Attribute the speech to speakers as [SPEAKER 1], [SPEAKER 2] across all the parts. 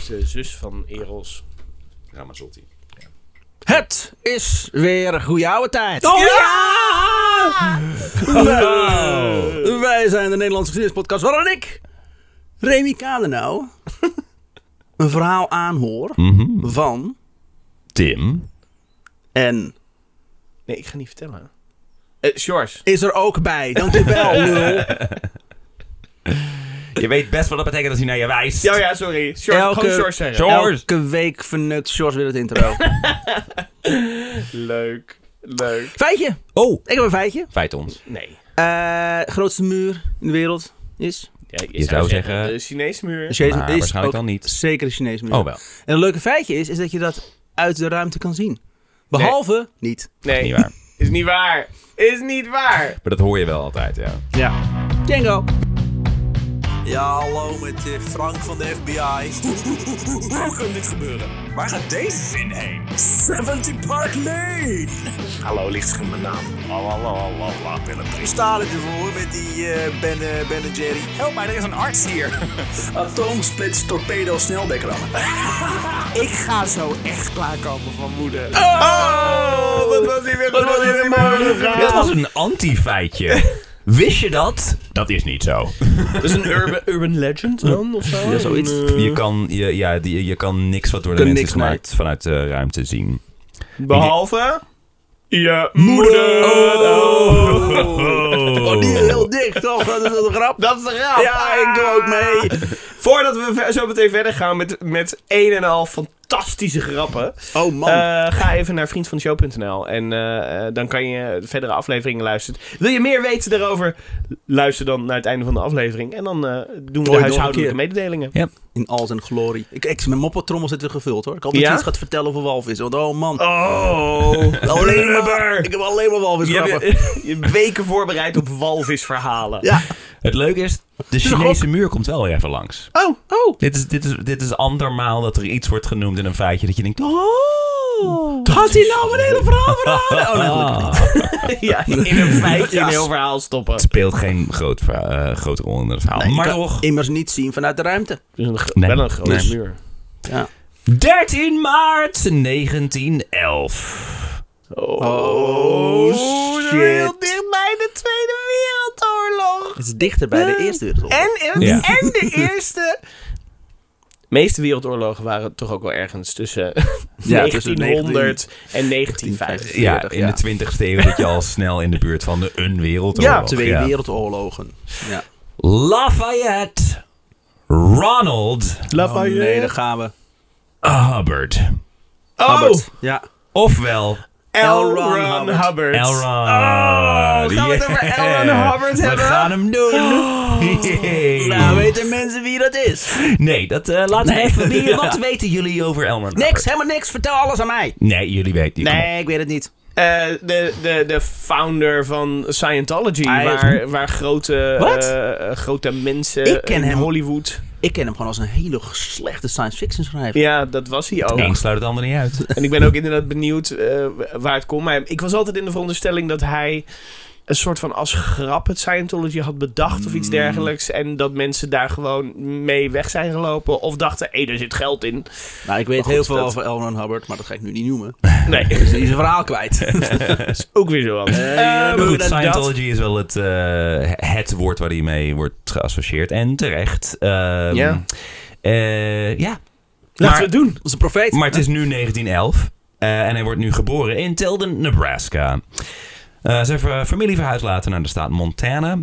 [SPEAKER 1] is de eh, zus van Eros.
[SPEAKER 2] Ramazzotti.
[SPEAKER 3] Het is weer goede oude tijd.
[SPEAKER 1] Oh ja!
[SPEAKER 3] Nou, Wij zijn de Nederlandse geschiedenispodcast waarin ik, Remy Kadenau, een verhaal aanhoor Mhm. van
[SPEAKER 4] Tim.
[SPEAKER 3] en
[SPEAKER 1] Nee, ik ga niet vertellen. Eh George.
[SPEAKER 3] is er ook bij. Dankjewel, lul.
[SPEAKER 4] Je weet best wat dat betekent als hij naar je wijst.
[SPEAKER 1] Ja, ja, sorry. George,
[SPEAKER 3] Elke-
[SPEAKER 1] Gewoon George zeggen.
[SPEAKER 4] George.
[SPEAKER 3] Elke week vernukt George weer het intro.
[SPEAKER 1] Leuk. Leuk.
[SPEAKER 3] Feitje.
[SPEAKER 4] Oh,
[SPEAKER 3] Ik heb een feitje.
[SPEAKER 4] feit ons.
[SPEAKER 1] Nee.
[SPEAKER 3] Eh grootste muur in de wereld is...
[SPEAKER 1] Ja, je,
[SPEAKER 4] zou zeggen-
[SPEAKER 1] De Chinese muur.
[SPEAKER 3] Is Chinese-
[SPEAKER 4] Maar
[SPEAKER 3] is
[SPEAKER 4] waarschijnlijk
[SPEAKER 3] ook
[SPEAKER 4] dan niet.
[SPEAKER 3] Zeker een Chinees muur.
[SPEAKER 4] Oh wel.
[SPEAKER 3] En het leuke feitje is, is dat je dat uit de ruimte kan zien. Behalve niet.
[SPEAKER 1] nee.
[SPEAKER 4] Niet waar.
[SPEAKER 1] Is niet waar. Is niet waar.
[SPEAKER 4] Maar dat hoor je wel altijd, ja.
[SPEAKER 3] Ja. Django.
[SPEAKER 5] Ja, hallo met eh, Frank van de FBI. Hoe kan dit gebeuren? Waar gaat deze zin heen? 70 Park Lane! Hallo, licht in mijn naam. We staan ervoor met die eh, ben, eh, ben en Jerry. Help mij, er is een arts hier. Atoomsplits, torpedo, snelbekrammen. Ik ga zo echt klaarkomen van moeder.
[SPEAKER 1] Oh, wat was hij weer? Wat was hij weer?
[SPEAKER 4] Dit was een anti-feitje. Wist je dat? Dat is niet zo.
[SPEAKER 1] Dat is een urban, urban legend dan, of zo?
[SPEAKER 3] Ja, zoiets.
[SPEAKER 1] Een, eh,
[SPEAKER 4] Je kan, je, ja, die, je kan niks wat door de
[SPEAKER 3] Kan
[SPEAKER 4] mensen
[SPEAKER 3] niks
[SPEAKER 4] is gemaakt vanuit de ruimte zien.
[SPEAKER 1] Behalve... Je moeder.
[SPEAKER 3] Oh, die is heel dik, toch? Dat is wel een grap.
[SPEAKER 1] Dat is de raad.
[SPEAKER 3] Ja, ik doe ook mee.
[SPEAKER 1] Voordat we ver- zo meteen verder gaan met, met een en al fantastische grappen...
[SPEAKER 3] Oh, man.
[SPEAKER 1] eh, ga even naar vriendvandeshow.nl en eh, eh, dan kan je de verdere afleveringen luisteren. Wil je meer weten daarover? Luister dan naar het einde van de aflevering. En dan eh, doen we
[SPEAKER 3] nog
[SPEAKER 1] de
[SPEAKER 3] een
[SPEAKER 1] huishoudelijke
[SPEAKER 3] keer.
[SPEAKER 1] mededelingen.
[SPEAKER 3] In al zijn glorie. Ik, ik, mijn moppetrommel zit weer gevuld, hoor. Ik had dat
[SPEAKER 1] Ja?
[SPEAKER 3] je iets gaat vertellen over walvis. Want oh, man.
[SPEAKER 1] Oh,
[SPEAKER 3] alleen maar,
[SPEAKER 1] blubber.
[SPEAKER 3] ik heb alleen maar walvis
[SPEAKER 1] Je hebt
[SPEAKER 3] grappen.
[SPEAKER 1] je, je weken voorbereid op walvisverhalen.
[SPEAKER 3] Ja.
[SPEAKER 4] Het leuke is, de Chinese muur komt wel weer even langs.
[SPEAKER 1] Oh, oh.
[SPEAKER 4] Dit is, dit, is, dit is andermaal dat er iets wordt genoemd in een feitje dat je denkt... Oh,
[SPEAKER 1] Oh.
[SPEAKER 3] Had hij nou een hele verhaal verhalen? Oh, nee, gelukkig niet.
[SPEAKER 1] Ja, in een feitje een heel verhaal stoppen.
[SPEAKER 4] Het speelt geen groot, verha- eh, grote rol in het verhaal.
[SPEAKER 3] Nee, je
[SPEAKER 4] maar
[SPEAKER 3] kan
[SPEAKER 4] toch...
[SPEAKER 3] Immers niet zien vanuit de ruimte.
[SPEAKER 1] Dus een gro-
[SPEAKER 4] Nee.
[SPEAKER 1] Wel een grote
[SPEAKER 4] Nee.
[SPEAKER 1] muur.
[SPEAKER 3] Ja.
[SPEAKER 4] 13 maart 1911.
[SPEAKER 3] Oh, shit.
[SPEAKER 1] dicht bij de Tweede Wereldoorlog.
[SPEAKER 3] Het is dichter bij de Eerste Wereldoorlog.
[SPEAKER 1] En,
[SPEAKER 4] Ja.
[SPEAKER 1] en de eerste. De meeste wereldoorlogen waren toch ook wel ergens tussen
[SPEAKER 3] Ja,
[SPEAKER 1] 1900
[SPEAKER 3] tussen
[SPEAKER 1] en 1950.
[SPEAKER 4] Ja,
[SPEAKER 3] 40,
[SPEAKER 4] in
[SPEAKER 3] ja.
[SPEAKER 4] de 20 eeuw dat je al snel in de buurt van de een wereldoorlog.
[SPEAKER 3] Ja, twee wereldoorlogen. Ja.
[SPEAKER 4] Lafayette Ronald
[SPEAKER 3] Oh, nee, daar gaan we.
[SPEAKER 4] Hubbard.
[SPEAKER 1] Oh,
[SPEAKER 3] Ja.
[SPEAKER 4] Ofwel
[SPEAKER 1] L.
[SPEAKER 3] L. Ron
[SPEAKER 1] Ron
[SPEAKER 3] Hubbard.
[SPEAKER 1] Hubbard.
[SPEAKER 4] Elron.
[SPEAKER 1] gaan we het over L. Ron Hubbard
[SPEAKER 4] oh, We
[SPEAKER 1] hebben?
[SPEAKER 4] gaan hem doen. Yay.
[SPEAKER 3] Nou, weten mensen wie dat is?
[SPEAKER 4] Nee, dat eh, laten we even weer. Wat weten jullie over Elron Hubbard?
[SPEAKER 3] Niks, helemaal niks. Vertel alles aan mij.
[SPEAKER 4] Nee, jullie weten. kom op.
[SPEAKER 3] Nee, ik weet het niet.
[SPEAKER 1] Eh, de, de, de founder van Scientology,
[SPEAKER 3] Hij is-
[SPEAKER 1] waar, waar grote,
[SPEAKER 3] Wat?
[SPEAKER 1] eh, grote mensen
[SPEAKER 3] Ik ken
[SPEAKER 1] in
[SPEAKER 3] hem.
[SPEAKER 1] Hollywood.
[SPEAKER 3] Ik ken hem gewoon als een hele slechte science fiction schrijver.
[SPEAKER 1] Ja, dat was hij ook.
[SPEAKER 4] De een sluit het ander niet uit.
[SPEAKER 1] En ik ben ook inderdaad benieuwd eh, waar het komt. Maar ik was altijd in de veronderstelling dat hij een soort van als grap het Scientology had bedacht of iets dergelijks. En dat mensen daar gewoon mee weg zijn gelopen. Of dachten, hé, daar zit geld in.
[SPEAKER 3] Nou, ik weet
[SPEAKER 1] Maar goed,
[SPEAKER 3] heel veel
[SPEAKER 1] dat-
[SPEAKER 3] over L. Ron Hubbard, maar dat ga ik nu niet noemen.
[SPEAKER 1] Nee,
[SPEAKER 3] Dus die is een verhaal kwijt.
[SPEAKER 1] is ook weer zo anders. Eh,
[SPEAKER 4] Maar goed,
[SPEAKER 1] dat- dat-
[SPEAKER 4] Scientology is wel het, eh, het woord waar hij mee wordt geassocieerd. En terecht. Ehm,
[SPEAKER 1] Ja.
[SPEAKER 4] eh, ja.
[SPEAKER 1] Laten
[SPEAKER 4] Maar-
[SPEAKER 1] we het doen.
[SPEAKER 3] Dat is een profeet.
[SPEAKER 4] Maar het is nu 1911 eh, en hij wordt nu geboren in Tilden, Nebraska. Eh, zijn ver- familie verhuisd later naar de staat Montana.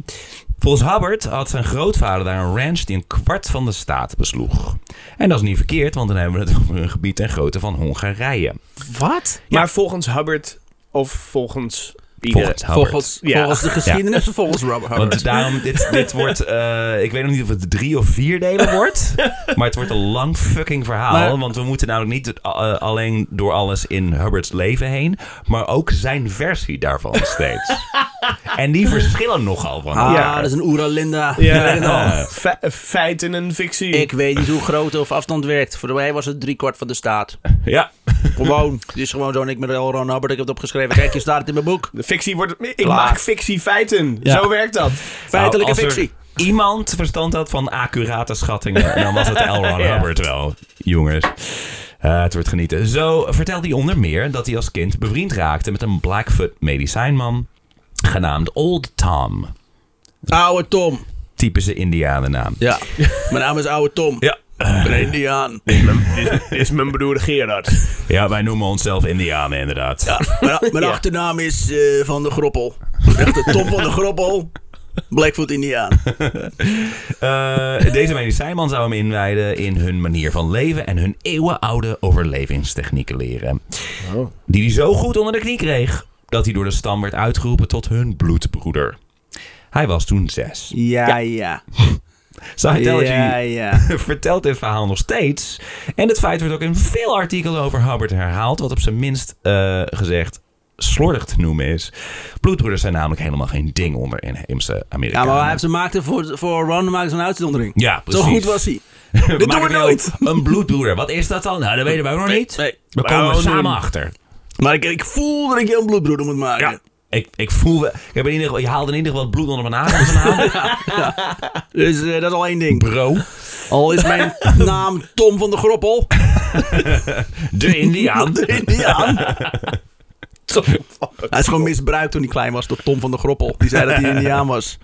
[SPEAKER 4] Volgens Hubbard had zijn grootvader daar een ranch die een kwart van de staat besloeg. En dat is niet verkeerd, want dan hebben we het over een gebied ten grootte van Hongarije.
[SPEAKER 3] Wat?
[SPEAKER 1] Maar volgens Hubbard of volgens ieder...
[SPEAKER 4] Volgens Hubbard.
[SPEAKER 3] Volgens,
[SPEAKER 1] Ja.
[SPEAKER 3] volgens de geschiedenis of volgens Robert Hubbard?
[SPEAKER 4] Want daarom, dit, dit wordt, eh, ik weet nog niet of het drie of vier delen wordt. maar het wordt een lang fucking verhaal.
[SPEAKER 3] Maar-
[SPEAKER 4] want we moeten namelijk niet eh, alleen door alles in Hubbards leven heen. Maar ook zijn versie daarvan steeds. en die verschillen nogal van
[SPEAKER 3] Ah,
[SPEAKER 4] elkaar.
[SPEAKER 3] dat is een Oeralinda.
[SPEAKER 1] Ja, Nou,
[SPEAKER 4] Ja.
[SPEAKER 1] fe- feiten en fictie.
[SPEAKER 3] Ik weet niet hoe groot of afstand werkt. Voor mij was het driekwart van de staat.
[SPEAKER 4] Ja.
[SPEAKER 3] Gewoon. Het is gewoon zo. En ik met L. Ron Hubbard, ik heb het opgeschreven. Kijk, je staat het in mijn boek.
[SPEAKER 1] De fictie wordt... Ik
[SPEAKER 3] Klaar.
[SPEAKER 1] maak fictie feiten.
[SPEAKER 3] Ja.
[SPEAKER 1] Zo werkt dat.
[SPEAKER 3] Feitelijke
[SPEAKER 4] Nou, als er-
[SPEAKER 3] fictie.
[SPEAKER 4] iemand verstand had van accurate schattingen, dan was het L. Ron
[SPEAKER 1] Ja.
[SPEAKER 4] Hubbard wel, jongens. Eh, het wordt genieten. Zo vertelt hij onder meer dat hij als kind bevriend raakte met een Blackfoot medicijnman genaamd Old Tom.
[SPEAKER 3] Oude Tom.
[SPEAKER 4] Typische Indianennaam.
[SPEAKER 3] Ja. Mijn naam is Oude Tom.
[SPEAKER 4] Ja.
[SPEAKER 3] Ik ben een Indiaan.
[SPEAKER 1] Dit is mijn broer Gerard.
[SPEAKER 4] ja, wij noemen onszelf Indianen inderdaad. Ja.
[SPEAKER 3] Mijn, mijn
[SPEAKER 1] Ja.
[SPEAKER 3] achternaam is eh, Van de Groppel. Echte Tom van de Groppel. Blackfoot Indiaan.
[SPEAKER 4] Eh, deze medicijnman zou hem inwijden in hun manier van leven en hun eeuwenoude overlevingstechnieken leren.
[SPEAKER 3] Oh.
[SPEAKER 4] Die hij zo goed onder de knie kreeg dat hij door de stam werd uitgeroepen tot hun bloedbroeder. Hij was toen zes.
[SPEAKER 3] Ja, ja.
[SPEAKER 4] Scientology
[SPEAKER 3] Ja, ja.
[SPEAKER 4] vertelt dit verhaal nog steeds. En het feit wordt ook in veel artikelen over Hubbard herhaald, wat op zijn minst eh, gezegd slordig te noemen is. Bloedbroeders zijn namelijk helemaal geen ding onder inheemse
[SPEAKER 3] Ja,
[SPEAKER 4] Amerikanen.
[SPEAKER 3] maar hij heeft ze maakte voor, voor Ron maakte ze een uitzondering.
[SPEAKER 4] Ja, precies.
[SPEAKER 3] Zo goed was hij.
[SPEAKER 4] Dit
[SPEAKER 3] doen we nooit.
[SPEAKER 4] nou Een bloedbroeder. Wat is dat dan? Nou, dat weten wij nog niet.
[SPEAKER 3] nee.
[SPEAKER 4] We
[SPEAKER 1] Maar
[SPEAKER 4] komen
[SPEAKER 1] we
[SPEAKER 4] samen
[SPEAKER 1] doen-
[SPEAKER 4] achter.
[SPEAKER 3] Maar ik, ik voel dat ik jou een bloedbroeder moet maken.
[SPEAKER 4] Ik, ik voel... wel- Ik heb in ieder geval, je haalde in ieder geval het bloed onder mijn nagels aan.
[SPEAKER 3] Dus eh, dat is al één ding.
[SPEAKER 4] Bro.
[SPEAKER 3] Al is mijn naam Tom van de Groppel.
[SPEAKER 4] De Indiaan.
[SPEAKER 3] De Indiaan. Hij is gewoon misbruikt toen hij klein was door Tom van de Groppel. Die zei dat hij Indiaan was.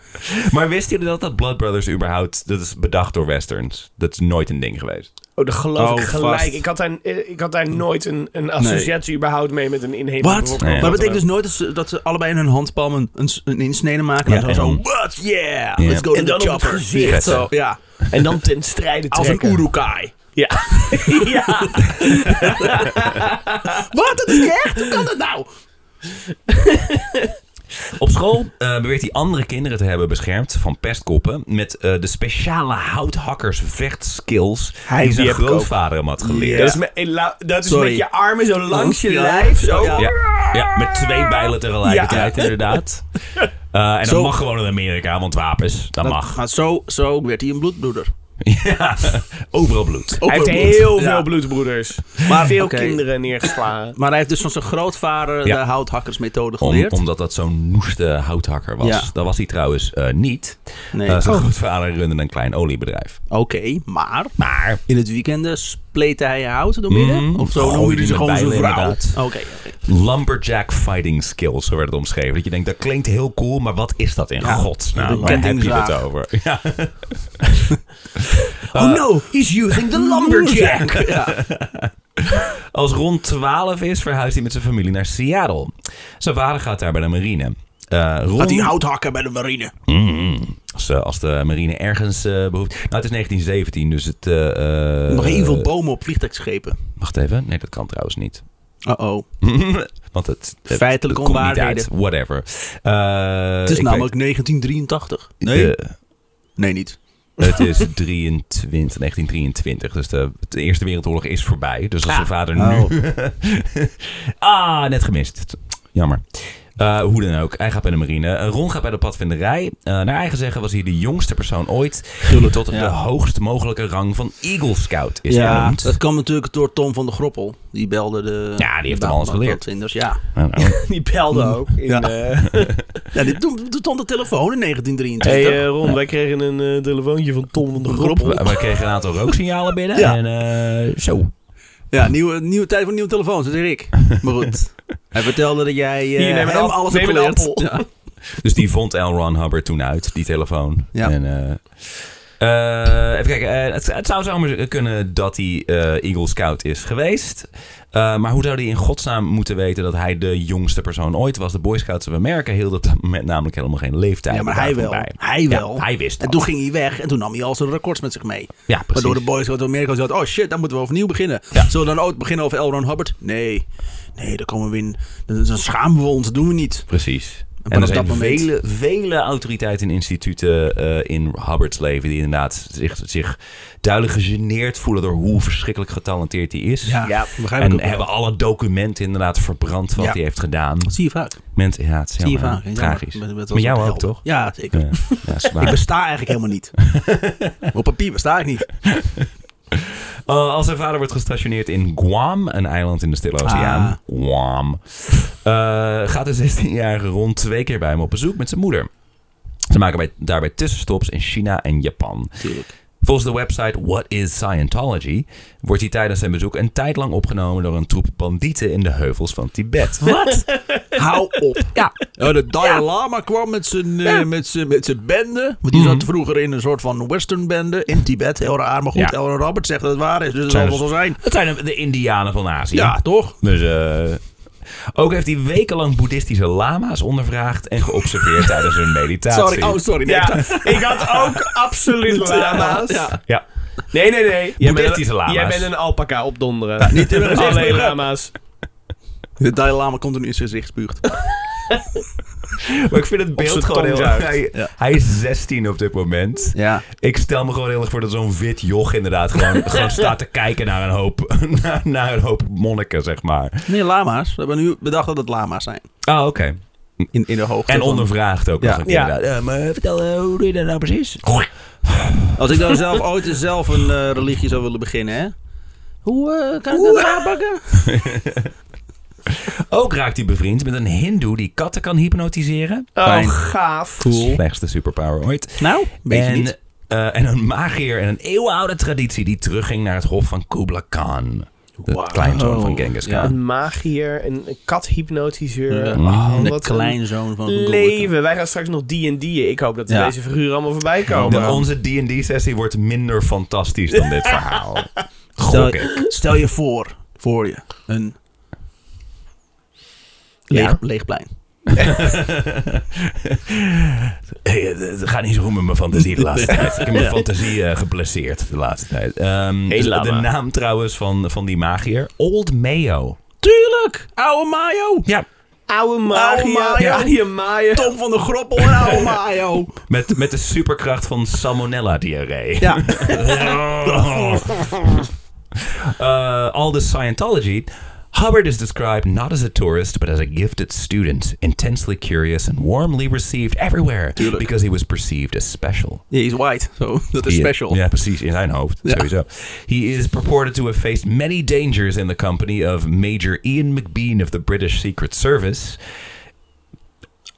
[SPEAKER 4] maar wisten jullie dat dat Blood Brothers überhaupt... Dat is bedacht door westerns. Dat is nooit een ding geweest.
[SPEAKER 1] Oh, dat geloof
[SPEAKER 3] Oh,
[SPEAKER 1] ik gelijk.
[SPEAKER 3] vast. Mm.
[SPEAKER 1] Ik had, daar, eh, ik had daar nooit een, een associatie überhaupt mee met een inheemse
[SPEAKER 3] Wat?
[SPEAKER 1] bevolking.
[SPEAKER 4] Nee.
[SPEAKER 3] Maar dat betekent dus nooit dat ze, dat ze allebei in hun handpalm een, een, s- een insnede maken.
[SPEAKER 4] Ja,
[SPEAKER 3] en dan
[SPEAKER 4] en
[SPEAKER 3] zo,
[SPEAKER 4] dan-
[SPEAKER 3] what? Yeah!
[SPEAKER 4] Ja.
[SPEAKER 3] Let's go
[SPEAKER 1] En
[SPEAKER 3] to
[SPEAKER 1] dan
[SPEAKER 3] the
[SPEAKER 1] op het
[SPEAKER 3] chopper.
[SPEAKER 1] gezicht.
[SPEAKER 3] Echt Zo, ja.
[SPEAKER 1] En dan ten strijde
[SPEAKER 3] Als een
[SPEAKER 1] trekken.
[SPEAKER 3] Urukai.
[SPEAKER 1] Ja. ja.
[SPEAKER 3] Wat? Dat is niet echt? Hoe kan dat nou?
[SPEAKER 4] Op school eh, beweert hij andere kinderen te hebben beschermd van pestkoppen. Met eh, de speciale houthakkers vechtskills
[SPEAKER 3] Hij
[SPEAKER 4] die zijn
[SPEAKER 3] die heb ik ook.
[SPEAKER 4] grootvader hem had
[SPEAKER 3] Ja.
[SPEAKER 4] geleerd.
[SPEAKER 1] Dat is, met, eh, la- dat is
[SPEAKER 3] Sorry.
[SPEAKER 1] met je armen zo langs je
[SPEAKER 3] Ja.
[SPEAKER 1] lijf. Zo.
[SPEAKER 3] Ja.
[SPEAKER 4] Ja, ja, met twee bijlen tegelijkertijd inderdaad. Eh, en dat
[SPEAKER 3] Zo-
[SPEAKER 4] mag gewoon in Amerika, want wapens, dat, mag.
[SPEAKER 3] Maar zo, zo werd hij een bloedbroeder.
[SPEAKER 4] Ja, overal bloed.
[SPEAKER 3] Ook
[SPEAKER 1] Hij heeft
[SPEAKER 3] wel bloed.
[SPEAKER 1] heel
[SPEAKER 3] Ja.
[SPEAKER 1] veel bloedbroeders.
[SPEAKER 3] Maar-
[SPEAKER 1] veel
[SPEAKER 3] oké.
[SPEAKER 1] kinderen neergeslagen.
[SPEAKER 3] Maar hij heeft dus van zijn grootvader
[SPEAKER 4] Ja.
[SPEAKER 3] de houthakkersmethode
[SPEAKER 4] Om,
[SPEAKER 3] geleerd.
[SPEAKER 4] omdat dat zo'n noeste houthakker was.
[SPEAKER 3] Ja.
[SPEAKER 4] Dat was hij trouwens eh, niet.
[SPEAKER 3] Nee.
[SPEAKER 4] Eh, zijn
[SPEAKER 3] Oh.
[SPEAKER 4] grootvader runde een klein oliebedrijf.
[SPEAKER 3] Oké, maar
[SPEAKER 4] Maar
[SPEAKER 3] in het weekenden spleette hij hout door midden?
[SPEAKER 4] Mhm.
[SPEAKER 3] of zo
[SPEAKER 4] Gooide
[SPEAKER 3] noemde hij
[SPEAKER 4] hij
[SPEAKER 3] ze
[SPEAKER 4] met
[SPEAKER 3] gewoon zijn
[SPEAKER 4] bijlen,
[SPEAKER 3] vrouw?
[SPEAKER 4] inderdaad.
[SPEAKER 3] Oké, oké.
[SPEAKER 4] lumberjack fighting skills, zo werd het omschreven. Dat je denkt, dat klinkt heel cool, maar wat is dat in
[SPEAKER 3] Ja,
[SPEAKER 4] godsnaam?
[SPEAKER 3] een
[SPEAKER 4] Waar heb je
[SPEAKER 3] kettingzaag.
[SPEAKER 4] het over? Ja.
[SPEAKER 3] Oh no, he's using the lumberjack. ja.
[SPEAKER 4] Als rond 12 is, verhuist hij met zijn familie naar Seattle. Zijn vader gaat daar bij de marine. Eh Ron-
[SPEAKER 3] Gaat hij hout hakken bij de marine?
[SPEAKER 4] Mm. Als, eh, als de marine ergens eh behoeft. Nou, het is 1917, dus het. eh, eh,
[SPEAKER 3] Nog heel veel bomen op vliegtuigschepen.
[SPEAKER 4] Wacht even. Nee, dat kan trouwens niet.
[SPEAKER 3] Oh-oh.
[SPEAKER 4] Want het. het
[SPEAKER 3] Feitelijke
[SPEAKER 4] het komt niet
[SPEAKER 3] onwaarheden.
[SPEAKER 4] uit. Whatever. Eh,
[SPEAKER 3] Het is
[SPEAKER 4] ik
[SPEAKER 3] namelijk 1983.
[SPEAKER 4] weet-
[SPEAKER 3] Nee?
[SPEAKER 4] eh,
[SPEAKER 3] nee, niet.
[SPEAKER 4] het is 23, 1923. Dus de, de Eerste Wereldoorlog is voorbij. Dus als zijn vader nu.
[SPEAKER 3] Oh.
[SPEAKER 4] ah, net gemist. Jammer. Eh, hoe dan ook, hij gaat bij de marine. Eh, Ron gaat bij de padvinderij. Eh, naar eigen zeggen was hij de jongste persoon ooit. Tot
[SPEAKER 3] Ja.
[SPEAKER 4] de hoogst mogelijke rang van Eagle Scout is
[SPEAKER 3] Ja,
[SPEAKER 4] genoemd.
[SPEAKER 3] dat kwam natuurlijk door Tom van de Groppel. Die belde de...
[SPEAKER 4] Ja, die heeft
[SPEAKER 3] de
[SPEAKER 4] hem alles
[SPEAKER 3] baan-
[SPEAKER 4] geleerd.
[SPEAKER 3] uitvinders, Ja.
[SPEAKER 4] Nou, nou.
[SPEAKER 1] Die belde ook. In,
[SPEAKER 3] Ja.
[SPEAKER 1] eh,
[SPEAKER 3] ja die, toen, toen stond de telefoon in 1923.
[SPEAKER 1] hey eh, Ron, wij kregen een eh, telefoontje van Tom van de Groppel.
[SPEAKER 4] We, we kregen een aantal rooksignalen binnen.
[SPEAKER 3] Ja.
[SPEAKER 4] En eh, zo.
[SPEAKER 3] Ja, nieuwe, nieuwe tijd voor nieuwe telefoons, dat zeg ik. Maar goed. Hij vertelde dat jij eh,
[SPEAKER 1] Hier, neem een
[SPEAKER 3] hem
[SPEAKER 1] appel,
[SPEAKER 3] alles
[SPEAKER 1] neem
[SPEAKER 3] hebt
[SPEAKER 1] een
[SPEAKER 3] geleerd.
[SPEAKER 1] appel.
[SPEAKER 3] Ja.
[SPEAKER 4] Dus die vond L. Ron Hubbard toen uit, die telefoon.
[SPEAKER 3] Ja.
[SPEAKER 4] En, eh, eh, even kijken. eh, het, het zou zomaar kunnen dat hij eh, Eagle Scout is geweest. Eh, maar hoe zou hij in godsnaam moeten weten dat hij de jongste persoon ooit was? De Boy Scouts van Amerika hielden op dat moment namelijk helemaal geen leeftijd.
[SPEAKER 3] Ja, maar hij
[SPEAKER 4] daarvan
[SPEAKER 3] wel.
[SPEAKER 4] bij.
[SPEAKER 3] Hij wel.
[SPEAKER 4] Ja, hij wist
[SPEAKER 3] En
[SPEAKER 4] dat.
[SPEAKER 3] toen ging hij weg en toen nam hij al zijn records met zich mee.
[SPEAKER 4] Ja, precies.
[SPEAKER 3] Waardoor de boys uit Amerika zeiden, oh shit, dan moeten we overnieuw beginnen. Zullen we dan ook beginnen over Elron Hubbard? Nee. Nee, dan komen we in. Dan, dan schamen we ons, dat doen we niet.
[SPEAKER 4] Precies. En,
[SPEAKER 3] vanaf
[SPEAKER 4] er zijn
[SPEAKER 3] dat moment-
[SPEAKER 4] vele, vele autoriteiten en instituten eh, in Hubbards leven... die inderdaad zich, zich duidelijk gegeneerd voelen... door hoe verschrikkelijk getalenteerd hij is.
[SPEAKER 1] Ja.
[SPEAKER 3] begrijp ik
[SPEAKER 4] En
[SPEAKER 3] ook wel.
[SPEAKER 4] hebben alle documenten inderdaad verbrand wat
[SPEAKER 3] Ja.
[SPEAKER 4] hij heeft gedaan.
[SPEAKER 3] Dat zie je vaak.
[SPEAKER 4] Mensen, ja, het is
[SPEAKER 3] zie je
[SPEAKER 4] jammer,
[SPEAKER 3] vaak.
[SPEAKER 4] hè?
[SPEAKER 3] Ja,
[SPEAKER 4] Tragisch.
[SPEAKER 3] met- met-
[SPEAKER 4] Met jou
[SPEAKER 3] met-
[SPEAKER 4] ook, toch?
[SPEAKER 3] Ja, zeker.
[SPEAKER 4] Ja, ja, is waar.
[SPEAKER 3] Ik besta eigenlijk helemaal niet. Op papier besta ik niet.
[SPEAKER 4] Eh, als zijn vader wordt gestationeerd in Guam, een eiland in de Stille Oceaan.
[SPEAKER 3] Ah.
[SPEAKER 4] Guam. Eh, gaat de 16-jarige rond twee keer bij hem op bezoek met zijn moeder. Zijn Ze maken bij, daarbij tussenstops in China en Japan. Volgens de website What is Scientology wordt hij tijdens zijn bezoek een tijd lang opgenomen door een troep bandieten in de heuvels van Tibet.
[SPEAKER 3] Wat? Hou op.
[SPEAKER 4] Ja.
[SPEAKER 3] Ja, de Dalai Lama kwam met zijn, eh, met zijn, met zijn bende. Want die
[SPEAKER 4] Mhm.
[SPEAKER 3] zat vroeger in een soort van western bende in Tibet. Heel raar, maar goed.
[SPEAKER 4] Ja.
[SPEAKER 3] Elron Robert zegt dat het waar is, dus het zal
[SPEAKER 4] Zijn
[SPEAKER 3] wel zo
[SPEAKER 4] dus-
[SPEAKER 3] zijn.
[SPEAKER 4] Dat zijn de- de Indianen van Azië.
[SPEAKER 3] Ja, toch?
[SPEAKER 4] Dus eh, ook heeft hij wekenlang boeddhistische lama's ondervraagd en geobserveerd tijdens hun meditatie.
[SPEAKER 3] Sorry, oh sorry. Nee,
[SPEAKER 1] Ja, ik had ook absoluut lama's.
[SPEAKER 3] Ja.
[SPEAKER 4] Ja.
[SPEAKER 1] Nee, nee, nee. Jij
[SPEAKER 4] Boeddhistische lama's.
[SPEAKER 1] Jij bent een alpaca opdonderen. niet
[SPEAKER 3] in mijn gezicht,
[SPEAKER 1] Alleen
[SPEAKER 3] maar-
[SPEAKER 1] lama's.
[SPEAKER 3] De Dalai Lama komt er nu in zijn gezicht spuugt.
[SPEAKER 4] Maar ik vind het beeld
[SPEAKER 1] zijn
[SPEAKER 4] gewoon
[SPEAKER 1] tong
[SPEAKER 4] heel
[SPEAKER 1] zuigt.
[SPEAKER 4] Hij,
[SPEAKER 3] Ja.
[SPEAKER 4] hij is 16 op dit moment.
[SPEAKER 3] Ja.
[SPEAKER 4] Ik stel me gewoon heel erg voor dat zo'n wit joch inderdaad gewoon, gewoon staat te kijken naar een, hoop, naar, naar een hoop monniken, zeg maar.
[SPEAKER 3] Nee, lama's. We hebben nu bedacht dat het lama's zijn.
[SPEAKER 4] Ah, oké.
[SPEAKER 3] In, in de hoogte.
[SPEAKER 4] En
[SPEAKER 3] van-
[SPEAKER 4] ondervraagd ook
[SPEAKER 3] Ja.
[SPEAKER 4] nog een keer
[SPEAKER 1] Ja.
[SPEAKER 4] inderdaad. Ja, maar vertel, eh, hoe doe je dat nou precies?
[SPEAKER 3] Als ik dan zelf ooit eens zelf een eh, religie zou willen beginnen, hè? Hoe eh, kan ik dat aanpakken?
[SPEAKER 4] Ook raakt hij bevriend met een hindoe die katten kan hypnotiseren.
[SPEAKER 1] Oh,
[SPEAKER 4] Fijn.
[SPEAKER 1] gaaf.
[SPEAKER 4] Slechtste superpower ooit.
[SPEAKER 3] Nou, weet je
[SPEAKER 4] en,
[SPEAKER 3] niet.
[SPEAKER 4] eh, en een magier en een eeuwenoude traditie die terugging naar het hof van Kublai Khan. De kleinzoon van Genghis Khan.
[SPEAKER 1] Een magier, een een kathypnotiseur.
[SPEAKER 3] Ja.
[SPEAKER 1] Oh,
[SPEAKER 3] Eh, de
[SPEAKER 1] wat een
[SPEAKER 3] kleinzoon van Google.
[SPEAKER 1] leven. Wij gaan straks nog D&D'en. Ik hoop dat
[SPEAKER 3] Ja.
[SPEAKER 1] deze figuren allemaal voorbij
[SPEAKER 4] De-
[SPEAKER 1] komen.
[SPEAKER 4] onze D&D-sessie wordt minder fantastisch dan dit verhaal. Gok
[SPEAKER 3] Stel,
[SPEAKER 4] ik.
[SPEAKER 3] stel je voor, voor je, een leeg,
[SPEAKER 4] Ja?
[SPEAKER 3] leeg plein.
[SPEAKER 4] Hey, eh, het- het gaat niet zo goed met mijn fantasie de laatste tijd. Ik heb mijn fantasie eh, geblesseerd de laatste tijd. Ehm, dus
[SPEAKER 1] lama.
[SPEAKER 4] de naam trouwens van, van die magier. Old Mayo.
[SPEAKER 3] Tuurlijk, oude Mayo.
[SPEAKER 4] Ja.
[SPEAKER 1] Oude
[SPEAKER 3] Oude
[SPEAKER 1] magier,
[SPEAKER 3] Maya.
[SPEAKER 1] oude Maya.
[SPEAKER 3] Tom van de Groppel en oude Mayo.
[SPEAKER 4] Met, met de superkracht van salmonella-diarree.
[SPEAKER 3] Ja,
[SPEAKER 4] Uh, all this Scientology, Hubbard is described not as a tourist, but as a gifted student, intensely curious and warmly received everywhere
[SPEAKER 3] Tuurlijk.
[SPEAKER 4] because he was perceived as special.
[SPEAKER 3] he is white, so dat is
[SPEAKER 4] He-
[SPEAKER 3] special.
[SPEAKER 4] Ja, precies, in zijn hoofd.
[SPEAKER 3] Ja.
[SPEAKER 4] Sowieso. He is purported to have faced many dangers in the company of Major Ian McBean of the British Secret Service,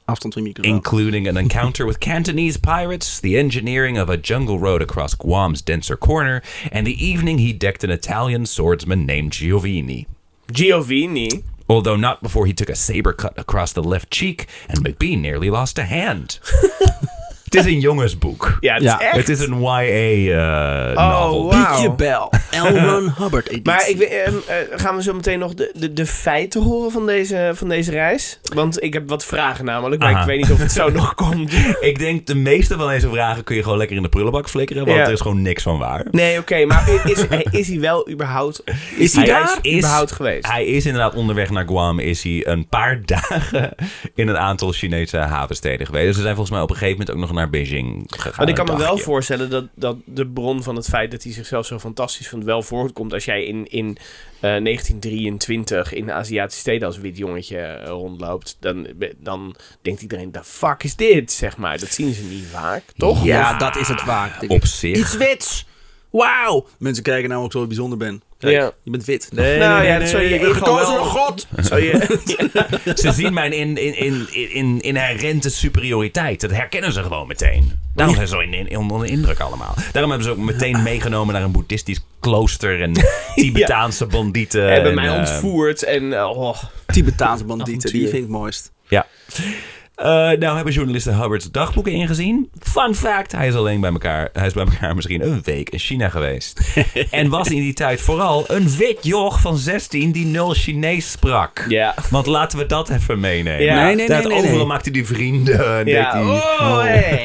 [SPEAKER 3] Afstand van je microfoon.
[SPEAKER 4] including an encounter with Cantonese pirates, the engineering of a jungle road across Guam's denser corner, and the evening he decked an Italian swordsman named Giovanni.
[SPEAKER 1] Giovanni.
[SPEAKER 4] Although not before he took a saber cut across the left cheek and McBean nearly lost a hand. Het is een jongensboek.
[SPEAKER 1] Ja, het
[SPEAKER 3] Ja.
[SPEAKER 1] is echt.
[SPEAKER 4] Het is een YA eh, novel.
[SPEAKER 1] Oh, wow.
[SPEAKER 3] Pietje Bel, L. Ron Hubbard editie.
[SPEAKER 1] Maar ik, weet- ehm, eh, gaan we zo meteen nog de, de, de feiten horen van deze, van deze reis? Want ik heb wat vragen namelijk, maar
[SPEAKER 4] Aha.
[SPEAKER 1] ik weet niet of het zo nog komt.
[SPEAKER 4] Ik denk de meeste van deze vragen kun je gewoon lekker in de prullenbak flikkeren, want
[SPEAKER 1] Ja.
[SPEAKER 4] er is gewoon niks van waar.
[SPEAKER 1] Nee, oké, maar i- is, eh, is hij wel überhaupt... Is
[SPEAKER 3] hij
[SPEAKER 4] daar?
[SPEAKER 1] Is, überhaupt geweest?
[SPEAKER 4] Hij is inderdaad onderweg naar Guam. Is hij een paar dagen in een aantal Chinese havensteden geweest. Dus ze zijn volgens mij op een gegeven moment ook nog naar Beijing gegaan.
[SPEAKER 1] Want ik kan
[SPEAKER 4] een
[SPEAKER 1] me wel
[SPEAKER 4] dagje.
[SPEAKER 1] voorstellen dat, dat de bron van het feit dat hij zichzelf zo fantastisch vond wel voortkomt als jij in, in eh, 1923 in de Aziatische steden als wit jongetje eh, rondloopt. Dan, dan denkt iedereen, de fuck is dit? Zeg maar, dat zien ze niet vaak, toch?
[SPEAKER 3] ja, dat is het vaak.
[SPEAKER 4] Op zich.
[SPEAKER 3] Iets wits. Wauw. Mensen kijken nou ook zo bijzonder ben. Kijk,
[SPEAKER 1] Ja.
[SPEAKER 3] je bent wit.
[SPEAKER 1] Nou ja, dat zou je
[SPEAKER 3] ik ben
[SPEAKER 1] ego
[SPEAKER 3] gekozen
[SPEAKER 1] wel-
[SPEAKER 3] door God.
[SPEAKER 1] Zou je...
[SPEAKER 4] Ze zien mijn in, in, in, in, inherente superioriteit. Dat herkennen ze gewoon meteen. Daarom zijn ze zo in, in, onder de indruk allemaal. Daarom hebben ze ook meteen meegenomen naar een boeddhistisch klooster. En Tibetaanse bandieten.
[SPEAKER 1] hebben
[SPEAKER 4] en,
[SPEAKER 1] mij
[SPEAKER 4] eh,
[SPEAKER 1] ontvoerd en... eh, oh.
[SPEAKER 3] Tibetaanse bandieten, die
[SPEAKER 1] Avontuur.
[SPEAKER 3] vind ik mooist.
[SPEAKER 4] Ja. Eh, nou hebben journalisten Hubbard's dagboeken ingezien. Fun fact, hij is alleen bij elkaar, hij is bij elkaar misschien een week in China geweest. en was in die tijd vooral een wit joch van 16 die nul Chinees sprak.
[SPEAKER 1] Ja.
[SPEAKER 4] Want laten we dat even meenemen.
[SPEAKER 1] Ja. Nee,
[SPEAKER 3] nee,
[SPEAKER 4] Dat
[SPEAKER 3] nee, nee,
[SPEAKER 4] overal
[SPEAKER 3] nee.
[SPEAKER 4] maakte hij vrienden. en deed
[SPEAKER 1] Ja.
[SPEAKER 4] hij-
[SPEAKER 1] Oh, hey.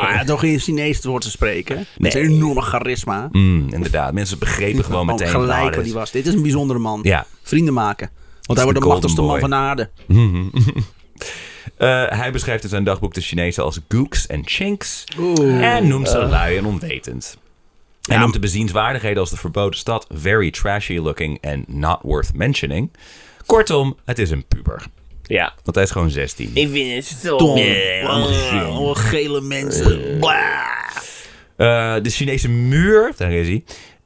[SPEAKER 3] Maar ja, toch geen Chinees woord te spreken. Met zijn enorme charisma.
[SPEAKER 4] Mm, inderdaad, mensen begrepen gewoon
[SPEAKER 3] Gewoon
[SPEAKER 4] meteen.
[SPEAKER 3] gelijk
[SPEAKER 4] nou,
[SPEAKER 3] wat
[SPEAKER 4] dit-
[SPEAKER 3] die was. Dit is een bijzondere man.
[SPEAKER 4] Ja.
[SPEAKER 3] Vrienden maken. Want hij wordt
[SPEAKER 4] de
[SPEAKER 3] de
[SPEAKER 4] golden
[SPEAKER 3] machtigste man
[SPEAKER 4] boy.
[SPEAKER 3] van aarde.
[SPEAKER 4] Eh, hij beschrijft in zijn dagboek de Chinezen als gooks en chinks. en noemt ze lui en onwetend. Hij noemt de bezienswaardigheden als de verboden stad very trashy looking and not worth mentioning. Kortom, het is een puber.
[SPEAKER 1] Ja.
[SPEAKER 4] Want hij is gewoon 16.
[SPEAKER 1] Ik vind het stom.
[SPEAKER 3] Dom.
[SPEAKER 1] Nee,
[SPEAKER 3] Allemaal ge- allemaal gele mensen. Blah.
[SPEAKER 4] Eh, de Chinese muur, daar is hij.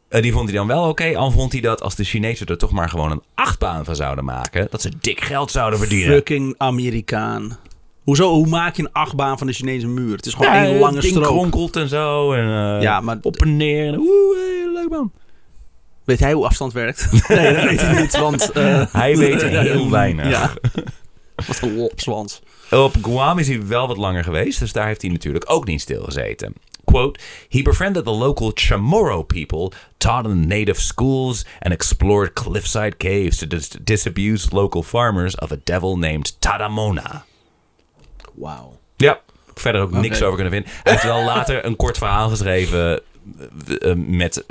[SPEAKER 4] eh, die vond hij dan wel oké. Al vond hij dat als de Chinezen er toch maar
[SPEAKER 3] eh,
[SPEAKER 4] gewoon een achtbaan van zouden maken. Dat ze dik geld zouden verdienen.
[SPEAKER 3] Fucking Amerikaan. Hoezo? Hoe maak je een achtbaan van de Chinese muur? Het is gewoon
[SPEAKER 4] Ja,
[SPEAKER 3] één
[SPEAKER 4] het
[SPEAKER 3] lange
[SPEAKER 4] ding
[SPEAKER 3] strook.
[SPEAKER 4] kronkelt en zo. En, eh,
[SPEAKER 3] Ja, maar-
[SPEAKER 4] Op en neer. En, oeh, hey, leuk man.
[SPEAKER 3] Weet hij hoe afstand werkt? nee, dat weet hij niet, want... eh,
[SPEAKER 4] Hij weet heel weinig.
[SPEAKER 3] Ja. Wat een lopswans.
[SPEAKER 4] Op Guam is hij wel wat langer geweest, dus daar heeft hij natuurlijk ook niet stilgezeten. Quote, he befriended the local Chamorro people, taught in native schools, and explored cliffside caves to dis- disabuse local farmers of a devil named Tadamona.
[SPEAKER 3] Wauw.
[SPEAKER 4] Ja, verder ook niks over kunnen vinden. Hij heeft wel later een kort verhaal geschreven eh, eh, met...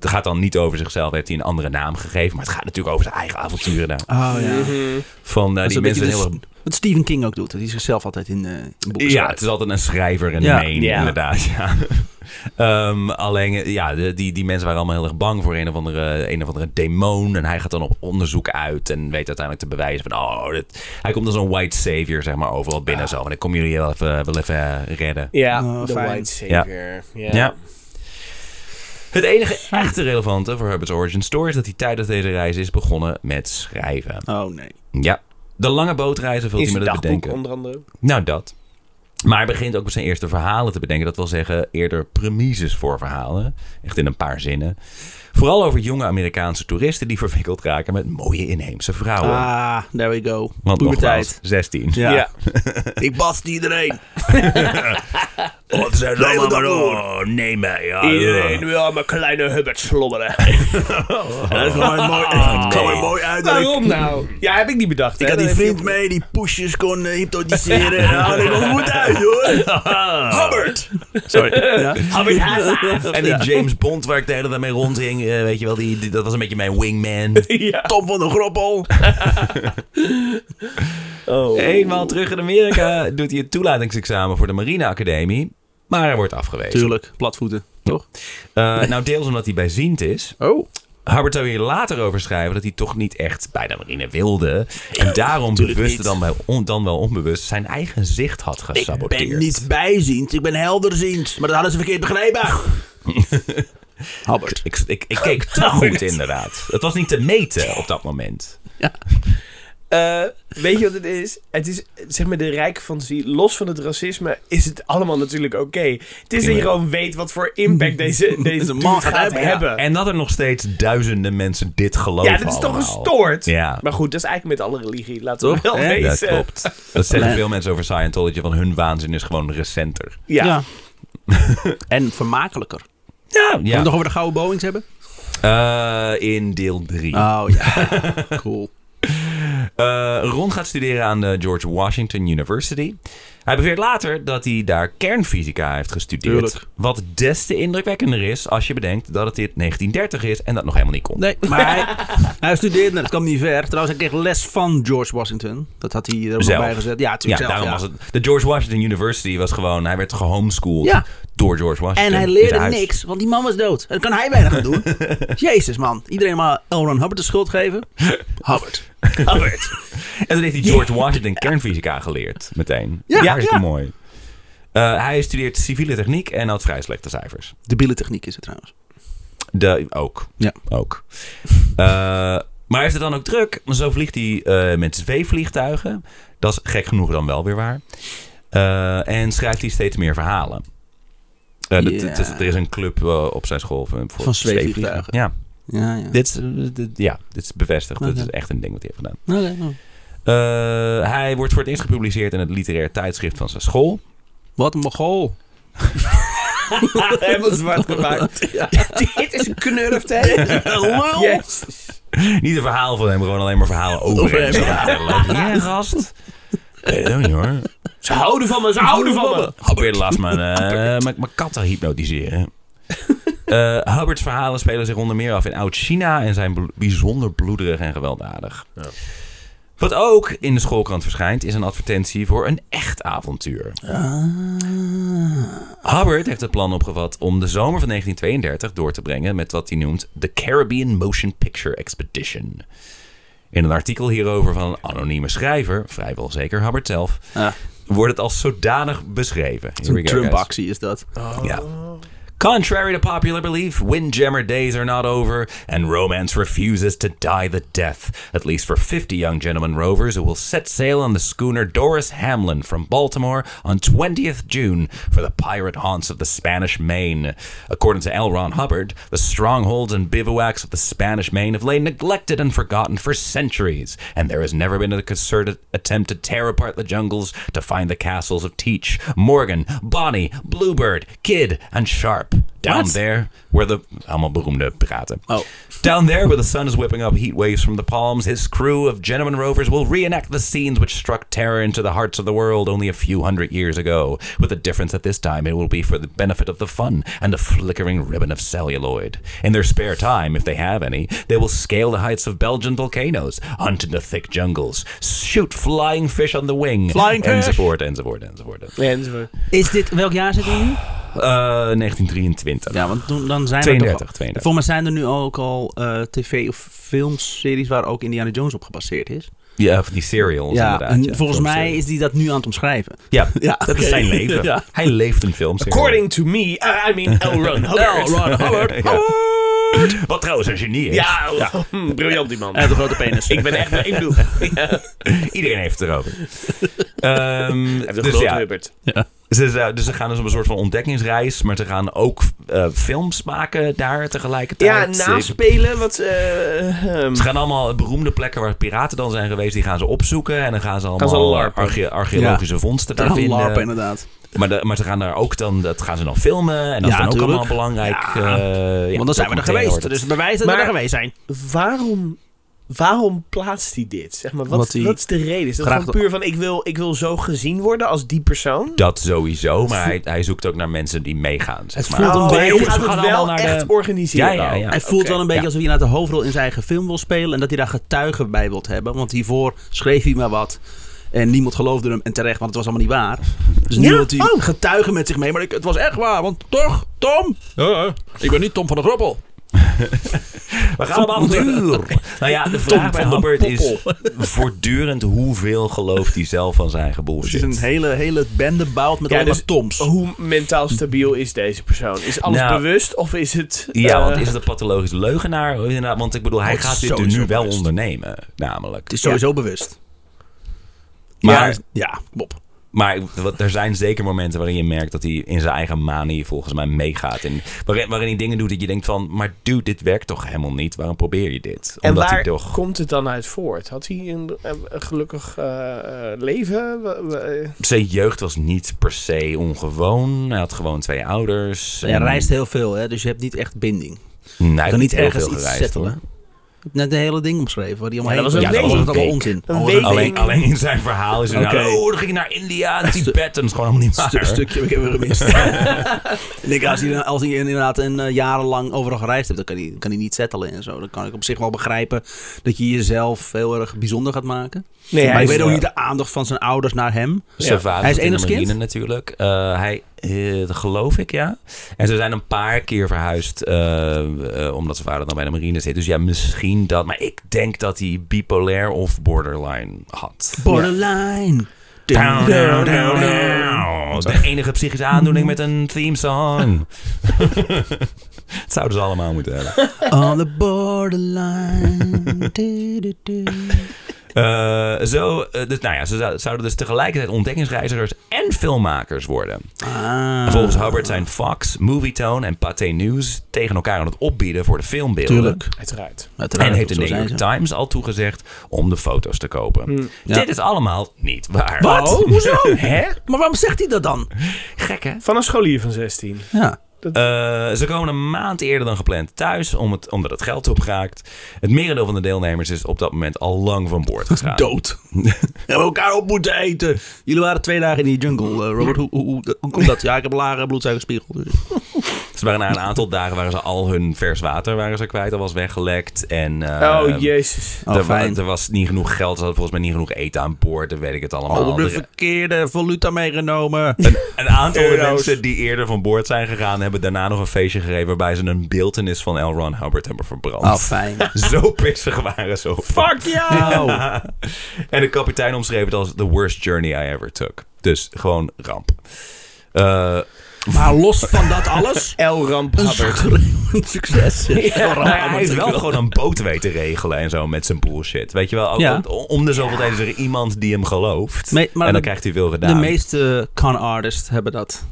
[SPEAKER 4] Het gaat dan niet over zichzelf, heeft hij een andere naam gegeven. Maar het gaat natuurlijk over zijn eigen avonturen daar.
[SPEAKER 3] Oh ja.
[SPEAKER 4] Van eh,
[SPEAKER 3] Dat is
[SPEAKER 4] die
[SPEAKER 3] een beetje
[SPEAKER 4] mensen
[SPEAKER 3] de
[SPEAKER 4] heel erg
[SPEAKER 3] s- Wat Stephen King ook doet. Dat hij zichzelf altijd in, eh in boeken
[SPEAKER 4] Ja,
[SPEAKER 3] schrijft.
[SPEAKER 4] het is altijd een schrijver en
[SPEAKER 3] Ja.
[SPEAKER 4] een main,
[SPEAKER 1] Ja.
[SPEAKER 4] inderdaad. Ja. Ehm, alleen, eh, ja, de- die, die mensen waren allemaal heel erg bang voor een of, andere, een of andere demon. En hij gaat dan op onderzoek uit en weet uiteindelijk te bewijzen van... Oh, dit- hij komt als een white savior, zeg maar, overal binnen zo. En ik kom jullie wel even, wel even redden.
[SPEAKER 1] Ja,
[SPEAKER 3] Oh,
[SPEAKER 1] de
[SPEAKER 3] fijn.
[SPEAKER 1] White Savior. Ja.
[SPEAKER 4] Ja. Het enige echte relevante voor Herbert's origin story is dat hij tijdens deze reis is begonnen met schrijven.
[SPEAKER 3] Oh nee.
[SPEAKER 4] Ja. De lange bootreizen vult
[SPEAKER 1] In
[SPEAKER 4] hij
[SPEAKER 1] zijn
[SPEAKER 4] met het
[SPEAKER 1] dagboek
[SPEAKER 4] bedenken.
[SPEAKER 1] onder andere.
[SPEAKER 4] Nou, dat. Maar hij begint ook met zijn eerste verhalen te bedenken. Dat wil zeggen, eerder premises voor verhalen. Echt in een paar zinnen. Vooral over jonge Amerikaanse toeristen die verwikkeld raken met mooie inheemse vrouwen.
[SPEAKER 3] Ah, there we go.
[SPEAKER 4] Oh, Want nogmaals,
[SPEAKER 3] Puberteit.
[SPEAKER 4] 16.
[SPEAKER 3] Ja.
[SPEAKER 1] Ja.
[SPEAKER 3] ik bast iedereen.
[SPEAKER 4] Wat zijn
[SPEAKER 3] dat allemaal maar
[SPEAKER 4] nee mij.
[SPEAKER 1] Iedereen wil aan mijn kleine Hubbard slobberen.
[SPEAKER 3] Dat kwam er mooi,
[SPEAKER 4] Ah,
[SPEAKER 3] kwam er
[SPEAKER 4] nee.
[SPEAKER 3] mooi uit. dat ik-
[SPEAKER 1] Waarom nou? Ja, heb ik niet bedacht.
[SPEAKER 3] Ik had die vriend mee die poesjes kon eh, hypnotiseren. Ja, dat kwam er goed uit hoor. Hubbard. Sorry. Ja.
[SPEAKER 1] Hubbard Haza.
[SPEAKER 4] En die James Bond waar ik de hele tijd mee rondhing. eh, weet je wel, die, die- dat was een beetje mijn wingman.
[SPEAKER 1] Ja.
[SPEAKER 3] Tom van de Groppel.
[SPEAKER 4] Eenmaal terug in Amerika doet hij het toelatingsexamen voor de Marineacademie. Maar hij wordt afgewezen.
[SPEAKER 3] Tuurlijk, platvoeten. Toch?
[SPEAKER 4] Eh, nou, deels omdat hij bijziend is.
[SPEAKER 3] Oh.
[SPEAKER 4] Harbert zou hier later over schrijven dat hij toch niet echt bij de marine wilde. En daarom bewust
[SPEAKER 3] niet.
[SPEAKER 4] dan, wel on- dan wel onbewust zijn eigen zicht had
[SPEAKER 3] Ik
[SPEAKER 4] gesaboteerd.
[SPEAKER 3] ben niet bijziend, ik ben helderziend. Maar dat hadden ze verkeerd begrepen. Hubbard.
[SPEAKER 4] Ik, ik, ik keek te goed inderdaad. Het was niet te meten op dat moment.
[SPEAKER 1] Eh, weet je wat het is? Het is, zeg maar, de rijke fantasie. Los van het racisme is het allemaal natuurlijk oké. Het is dat je
[SPEAKER 4] Ja.
[SPEAKER 1] gewoon weet wat voor impact deze, deze man gaat hebben.
[SPEAKER 3] ja.
[SPEAKER 4] En dat er nog steeds duizenden mensen dit geloven
[SPEAKER 1] Ja, dat is toch
[SPEAKER 4] allemaal.
[SPEAKER 1] gestoord?
[SPEAKER 4] Ja.
[SPEAKER 1] Maar goed, dat is eigenlijk met alle religie. Laten we
[SPEAKER 3] Toch?
[SPEAKER 1] wel
[SPEAKER 3] Hè? Ja,
[SPEAKER 1] wezen.
[SPEAKER 4] Dat klopt. Dat zeggen
[SPEAKER 3] Nee.
[SPEAKER 4] veel mensen over Scientology, want hun waanzin is gewoon recenter.
[SPEAKER 1] Ja.
[SPEAKER 3] en vermakelijker. Moeten
[SPEAKER 4] Ja,
[SPEAKER 3] we
[SPEAKER 4] ja.
[SPEAKER 3] het nog over de gouden Boeings hebben?
[SPEAKER 4] Eh, in deel 3.
[SPEAKER 3] Oh ja, cool.
[SPEAKER 4] Eh, Ron gaat studeren aan de George Washington University. Hij beweert later dat hij daar kernfysica heeft gestudeerd.
[SPEAKER 3] Tuurlijk.
[SPEAKER 4] Wat des te indrukwekkender is als je bedenkt dat het dit 1930 is en dat nog helemaal niet komt.
[SPEAKER 3] Nee, maar hij, hij studeerde, dat kwam niet ver. Trouwens, hij kreeg les van George Washington. Dat had hij eh, er ook nog
[SPEAKER 4] Zelf.
[SPEAKER 3] bij gezet. Ja,
[SPEAKER 4] Ja,
[SPEAKER 3] natuurlijk zelf.
[SPEAKER 4] daarom
[SPEAKER 3] ja.
[SPEAKER 4] was het. De George Washington University was gewoon. Hij werd gehomeschoold
[SPEAKER 3] Ja.
[SPEAKER 4] door George
[SPEAKER 3] En
[SPEAKER 4] Washington.
[SPEAKER 3] hij
[SPEAKER 4] in zijn
[SPEAKER 3] leerde
[SPEAKER 4] huis.
[SPEAKER 3] niks, want die man was dood. En dan kan hij weinig aan doen. Jezus man, iedereen maar L. Ron Hubbard de schuld geven. Hubbard. Hubbard.
[SPEAKER 4] En toen heeft hij George Washington kernfysica geleerd meteen.
[SPEAKER 3] Ja,
[SPEAKER 4] hartstikke
[SPEAKER 3] ja.
[SPEAKER 4] mooi. Eh, hij studeert civiele techniek en had vrij slechte cijfers.
[SPEAKER 3] De bielentechniek is het trouwens.
[SPEAKER 4] De, ook.
[SPEAKER 3] Ja.
[SPEAKER 4] Ook. Eh, maar hij heeft het dan ook druk? Zo vliegt hij eh, met twee vliegtuigen. Dat is gek genoeg dan wel weer waar. Eh, en schrijft hij steeds meer verhalen. Eh, dat-
[SPEAKER 3] Ja.
[SPEAKER 4] het is- er is een club eh, op zijn school voor, voor
[SPEAKER 3] Van zweefvliegtuigen.
[SPEAKER 4] zweefvliegen. Ja
[SPEAKER 3] Ja, ja.
[SPEAKER 4] dit, is, eh, dit- ja, dit is bevestigd.
[SPEAKER 3] Oké.
[SPEAKER 4] Dit is echt een ding wat hij heeft gedaan.
[SPEAKER 3] Oké, nou.
[SPEAKER 4] Eh, hij wordt voor het eerst gepubliceerd in het literair tijdschrift van zijn school.
[SPEAKER 3] Wat een mogol.
[SPEAKER 1] Helemaal zwart gemaakt. Dit is een knurft, hè?
[SPEAKER 3] Lul.
[SPEAKER 1] Yes.
[SPEAKER 4] Niet een verhaal van hem, gewoon alleen maar verhalen over,
[SPEAKER 3] Over
[SPEAKER 4] hem.
[SPEAKER 3] hem.
[SPEAKER 4] Ja, gast. Weet het ook niet hoor.
[SPEAKER 1] Ze houden van me, ze houden van me.
[SPEAKER 4] Ik probeerde laatst mijn, eh, mijn, mijn kat te hypnotiseren. Eh, Hubbards verhalen spelen zich onder meer af in Oud-China en zijn bl- bijzonder bloederig en gewelddadig. Wat ook in de schoolkrant verschijnt, is een advertentie voor een echt avontuur. Hubbard heeft het plan opgevat om de zomer van 1932 door te brengen met wat hij noemt de Caribbean Motion Picture Expedition. In een artikel hierover van een anonieme schrijver, vrijwel zeker Hubbard zelf,
[SPEAKER 3] Ja.
[SPEAKER 4] wordt het als zodanig beschreven. Here we
[SPEAKER 3] Een
[SPEAKER 4] go, guys.
[SPEAKER 3] Oh. Trump-actie is dat.
[SPEAKER 4] Ja. Contrary to popular belief, windjammer days are not over, and romance refuses to die the death, at least for 50 young gentlemen rovers who will set sail on the schooner Doris Hamlin from Baltimore on 20th June for the pirate haunts of the Spanish Main. According to L. Ron Hubbard, the strongholds and bivouacs of the Spanish Main have lain neglected and forgotten for centuries, and there has never been a concerted attempt to tear apart the jungles to find the castles of Teach, Morgan, Bonnie, Bluebird, Kidd, and Sharp. Down
[SPEAKER 3] What?
[SPEAKER 4] there, where the allemaal beroemde piraten.
[SPEAKER 3] Oh.
[SPEAKER 4] Down there, where the sun is whipping up heat waves from the palms, his crew of gentlemen rovers will reenact the scenes which struck terror into the hearts of the world only a few hundred years ago. With the difference that this time it will be for the benefit of the fun and the flickering ribbon of celluloid. In their spare time, if they have any, they will scale the heights of Belgian volcanoes, hunt in the thick jungles, shoot flying fish on the wing,
[SPEAKER 3] Flying fish?
[SPEAKER 4] enzovoort, enzovoort, enzovoort.
[SPEAKER 1] Enzovoort.
[SPEAKER 3] Is dit, welk jaar zitten we nu?
[SPEAKER 4] Eh, 1923.
[SPEAKER 3] Ja, want toen, dan zijn er
[SPEAKER 4] 32,
[SPEAKER 3] toch...
[SPEAKER 4] 32.
[SPEAKER 3] Volgens mij zijn er nu ook al eh, tv- of filmseries waar ook Indiana Jones op gebaseerd is.
[SPEAKER 4] Ja, of die serials
[SPEAKER 3] ja,
[SPEAKER 4] inderdaad.
[SPEAKER 3] en
[SPEAKER 4] ja,
[SPEAKER 3] volgens
[SPEAKER 4] soms
[SPEAKER 3] mij
[SPEAKER 4] serials.
[SPEAKER 3] is die dat nu aan het omschrijven.
[SPEAKER 4] Ja,
[SPEAKER 3] Ja,
[SPEAKER 4] dat is
[SPEAKER 3] oké.
[SPEAKER 4] zijn leven.
[SPEAKER 3] Ja.
[SPEAKER 4] Hij leeft een film.
[SPEAKER 1] According to me, uh, I mean L. Ron Hubbard.
[SPEAKER 4] Wat trouwens een genie is.
[SPEAKER 1] Ja, hm, briljant die man.
[SPEAKER 3] Hij heeft een grote penis.
[SPEAKER 1] Ik ben echt, ik bedoel, hij
[SPEAKER 4] Iedereen heeft het erover. Ehm,
[SPEAKER 1] heeft een
[SPEAKER 4] dus,
[SPEAKER 1] grote
[SPEAKER 4] ja,
[SPEAKER 1] Hubbard.
[SPEAKER 4] ze, ze- dus ze gaan dus op een soort van ontdekkingsreis. Maar ze gaan ook eh, films maken daar
[SPEAKER 1] Ja,
[SPEAKER 4] tegelijkertijd. Ze-
[SPEAKER 1] naspelen, wat... eh, ehm,
[SPEAKER 4] Ze gaan allemaal beroemde plekken waar piraten dan zijn geweest. Die gaan ze opzoeken. En dan gaan ze allemaal
[SPEAKER 1] allemaal larpen.
[SPEAKER 4] arche- archeologische vondsten daar
[SPEAKER 3] Daarom
[SPEAKER 4] vinden.
[SPEAKER 3] larpen inderdaad.
[SPEAKER 4] Maar, de- maar ze gaan daar ook dan, dat gaan ze dan filmen. En dat
[SPEAKER 3] Ja,
[SPEAKER 4] is dan ook
[SPEAKER 3] tuurlijk.
[SPEAKER 4] allemaal belangrijk. eh, ja,
[SPEAKER 3] Want dan zijn we er
[SPEAKER 4] documentaire
[SPEAKER 3] geweest.
[SPEAKER 4] wordt het.
[SPEAKER 3] Dus het bewijs dat
[SPEAKER 1] Maar-
[SPEAKER 3] we er geweest zijn.
[SPEAKER 1] waarom, waarom plaatst hij dit? Zeg maar,
[SPEAKER 3] Omdat
[SPEAKER 1] wat,
[SPEAKER 3] hij
[SPEAKER 1] wat is de reden? Is dat
[SPEAKER 3] graag
[SPEAKER 1] gewoon puur van, ik wil, ik wil zo gezien worden als die persoon?
[SPEAKER 4] Dat sowieso, maar hij, hij zoekt ook naar mensen die meegaan. Zeg
[SPEAKER 3] Het
[SPEAKER 4] maar.
[SPEAKER 3] voelt een beetje-
[SPEAKER 1] Oh, hij
[SPEAKER 3] jongens,
[SPEAKER 1] gaat
[SPEAKER 4] we gaan
[SPEAKER 1] het wel
[SPEAKER 4] allemaal naar
[SPEAKER 1] echt
[SPEAKER 4] de-
[SPEAKER 1] organiseren.
[SPEAKER 4] Ja, ja, ja.
[SPEAKER 1] ook.
[SPEAKER 3] hij voelt
[SPEAKER 1] oké.
[SPEAKER 3] wel een beetje
[SPEAKER 4] Ja.
[SPEAKER 3] alsof hij inderdaad de hoofdrol in zijn eigen film wil spelen. En dat hij daar getuigen bij wilt hebben. Want hiervoor schreef hij maar wat. En niemand geloofde hem. En terecht, want het was allemaal niet waar. Dus nu
[SPEAKER 1] Ja?
[SPEAKER 3] wil hij
[SPEAKER 1] Oh.
[SPEAKER 3] getuigen met zich mee. Maar ik, het was echt waar. Want toch, Tom? Ik ben niet Tom van de Groppel.
[SPEAKER 4] We gaan op avontuur. nou ja, de vraag bij Hubbard is voortdurend hoeveel gelooft hij zelf van zijn
[SPEAKER 3] Het is
[SPEAKER 4] gebullshit.
[SPEAKER 3] een hele, hele bende bouwt met
[SPEAKER 1] Ja,
[SPEAKER 3] allemaal
[SPEAKER 1] dus-
[SPEAKER 3] Toms.
[SPEAKER 1] Hoe mentaal stabiel is deze persoon? Is alles
[SPEAKER 4] Nou,
[SPEAKER 1] bewust of is het...
[SPEAKER 4] Ja,
[SPEAKER 1] eh,
[SPEAKER 4] want is het een pathologische leugenaar? Inderdaad, want ik bedoel, hij
[SPEAKER 3] Het is
[SPEAKER 4] gaat dit er
[SPEAKER 3] sowieso
[SPEAKER 4] nu wel
[SPEAKER 3] bewust.
[SPEAKER 4] ondernemen, namelijk.
[SPEAKER 3] Het is sowieso bewust.
[SPEAKER 4] Maar,
[SPEAKER 3] ja, ja, Bob.
[SPEAKER 4] maar wat- er zijn zeker momenten waarin je merkt dat hij in zijn eigen manie volgens mij meegaat. En waarin, waarin hij dingen doet dat je denkt van, maar dude, dit werkt toch helemaal niet? Waarom probeer je dit?
[SPEAKER 1] en
[SPEAKER 4] Omdat
[SPEAKER 1] waar
[SPEAKER 4] hij toch...
[SPEAKER 1] komt het dan uit voort? Had hij een, een- een gelukkig eh, eh, leven? We- eh, we-
[SPEAKER 4] zijn jeugd was niet per se ongewoon. Hij had gewoon twee ouders.
[SPEAKER 3] Hij reist heel veel, hè, dus je hebt niet echt binding.
[SPEAKER 4] Nee, hij
[SPEAKER 3] Je
[SPEAKER 4] heeft
[SPEAKER 3] kan niet
[SPEAKER 4] heel
[SPEAKER 3] ergens
[SPEAKER 4] veel
[SPEAKER 3] iets
[SPEAKER 4] gereisd,
[SPEAKER 3] settelen.
[SPEAKER 4] hoor.
[SPEAKER 3] Ik heb net de hele ding omschreven. Waar die
[SPEAKER 1] Ja,
[SPEAKER 3] omheen
[SPEAKER 1] dat was een
[SPEAKER 3] ja, dat was
[SPEAKER 4] week.
[SPEAKER 3] het allemaal
[SPEAKER 4] Week.
[SPEAKER 3] onzin.
[SPEAKER 1] Een
[SPEAKER 3] Oh,
[SPEAKER 1] week.
[SPEAKER 4] Alleen, alleen in zijn verhaal is hij
[SPEAKER 3] Oké.
[SPEAKER 4] nou, oh, dan ging ik naar India, Tibet. En dat is gewoon helemaal niet waar.
[SPEAKER 3] Stu- stukje heb ik weer gemist. ik denk, als hij, als hij inderdaad een, eh, jarenlang overal gereisd hebt, dan kan hij, kan hij niet settelen en zo. Dan kan ik op zich wel begrijpen dat je jezelf heel erg bijzonder gaat maken.
[SPEAKER 1] Nee,
[SPEAKER 3] maar
[SPEAKER 1] hij
[SPEAKER 3] ik
[SPEAKER 1] is,
[SPEAKER 3] weet ook
[SPEAKER 1] eh,
[SPEAKER 3] niet de aandacht van zijn ouders naar hem.
[SPEAKER 4] Zijn vader
[SPEAKER 3] Hij is
[SPEAKER 4] zat in de
[SPEAKER 3] enigszins kind?
[SPEAKER 4] marine natuurlijk. Eh, hij, eh, dat geloof ik, ja. En ze zijn een paar keer verhuisd, eh, eh, omdat zijn vader dan bij de marine zit. Dus ja, misschien dat. Maar ik denk dat hij bipolair of borderline had.
[SPEAKER 3] Borderline.
[SPEAKER 4] Down, down, down, down. De enige psychische aandoening met een theme song. Het zouden ze allemaal moeten hebben.
[SPEAKER 3] On the borderline. Du- du- du.
[SPEAKER 4] Eh, zo, eh, dus, nou ja, ze zou- zouden dus tegelijkertijd ontdekkingsreizigers en filmmakers worden.
[SPEAKER 3] Ah.
[SPEAKER 4] Volgens Hubbard zijn Fox, Movietone en Pathé News tegen elkaar aan het opbieden voor de filmbeelden.
[SPEAKER 3] Tuurlijk.
[SPEAKER 1] Uiteraard.
[SPEAKER 3] Uiteraard,
[SPEAKER 4] En heeft de
[SPEAKER 3] zo
[SPEAKER 4] New
[SPEAKER 3] zijn
[SPEAKER 4] York
[SPEAKER 3] ze.
[SPEAKER 4] Times al toegezegd om de foto's te kopen.
[SPEAKER 3] Ja.
[SPEAKER 4] Dit is allemaal niet waar.
[SPEAKER 3] Wat?
[SPEAKER 4] Oh.
[SPEAKER 3] Hoezo?
[SPEAKER 4] Hè?
[SPEAKER 3] Maar waarom zegt hij dat dan?
[SPEAKER 4] Gek hè?
[SPEAKER 1] Van een scholier van 16.
[SPEAKER 3] Ja.
[SPEAKER 4] Eh, ze komen een maand eerder dan gepland thuis, om het, omdat het geld opraakt. Het merendeel van de deelnemers is op dat moment al lang van boord gegaan.
[SPEAKER 3] Dood. We hebben elkaar op moeten eten. Jullie waren twee dagen in die jungle, eh, Robert. Hoe, hoe, hoe, hoe komt dat? Ja, ik heb een lage bloedsuikerspiegel. Dus.
[SPEAKER 4] Ze waren na een aantal dagen waren ze al hun vers water waren ze kwijt, al was weggelekt. En, eh,
[SPEAKER 1] oh, jezus.
[SPEAKER 3] Oh,
[SPEAKER 4] er, wa-
[SPEAKER 3] fijn.
[SPEAKER 4] er was niet genoeg geld, ze hadden volgens mij niet genoeg eten aan boord, dan weet ik het allemaal.
[SPEAKER 3] Oh, de
[SPEAKER 4] Er-
[SPEAKER 3] verkeerde valuta meegenomen.
[SPEAKER 4] Een aantal
[SPEAKER 1] Euro's.
[SPEAKER 4] mensen die eerder van boord zijn gegaan, hebben daarna nog een feestje gegeven waarbij ze een beeltenis van L. Ron Hubbard hebben verbrand.
[SPEAKER 3] Oh, fijn.
[SPEAKER 4] Zo pissig waren ze op.
[SPEAKER 1] Fuck ja!
[SPEAKER 3] Oh.
[SPEAKER 4] En de kapitein omschreef het als the worst journey I ever took. Dus gewoon ramp. Eh,
[SPEAKER 3] Maar los van dat alles...
[SPEAKER 1] El Ramp
[SPEAKER 3] Een
[SPEAKER 1] Hubbard.
[SPEAKER 3] schreeuwend succes.
[SPEAKER 1] Ja,
[SPEAKER 4] Maar hij heeft wel
[SPEAKER 3] natuurlijk
[SPEAKER 4] gewoon een boot weten regelen en zo met zijn bullshit. Weet je wel, ook
[SPEAKER 3] Ja.
[SPEAKER 4] om, om de zoveel tijd is er iemand die hem gelooft.
[SPEAKER 3] Me-
[SPEAKER 4] en
[SPEAKER 3] maar
[SPEAKER 4] dan
[SPEAKER 3] de-
[SPEAKER 4] krijgt hij veel
[SPEAKER 3] De
[SPEAKER 4] gedaan.
[SPEAKER 3] meeste con artists hebben dat.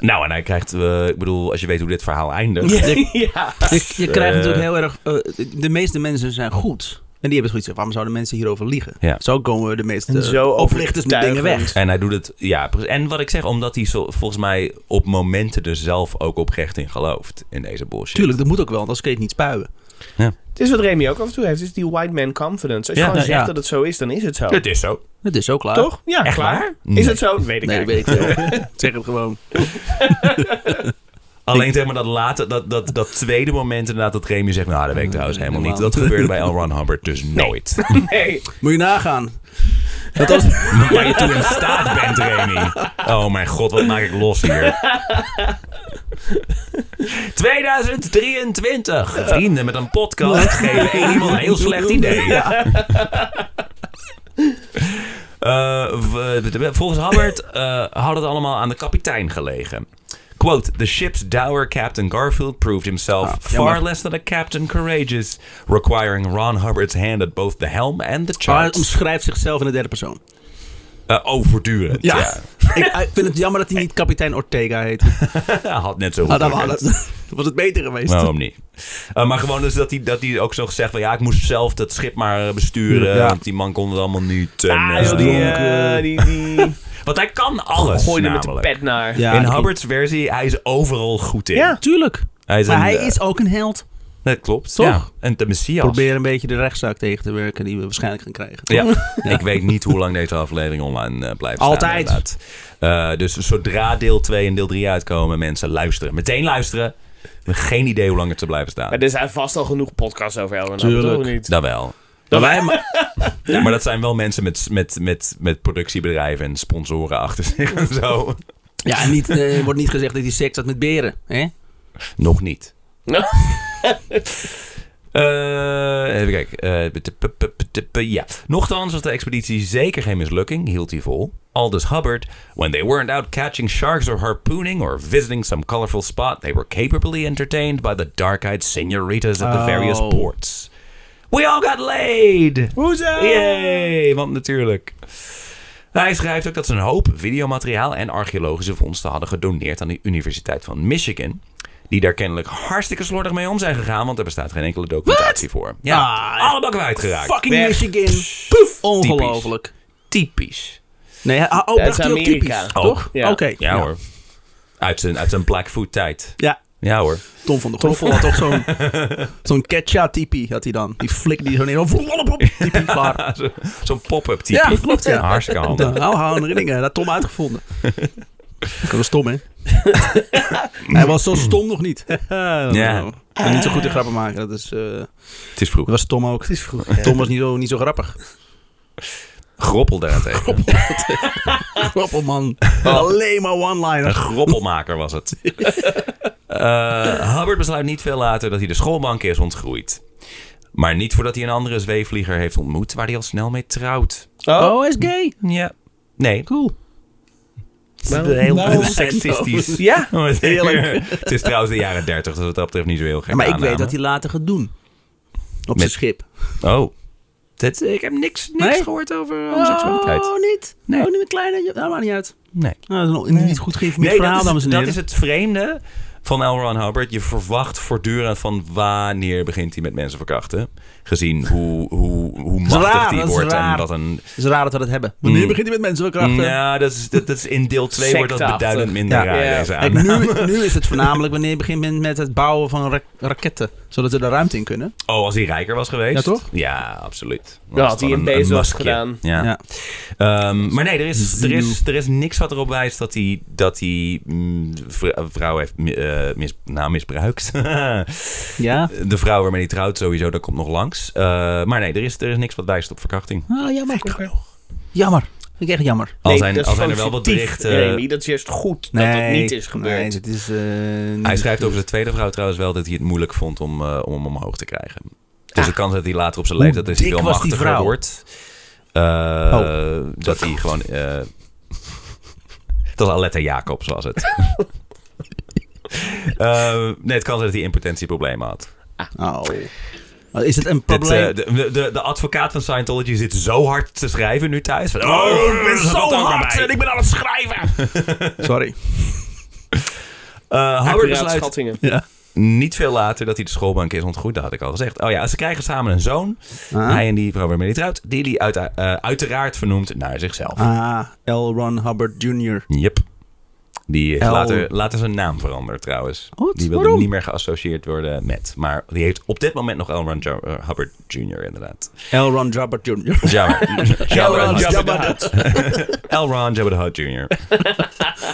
[SPEAKER 4] Nou, en hij krijgt, eh, ik bedoel, als je weet hoe dit verhaal eindigt.
[SPEAKER 1] ja.
[SPEAKER 3] Je, je krijgt
[SPEAKER 4] Eh.
[SPEAKER 3] natuurlijk heel erg... eh, de meeste mensen zijn goed. En die hebben zoiets van, waarom zouden mensen hierover liegen?
[SPEAKER 4] Ja.
[SPEAKER 3] Zo komen de meeste
[SPEAKER 1] En zo
[SPEAKER 3] oplichters met dingen weg.
[SPEAKER 1] overtuigend.
[SPEAKER 4] En hij doet het, ja. precies. En wat ik zeg, omdat hij zo, volgens mij op momenten er zelf ook oprecht in gelooft. In deze bullshit.
[SPEAKER 3] Tuurlijk, dat moet ook wel, anders kun je het niet spuien.
[SPEAKER 1] Het is wat Remy ook af en toe heeft. Het is die white man confidence. Als je
[SPEAKER 4] Ja,
[SPEAKER 1] gewoon
[SPEAKER 3] ja,
[SPEAKER 1] zegt
[SPEAKER 3] ja.
[SPEAKER 1] dat het zo is, dan is het zo.
[SPEAKER 4] Het is zo.
[SPEAKER 3] Het is zo klaar.
[SPEAKER 1] Toch? Ja,
[SPEAKER 4] Echt
[SPEAKER 1] klaar.
[SPEAKER 4] waar?
[SPEAKER 1] Is
[SPEAKER 4] Nee.
[SPEAKER 1] het zo? Weet ik
[SPEAKER 3] Nee,
[SPEAKER 1] eigenlijk.
[SPEAKER 3] weet ik veel. zeg het gewoon.
[SPEAKER 4] Alleen tegen dat late, dat, dat, dat tweede moment inderdaad dat Remy zegt... Nou, dat weet ik trouwens helemaal niet. Dat gebeurde bij L. Ron Hubbard dus nooit.
[SPEAKER 1] Nee.
[SPEAKER 3] Moet je nagaan. Dat was,
[SPEAKER 4] Waar je toe in staat bent, Remy. Oh mijn god, wat maak ik los hier. 2023. Vrienden met een podcast geven één iemand een heel slecht idee. Eh, v- eh, volgens Hubbard eh, had het allemaal aan de kapitein gelegen. Quote, the ship's dour Captain Garfield proved himself far
[SPEAKER 3] jammer.
[SPEAKER 4] less than a captain courageous, requiring Ron Hubbard's hand at both the helm and the
[SPEAKER 3] maar hij
[SPEAKER 4] charts.
[SPEAKER 3] omschrijft zichzelf in de derde persoon.
[SPEAKER 4] Eh, oh, voortdurend.
[SPEAKER 3] Ja.
[SPEAKER 4] ja.
[SPEAKER 3] ik, ik vind het jammer dat hij niet kapitein Ortega heet.
[SPEAKER 4] Ja, had net zo goed
[SPEAKER 3] Ah, dan
[SPEAKER 4] gekund.
[SPEAKER 3] was het, was het beter geweest.
[SPEAKER 4] Waarom niet? Eh, maar gewoon dus dat hij, dat hij ook zo gezegd van... Ja, ik moest zelf dat schip maar eh, besturen.
[SPEAKER 3] Ja.
[SPEAKER 4] Want die man kon het allemaal niet. En,
[SPEAKER 1] Ah,
[SPEAKER 4] eh,
[SPEAKER 1] joh, die, eh, die, die
[SPEAKER 4] Want hij kan alles
[SPEAKER 1] gooide met de
[SPEAKER 4] namelijk.
[SPEAKER 1] pet naar.
[SPEAKER 3] Ja,
[SPEAKER 4] in
[SPEAKER 3] ik-
[SPEAKER 4] Hubbards versie, hij is overal goed in.
[SPEAKER 1] Ja.
[SPEAKER 3] Tuurlijk.
[SPEAKER 4] Hij is
[SPEAKER 3] Maar
[SPEAKER 4] een,
[SPEAKER 3] hij
[SPEAKER 4] eh,
[SPEAKER 3] is ook een held.
[SPEAKER 4] Dat klopt,
[SPEAKER 3] Toch?
[SPEAKER 4] ja. En de Messias.
[SPEAKER 3] Probeer een beetje de rechtszaak tegen te werken die we waarschijnlijk gaan krijgen.
[SPEAKER 4] Ja. ik weet niet hoe lang deze aflevering online eh, blijft staan.
[SPEAKER 3] Altijd.
[SPEAKER 4] inderdaad. Eh, dus zodra deel 2 en deel 3 uitkomen, mensen luisteren. Meteen luisteren. Geen idee hoe lang het te blijven staan.
[SPEAKER 1] Maar er zijn vast al genoeg podcasts over Elden Ring.
[SPEAKER 3] Tuurlijk.
[SPEAKER 1] Toch niet?
[SPEAKER 4] Dat wel.
[SPEAKER 3] Maar wij, ma-
[SPEAKER 4] Ja, maar dat zijn wel mensen met, met, met, met productiebedrijven en sponsoren achter zich en zo.
[SPEAKER 3] ja, en niet, eh, wordt niet gezegd dat hij seks had met beren. Hè?
[SPEAKER 4] Nog niet.
[SPEAKER 1] Nou.
[SPEAKER 4] Eh, even kijken. Eh, p- p- p- p- p- ja. Nochtans was de expeditie zeker geen mislukking, hield hij vol. Aldus Hubbard, when they weren't out catching sharks or harpooning or visiting some colorful spot, they were capably entertained by the dark-eyed senoritas at the various
[SPEAKER 3] Oh.
[SPEAKER 4] ports. We all got laid!
[SPEAKER 1] Hoezo?
[SPEAKER 4] Yay, want natuurlijk. Hij schrijft ook dat ze een hoop videomateriaal en archeologische vondsten hadden gedoneerd aan de Universiteit van Michigan. Die daar kennelijk hartstikke slordig mee om zijn gegaan, want er bestaat geen enkele documentatie voor. Ja,
[SPEAKER 3] Ah,
[SPEAKER 4] alle bakken uitgeraakt.
[SPEAKER 3] Fucking
[SPEAKER 1] Weg.
[SPEAKER 3] Michigan. Poef. Ongelooflijk.
[SPEAKER 4] Typisch.
[SPEAKER 3] Nee, hij- oh,
[SPEAKER 1] Dat
[SPEAKER 3] dacht
[SPEAKER 1] is
[SPEAKER 3] hij ook
[SPEAKER 1] Amerika.
[SPEAKER 3] typisch.
[SPEAKER 4] Ook.
[SPEAKER 3] Toch?
[SPEAKER 1] Ja.
[SPEAKER 3] Oké.
[SPEAKER 4] Ja, hoor. Uit zijn, uit zijn Blackfoot tijd.
[SPEAKER 3] Ja.
[SPEAKER 4] Ja hoor.
[SPEAKER 3] Tom van de Groffel had toch zo'n zo'n ketcha tipi had hij dan. Die flik die zo neer. Tipi klaar.
[SPEAKER 4] Zo- Zo'n pop-up type.
[SPEAKER 3] Ja, klopt, ja.
[SPEAKER 4] Hartstikke handig.
[SPEAKER 3] Nou, hou herinneringen. Dat had Tom uitgevonden. Dat was stom, hè? hij was zo stom nog niet.
[SPEAKER 4] Ja.
[SPEAKER 3] En niet zo goed in grappen maken. Dat, is, eh, dat
[SPEAKER 4] Het is vroeg.
[SPEAKER 3] was Tom ook. Het is vroeg. Tom was niet zo, niet zo grappig.
[SPEAKER 4] Groppel daarentegen.
[SPEAKER 3] Grappelman. Alleen maar
[SPEAKER 4] Een
[SPEAKER 3] one-liner.
[SPEAKER 4] groppelmaker was het. Eh, Hubbard besluit niet veel later dat hij de schoolbank is ontgroeid. Maar niet voordat hij een andere zweefvlieger heeft ontmoet, waar hij al snel mee trouwt.
[SPEAKER 1] Oh.
[SPEAKER 3] Oh, hij is gay.
[SPEAKER 4] Ja. Nee.
[SPEAKER 3] Cool. Oh,
[SPEAKER 4] Het is heel
[SPEAKER 1] nou,
[SPEAKER 4] seksistisch.
[SPEAKER 1] Ja.
[SPEAKER 4] Heerlijk. het is trouwens de jaren 30, dus wat dat betreft niet zo heel gek.
[SPEAKER 3] maar ik
[SPEAKER 4] aanname.
[SPEAKER 3] weet dat hij later gaat doen. Op zijn schip.
[SPEAKER 4] Oh. Dit- ik heb niks, niks
[SPEAKER 3] Nee?
[SPEAKER 4] gehoord over homoseksualiteit.
[SPEAKER 3] Oh, niet?
[SPEAKER 4] Nee.
[SPEAKER 3] Oh, niet met kleine... Nou, maakt niet uit.
[SPEAKER 4] Nee.
[SPEAKER 3] Nou, dat is een niet goed geïnformeerd
[SPEAKER 4] Nee,
[SPEAKER 3] verhaal,
[SPEAKER 4] dat
[SPEAKER 3] dames en
[SPEAKER 4] is, dat
[SPEAKER 3] heren.
[SPEAKER 4] is het vreemde van L. Ron Hubbard. Je verwacht voortdurend van wanneer begint hij met mensen verkrachten. Gezien hoe, hoe, hoe
[SPEAKER 3] is
[SPEAKER 4] machtig
[SPEAKER 3] raar,
[SPEAKER 4] hij
[SPEAKER 3] dat is
[SPEAKER 4] wordt. En
[SPEAKER 3] raar.
[SPEAKER 4] dat een,
[SPEAKER 3] Het is raar dat we dat hebben. Wanneer
[SPEAKER 4] Mm.
[SPEAKER 3] begint hij met mensenkrachten?
[SPEAKER 4] nou, dat is, dat, dat is in deel 2 wordt dat
[SPEAKER 1] Secteachtig.
[SPEAKER 4] beduidend minder
[SPEAKER 3] Ja.
[SPEAKER 4] raar.
[SPEAKER 1] Ja.
[SPEAKER 4] Deze
[SPEAKER 3] Kijk,
[SPEAKER 4] aan.
[SPEAKER 3] nu, nu is het voornamelijk wanneer je begint met- met het bouwen van ra- raketten. Zodat ze de ruimte in kunnen.
[SPEAKER 4] Oh, als hij rijker was geweest.
[SPEAKER 3] Ja, toch?
[SPEAKER 4] Ja, absoluut. Dan
[SPEAKER 1] Ja,
[SPEAKER 4] was
[SPEAKER 1] had
[SPEAKER 4] het
[SPEAKER 1] hij
[SPEAKER 4] wel
[SPEAKER 1] een Bezos
[SPEAKER 4] maskje.
[SPEAKER 1] gedaan.
[SPEAKER 4] Ja.
[SPEAKER 3] Ja.
[SPEAKER 4] Ehm, maar nee, er is, er,
[SPEAKER 3] Zero.
[SPEAKER 4] is, er is niks wat erop wijst dat hij, dat hij mm, vr- vrouw heeft mi- eh, mis, nou, misbruikt. Eh,
[SPEAKER 3] Ja.
[SPEAKER 4] De vrouw waarmee hij trouwt sowieso, dat komt nog langs. Eh, maar nee, er is, er is niks wat wijst op verkrachting.
[SPEAKER 3] Ah, jammer. Jammer. Vind ik echt jammer.
[SPEAKER 4] Al
[SPEAKER 1] Nee,
[SPEAKER 4] zijn,
[SPEAKER 1] dat is
[SPEAKER 4] al zijn er
[SPEAKER 1] gewoon
[SPEAKER 4] wel wat
[SPEAKER 1] fictief,
[SPEAKER 4] berichten.
[SPEAKER 1] Remy, dat is juist goed dat dat niet is gebeurd.
[SPEAKER 3] Nee, het is... eh,
[SPEAKER 4] hij
[SPEAKER 3] niet-
[SPEAKER 4] schrijft over zijn tweede vrouw trouwens wel dat hij het moeilijk vond om, eh, om hem omhoog te krijgen. Dus de kans dat hij later op zijn leeftijd dat hij
[SPEAKER 3] Ah. dik
[SPEAKER 4] veel
[SPEAKER 3] was die
[SPEAKER 4] machtiger
[SPEAKER 3] vrouw?
[SPEAKER 4] wordt. eh,
[SPEAKER 3] Oh.
[SPEAKER 4] Dat hij gewoon. eh dat was Aletta Jacobs was het. Eh, nee, het kan zijn dat hij impotentieproblemen had.
[SPEAKER 3] Oh. Is het een
[SPEAKER 4] Dit,
[SPEAKER 3] probleem?
[SPEAKER 4] eh, de, de, de advocaat van Scientology zit zo hard te schrijven nu thuis. Van, oh,
[SPEAKER 1] Ik ben
[SPEAKER 4] dat
[SPEAKER 1] zo
[SPEAKER 4] ook aan
[SPEAKER 1] hard
[SPEAKER 4] mij.
[SPEAKER 1] en ik ben aan het schrijven.
[SPEAKER 3] Sorry.
[SPEAKER 4] Eh, Hubbard
[SPEAKER 1] Accurate
[SPEAKER 4] besluit
[SPEAKER 1] schattingen.
[SPEAKER 3] Ja.
[SPEAKER 4] niet veel later dat hij de schoolbank is ontgroeid. Dat had ik al gezegd. Oh ja, ze krijgen samen een zoon.
[SPEAKER 3] Ah.
[SPEAKER 4] Hij en die vrouw waarmee hij trouwt. Die hij uit, eh, uiteraard vernoemt naar zichzelf.
[SPEAKER 3] Ah, L. Ron Hubbard Jr.
[SPEAKER 4] Yep. Die heeft
[SPEAKER 3] L.
[SPEAKER 4] later, later zijn naam veranderd trouwens.
[SPEAKER 3] Wat?
[SPEAKER 4] Die wilde
[SPEAKER 3] Waarom?
[SPEAKER 4] niet meer geassocieerd worden met. Maar die heeft op dit moment nog L. Ron Jo- eh, Hubbard Jr. inderdaad.
[SPEAKER 3] L. Ron Hubbard Jr.
[SPEAKER 4] Jabba.
[SPEAKER 1] Ron
[SPEAKER 4] Jabba.
[SPEAKER 1] Jabba
[SPEAKER 4] Jabba. L. Ron Jabba the Hutt Jr.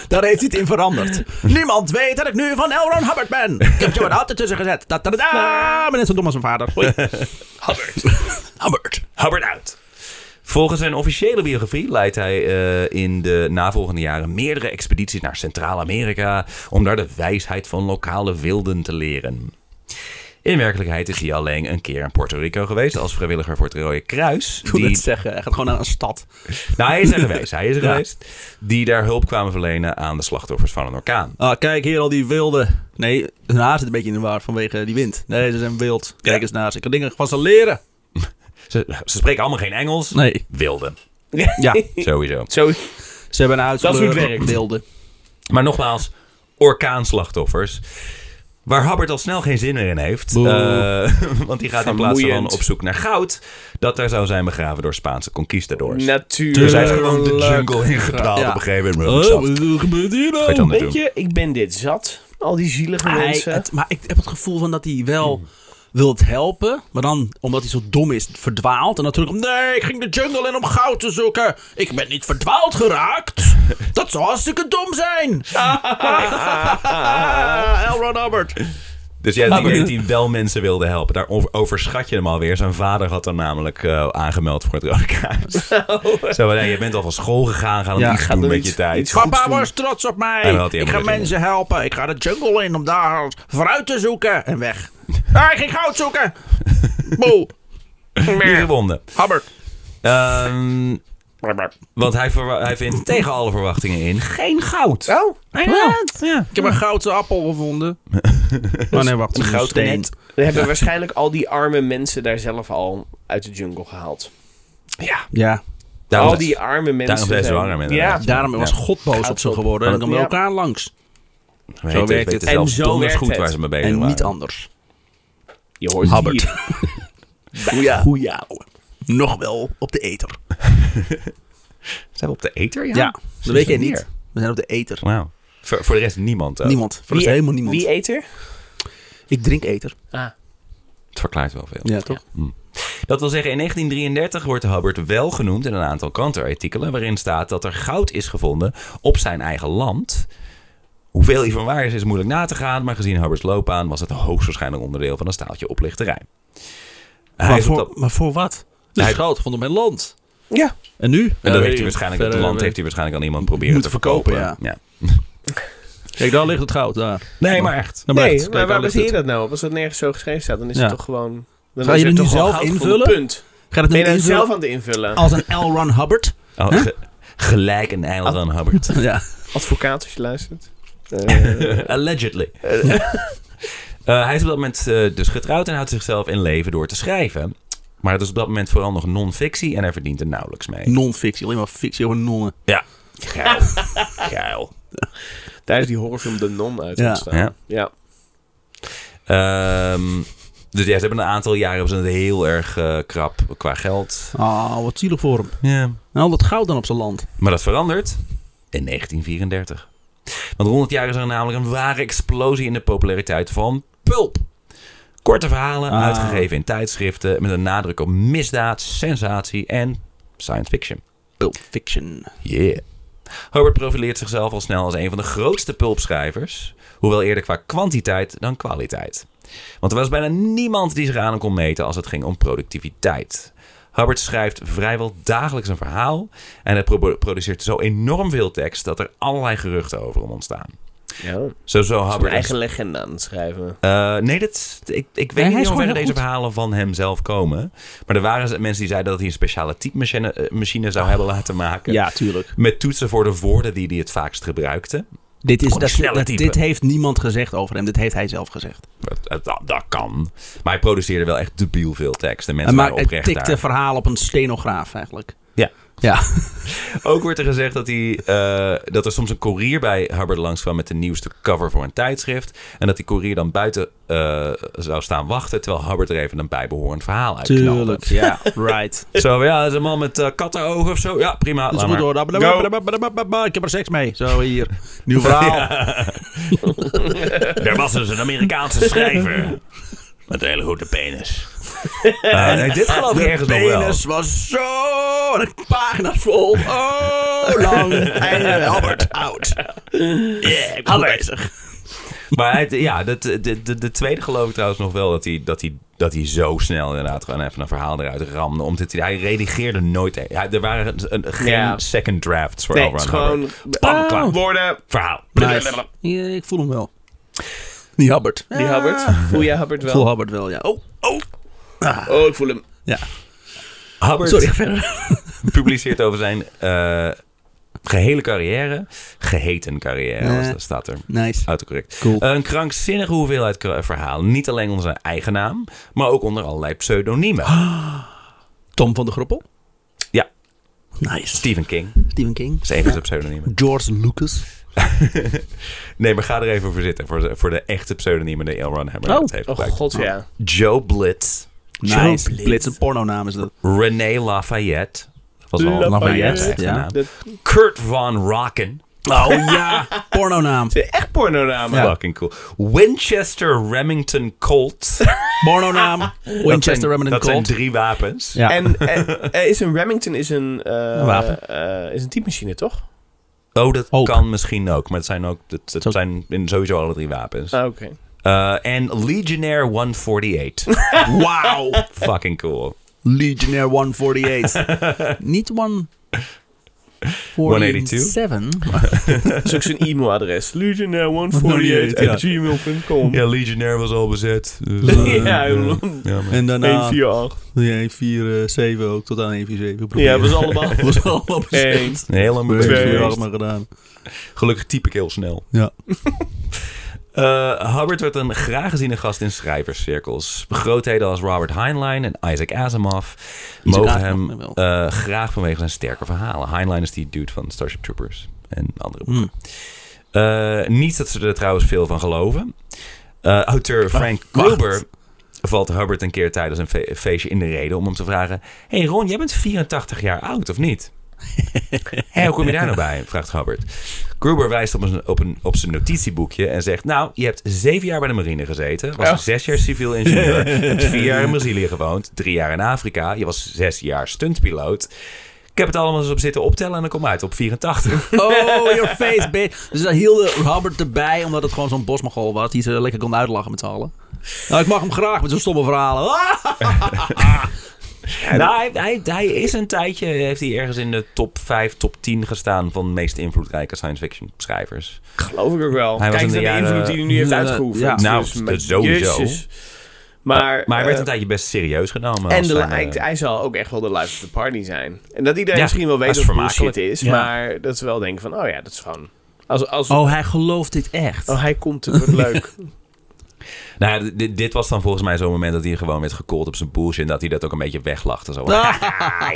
[SPEAKER 3] Daar heeft hij het in veranderd. Niemand weet dat ik nu van L. Ron Hubbard ben. Ik heb Jabba de Hutt ertussen gezet. Da, da, da, da. Ik ben ah, net zo dom als mijn vader. Hoi.
[SPEAKER 1] Hubbard.
[SPEAKER 3] Hubbard.
[SPEAKER 4] Hubbard uit. Volgens zijn officiële biografie leidt hij eh, in de navolgende jaren meerdere expedities naar Centraal-Amerika om daar de wijsheid van lokale wilden te leren. In werkelijkheid is hij alleen een keer in Puerto Rico geweest als vrijwilliger voor het Rode Kruis.
[SPEAKER 3] Ik wil
[SPEAKER 4] die-
[SPEAKER 3] net zeggen. Hij gaat gewoon naar een stad.
[SPEAKER 4] nou, hij is er geweest. Hij is er
[SPEAKER 3] Ja.
[SPEAKER 4] geweest. Die daar hulp kwamen verlenen aan de slachtoffers van een orkaan.
[SPEAKER 3] Ah, kijk hier al die wilde. Nee, hun haar zit een beetje in de war vanwege die wind. Nee, ze zijn wild. Kijk
[SPEAKER 4] Ja.
[SPEAKER 3] eens naar ze. Ik kan dingen van ze leren.
[SPEAKER 4] Ze, ze spreken allemaal geen Engels.
[SPEAKER 3] Nee.
[SPEAKER 4] Wilden.
[SPEAKER 3] Ja.
[SPEAKER 4] Sowieso.
[SPEAKER 1] Zo,
[SPEAKER 3] Ze hebben een
[SPEAKER 1] hoe het
[SPEAKER 3] huidskleur.
[SPEAKER 1] werkt.
[SPEAKER 3] Wilde.
[SPEAKER 4] Maar nogmaals, orkaanslachtoffers. Waar Hubbard al snel geen zin meer in heeft.
[SPEAKER 3] Boe.
[SPEAKER 4] eh, want die gaat in plaats van
[SPEAKER 1] Vermoeiend.
[SPEAKER 4] op zoek naar goud. Dat daar zou zijn begraven door Spaanse conquistadors.
[SPEAKER 1] natuurlijk.
[SPEAKER 4] dus hij is gewoon de jungle ingedaald
[SPEAKER 3] Ja.
[SPEAKER 4] op een gegeven moment.
[SPEAKER 3] Oh,
[SPEAKER 4] Zat.
[SPEAKER 3] wat gebeurt hier
[SPEAKER 4] Ga je
[SPEAKER 3] nou?
[SPEAKER 4] dan weer
[SPEAKER 1] Weet
[SPEAKER 4] doen.
[SPEAKER 1] je, ik ben dit zat. Al die zielige
[SPEAKER 3] Hij,
[SPEAKER 1] mensen.
[SPEAKER 3] het, maar ik heb het gevoel van dat hij wel
[SPEAKER 4] Hmm.
[SPEAKER 3] wilt helpen. Maar dan, omdat hij zo dom is, verdwaalt. En natuurlijk, nee, ik ging de jungle in om goud te zoeken. Ik ben niet verdwaald geraakt. Dat zou hartstikke dom zijn. Ah, L. Ron Hubbard.
[SPEAKER 4] Dus jij denkt dat hij wel mensen wilde helpen. Daar over- overschat je hem alweer. Zijn vader had hem namelijk eh, aangemeld voor het Rode Kruis. Zo, van, hey, je bent al van school gegaan. Ga dan
[SPEAKER 3] Ja,
[SPEAKER 4] iets
[SPEAKER 3] ga
[SPEAKER 4] doen
[SPEAKER 1] dan
[SPEAKER 4] met
[SPEAKER 1] iets-
[SPEAKER 4] je tijd.
[SPEAKER 1] iets goed
[SPEAKER 3] Papa
[SPEAKER 1] voelen.
[SPEAKER 3] was trots op
[SPEAKER 4] En dan
[SPEAKER 3] mij.
[SPEAKER 4] had hij
[SPEAKER 3] Ik ga
[SPEAKER 4] helemaal geen
[SPEAKER 3] mensen helpen. Ik ga de jungle in om daar vooruit te zoeken. En weg. Ah, ik ging goud zoeken. Boe.
[SPEAKER 4] Niet gewonnen.
[SPEAKER 3] Hubbard.
[SPEAKER 4] Ehm, want hij, verwa- hij vindt tegen alle verwachtingen in geen goud.
[SPEAKER 1] Oh,
[SPEAKER 3] Ik heb een gouden appel gevonden. Maar nee, wacht. Een
[SPEAKER 4] goud
[SPEAKER 3] steen.
[SPEAKER 4] net.
[SPEAKER 1] We hebben waarschijnlijk al die arme mensen daar zelf al uit de jungle gehaald.
[SPEAKER 4] Ja.
[SPEAKER 3] Ja,
[SPEAKER 4] Daarom
[SPEAKER 1] al
[SPEAKER 4] zijn-
[SPEAKER 1] die arme mensen.
[SPEAKER 4] daarom zijn ze
[SPEAKER 1] zijn-
[SPEAKER 4] zwanger,
[SPEAKER 1] Ja,
[SPEAKER 4] inderdaad.
[SPEAKER 3] daarom was
[SPEAKER 4] Ja.
[SPEAKER 3] God boos op ze
[SPEAKER 1] op.
[SPEAKER 3] geworden. En dan kwamen we
[SPEAKER 1] Ja.
[SPEAKER 3] elkaar langs.
[SPEAKER 4] Weet
[SPEAKER 3] zo werkt
[SPEAKER 4] het- weten
[SPEAKER 3] het.
[SPEAKER 1] En
[SPEAKER 4] zelf
[SPEAKER 1] zo
[SPEAKER 4] donders
[SPEAKER 1] werkt
[SPEAKER 4] goed
[SPEAKER 1] het.
[SPEAKER 4] waar ze mee bezig
[SPEAKER 3] En
[SPEAKER 4] waren.
[SPEAKER 3] niet anders.
[SPEAKER 1] je hoort het
[SPEAKER 3] Hubbard.
[SPEAKER 1] hier.
[SPEAKER 3] Goeie Goeie ouwe. Nog wel op de ether.
[SPEAKER 4] Zijn we op de eter? Ja.
[SPEAKER 3] Ja, dat weet jij
[SPEAKER 4] meer.
[SPEAKER 3] niet. We zijn op de ether.
[SPEAKER 4] Wauw. Voor, voor de rest niemand. eh. ook.
[SPEAKER 3] Niemand. Voor
[SPEAKER 1] Wie- e-
[SPEAKER 3] is helemaal niemand.
[SPEAKER 1] Wie eet er?
[SPEAKER 3] Ik drink ether.
[SPEAKER 1] Ah.
[SPEAKER 4] Het verklaart wel veel.
[SPEAKER 3] Ja, toch?
[SPEAKER 4] Dat wil zeggen, in 1933 wordt Hubbard wel genoemd in een aantal krantenartikelen... waarin staat dat er goud is gevonden op zijn eigen land. Hoeveel hiervan waar is, is moeilijk na te gaan... maar gezien Hubbards loopbaan was het hoogstwaarschijnlijk onderdeel van een staaltje oplichterij. Hij
[SPEAKER 3] Maar,
[SPEAKER 4] is op
[SPEAKER 3] voor,
[SPEAKER 4] dat-
[SPEAKER 3] maar voor wat? Dus
[SPEAKER 4] Hij-
[SPEAKER 3] goud vond op mijn land.
[SPEAKER 1] Ja.
[SPEAKER 3] En nu?
[SPEAKER 4] En dat heeft hij waarschijnlijk, het
[SPEAKER 3] eh,
[SPEAKER 4] land heeft hij waarschijnlijk aan iemand proberen
[SPEAKER 3] Moeten
[SPEAKER 4] te
[SPEAKER 3] verkopen,
[SPEAKER 4] verkopen.
[SPEAKER 3] Kijk, daar ligt het goud. Daar.
[SPEAKER 4] Nee, maar echt.
[SPEAKER 3] Daar blijft
[SPEAKER 1] Nee,
[SPEAKER 3] het.
[SPEAKER 1] maar
[SPEAKER 3] Kijk, daar
[SPEAKER 1] waar
[SPEAKER 3] ligt
[SPEAKER 1] baseer je dat
[SPEAKER 3] het.
[SPEAKER 1] nou op? Als dat nergens zo geschreven staat, dan is
[SPEAKER 3] Ja.
[SPEAKER 1] het toch gewoon... Dan
[SPEAKER 3] Ga
[SPEAKER 1] is
[SPEAKER 3] je
[SPEAKER 1] er
[SPEAKER 3] nu
[SPEAKER 1] toch gewoon
[SPEAKER 3] zelf
[SPEAKER 1] goud gevonden,
[SPEAKER 3] invullen?
[SPEAKER 1] Punt.
[SPEAKER 3] Ga
[SPEAKER 1] Ben
[SPEAKER 3] dat nu
[SPEAKER 1] je nou
[SPEAKER 3] invullen Ah.
[SPEAKER 1] zelf aan het invullen?
[SPEAKER 3] als een L. Ron Hubbard?
[SPEAKER 4] Oh, ge- gelijk een eiland aan Hubbard.
[SPEAKER 3] Ja.
[SPEAKER 1] Advocaat, als je luistert. Eh,
[SPEAKER 4] Allegedly. Eh, hij is op dat moment eh, dus getrouwd en houdt zichzelf in leven door te schrijven. Maar het is op dat moment vooral nog non-fictie en hij verdient er nauwelijks mee.
[SPEAKER 3] Mm. Non-fictie. Alleen maar fictie over nonnen.
[SPEAKER 4] Ja. Geil. Geil.
[SPEAKER 1] daar is die horrorfilm De Non uit
[SPEAKER 3] Ja.
[SPEAKER 1] ontstaan.
[SPEAKER 4] Ja.
[SPEAKER 1] Ja.
[SPEAKER 4] Ehm, dus ja, ze hebben een aantal jaren hebben ze het heel erg eh, krap qua geld.
[SPEAKER 3] Ah, wat zielig voor hem.
[SPEAKER 4] Ja.
[SPEAKER 3] En al dat goud dan op zijn land.
[SPEAKER 4] Maar dat verandert in 1934. Want rond het jaar is er namelijk een ware explosie in de populariteit van pulp. Korte verhalen
[SPEAKER 3] Ah.
[SPEAKER 4] uitgegeven in tijdschriften met een nadruk op misdaad, sensatie en science fiction.
[SPEAKER 3] Pulp Fiction.
[SPEAKER 4] Yeah. Herbert profileert zichzelf al snel als een van de grootste pulpschrijvers, hoewel eerder qua kwantiteit dan kwaliteit. Want er was bijna niemand die zich aan hem kon meten als het ging om productiviteit. Hubbard schrijft vrijwel dagelijks een verhaal en hij pro- produceert zo enorm veel tekst dat er allerlei geruchten over hem ontstaan.
[SPEAKER 1] ja.
[SPEAKER 4] Zo zou
[SPEAKER 1] Mijn
[SPEAKER 4] Hubbard...
[SPEAKER 1] eigen legende aan het schrijven.
[SPEAKER 4] Eh, nee, dat, ik, ik weet
[SPEAKER 3] hij
[SPEAKER 4] niet
[SPEAKER 3] is
[SPEAKER 4] hoe
[SPEAKER 3] gewoon heel
[SPEAKER 4] deze
[SPEAKER 3] goed.
[SPEAKER 4] verhalen van hemzelf komen. Maar er waren mensen die zeiden dat hij een speciale typemachine eh, machine zou hebben laten maken.
[SPEAKER 3] Ja, tuurlijk.
[SPEAKER 4] Met toetsen voor de woorden die hij het vaakst gebruikte.
[SPEAKER 3] Dit, is,
[SPEAKER 4] Kon hij
[SPEAKER 3] dat,
[SPEAKER 4] sneller
[SPEAKER 3] dat-
[SPEAKER 4] typen?
[SPEAKER 3] dit heeft niemand gezegd over hem. Dit heeft hij zelf gezegd.
[SPEAKER 4] Dat, dat, dat kan. Maar hij produceerde wel echt debiel veel tekst. En mensen
[SPEAKER 3] maar
[SPEAKER 4] waren
[SPEAKER 3] het
[SPEAKER 4] oprecht
[SPEAKER 3] tikte
[SPEAKER 4] daar.
[SPEAKER 3] verhaal op een stenograaf eigenlijk.
[SPEAKER 4] Ja.
[SPEAKER 3] Ja.
[SPEAKER 4] Ook wordt er gezegd dat, hij, eh, dat er soms een courier bij Hubbard langs kwam met de nieuwste cover voor een tijdschrift. En dat die courier dan buiten eh, zou staan wachten, terwijl Hubbard er even een bijbehorend verhaal uit knalde.
[SPEAKER 3] Tuurlijk. Ja, right.
[SPEAKER 4] Zo, ja, dat is een man met eh, kattenogen of zo. Ja, prima.
[SPEAKER 3] Dat is
[SPEAKER 4] laat
[SPEAKER 3] goed
[SPEAKER 4] maar.
[SPEAKER 3] hoor. Ik heb er seks mee. Zo hier. Nieuw verhaal.
[SPEAKER 4] Er was dus een Amerikaanse schrijver. Met een hele goede penis. Eh, nee, dit geloof ik ergens nog wel.
[SPEAKER 3] penis was zo en een pagina's vol. Oh, lang. En eh, Albert, oud. Yeah, ik ben goed bezig.
[SPEAKER 4] Maar hij- ja, dat, eh, de, de, de tweede geloof ik trouwens nog wel dat hij, dat, hij, dat hij zo snel inderdaad gewoon even een verhaal eruit ramde. Omdat hij, hij redigeerde nooit. Hij, er waren een, geen
[SPEAKER 1] Ja.
[SPEAKER 4] second drafts voor
[SPEAKER 1] Nee, het
[SPEAKER 4] Elron
[SPEAKER 1] is gewoon...
[SPEAKER 4] Hubbard. Bam,
[SPEAKER 1] Ah,
[SPEAKER 4] klaar.
[SPEAKER 1] Woorden.
[SPEAKER 4] Verhaal.
[SPEAKER 3] Nice. Ja, ik voel hem wel. Die Albert.
[SPEAKER 1] Die Hubbard. Voel jij Hubbard
[SPEAKER 3] Ik voel
[SPEAKER 1] wel?
[SPEAKER 3] Albert wel, ja. Oh, oh.
[SPEAKER 1] Oh, ik voel hem.
[SPEAKER 3] Ja.
[SPEAKER 1] Nou,
[SPEAKER 4] Hubbard
[SPEAKER 3] Sorry, verder.
[SPEAKER 4] publiceert over zijn eh, gehele carrière. Geheten carrière,
[SPEAKER 3] Ja.
[SPEAKER 4] was- dat staat er.
[SPEAKER 1] Ah.
[SPEAKER 3] Nice.
[SPEAKER 4] Autocorrect.
[SPEAKER 3] Cool.
[SPEAKER 4] Een krankzinnige hoeveelheid kra- verhalen. Niet alleen onder zijn eigen naam, maar ook onder allerlei pseudoniemen.
[SPEAKER 3] Tom van de Groppel.
[SPEAKER 4] Ja,
[SPEAKER 3] Nice.
[SPEAKER 4] Stephen King
[SPEAKER 3] Stephen King.
[SPEAKER 4] is een van zijn pseudoniemen.
[SPEAKER 3] George Lucas.
[SPEAKER 4] Nee, maar ga er even voor zitten. Voor de, voor de echte pseudoniemen die Elron Hammer
[SPEAKER 3] Oh.
[SPEAKER 4] net heeft
[SPEAKER 1] Oh,
[SPEAKER 4] gebruikt.
[SPEAKER 1] god, ja.
[SPEAKER 4] Joe Blitz.
[SPEAKER 3] Nice. Blitz een pornonaam is dat.
[SPEAKER 4] René Lafayette. Dat was al
[SPEAKER 1] Lafayette,
[SPEAKER 4] Lafayette, echte
[SPEAKER 3] ja.
[SPEAKER 4] naam.
[SPEAKER 1] Dat
[SPEAKER 4] Kurt Von Rocken.
[SPEAKER 3] Oh ja, pornonaam.
[SPEAKER 1] is echt pornonamen.
[SPEAKER 4] Fucking cool. Winchester Remington Colt.
[SPEAKER 3] Pornonaam. Winchester Remnant
[SPEAKER 4] Dat zijn
[SPEAKER 3] Colt.
[SPEAKER 4] drie wapens.
[SPEAKER 3] Ja.
[SPEAKER 1] En, en eh, is een Remington is een, eh,
[SPEAKER 3] Een wapen.
[SPEAKER 1] eh, is een typemachine, toch?
[SPEAKER 4] Oh, dat
[SPEAKER 3] Ook.
[SPEAKER 4] kan misschien ook. Maar het zijn, ook, het, het
[SPEAKER 3] Zo-
[SPEAKER 4] zijn in sowieso alle drie wapens.
[SPEAKER 1] Ah, Oké.
[SPEAKER 4] Eh, En Legionnaire 148.
[SPEAKER 3] Wauw.
[SPEAKER 4] Fucking cool.
[SPEAKER 3] Legionnaire 148. Niet one...
[SPEAKER 4] 182?
[SPEAKER 3] 187.
[SPEAKER 1] Dat is ook zijn e-mailadres.
[SPEAKER 3] Ja.
[SPEAKER 1] Legionnaire148.gmail.com Ja,
[SPEAKER 4] Legionnaire was al bezet. dus, eh,
[SPEAKER 1] ja, Nou.
[SPEAKER 3] En daarna
[SPEAKER 1] 148.
[SPEAKER 3] 147 eh, ook, tot aan 147.
[SPEAKER 1] Ja, was allemaal.
[SPEAKER 3] was allemaal
[SPEAKER 1] Eén.
[SPEAKER 4] Heel lang mee
[SPEAKER 1] Twee.
[SPEAKER 4] bezig
[SPEAKER 1] Twee.
[SPEAKER 4] geweest.
[SPEAKER 3] gedaan.
[SPEAKER 4] Gelukkig typ ik heel snel.
[SPEAKER 3] Ja.
[SPEAKER 4] Eh, Hubbard werd een graag geziene gast in schrijverscirkels. Grootheden als Robert Heinlein en Isaac Asimov mogen
[SPEAKER 3] Asimov,
[SPEAKER 4] hem
[SPEAKER 3] jawel.
[SPEAKER 4] eh, graag vanwege zijn sterke verhalen. Heinlein is die dude van Starship Troopers en andere boeken. Eh, niet dat ze er trouwens veel van geloven. Eh, auteur Frank
[SPEAKER 3] wacht.
[SPEAKER 4] Gruber valt Hubbard een keer tijdens een fe- feestje in de reden om hem te vragen... hey Ron, jij bent 84 jaar oud, of niet? Hé, hoe kom je daar nou bij? vraagt Hubbard. Gruber wijst op, een, op, een, op zijn notitieboekje en zegt... Nou, je hebt zeven jaar bij de marine gezeten. Was
[SPEAKER 1] Ja.
[SPEAKER 4] zes jaar civiel ingenieur. hebt vier jaar in Brazilië gewoond. Drie jaar in Afrika. Je was zes jaar stuntpiloot. Ik heb het allemaal eens op zitten optellen en dan kom ik uit op 84.
[SPEAKER 3] Oh, your face, bitch. Dus daar hield Robert erbij, omdat het gewoon zo'n bosmogol was. Die ze lekker kon uitlachen met z'n allen. Nou, ik mag hem graag met zo'n stomme verhalen. Ah!
[SPEAKER 4] nou, hij, hij, hij is een tijdje... Heeft hij ergens in de top 5, top 10 gestaan... van de meest invloedrijke science fiction schrijvers.
[SPEAKER 1] Geloof ik ook wel.
[SPEAKER 4] Hij was
[SPEAKER 1] Kijk
[SPEAKER 4] in
[SPEAKER 1] eens
[SPEAKER 4] de
[SPEAKER 1] naar de
[SPEAKER 4] jaren-
[SPEAKER 1] invloed die hij nu heeft
[SPEAKER 3] Ja,
[SPEAKER 1] uitgeoefend.
[SPEAKER 4] ja. Nou,
[SPEAKER 1] Dus
[SPEAKER 4] dat
[SPEAKER 1] met-
[SPEAKER 4] sowieso.
[SPEAKER 1] Jezus. Maar,
[SPEAKER 4] Maar hij werd
[SPEAKER 1] eh,
[SPEAKER 4] een tijdje best serieus genomen.
[SPEAKER 1] en
[SPEAKER 4] als
[SPEAKER 1] de,
[SPEAKER 4] zijn,
[SPEAKER 1] hij,
[SPEAKER 4] eh,
[SPEAKER 1] hij zal ook echt wel de life of the party zijn. En dat iedereen
[SPEAKER 4] Ja,
[SPEAKER 1] misschien wel
[SPEAKER 4] dat
[SPEAKER 1] weet
[SPEAKER 4] is
[SPEAKER 1] wat bullshit
[SPEAKER 4] vermakelijk.
[SPEAKER 1] is.
[SPEAKER 3] Ja.
[SPEAKER 1] Maar dat ze wel denken van, oh ja, dat is gewoon... Als, als, oh.
[SPEAKER 3] Oh, hij gelooft dit echt.
[SPEAKER 1] hij komt, het wordt leuk.
[SPEAKER 4] Nou, ja, dit, dit was dan volgens mij zo'n moment dat hij gewoon werd gekold op zijn bullshit. En dat hij dat ook een beetje weglachte. Zo. ja,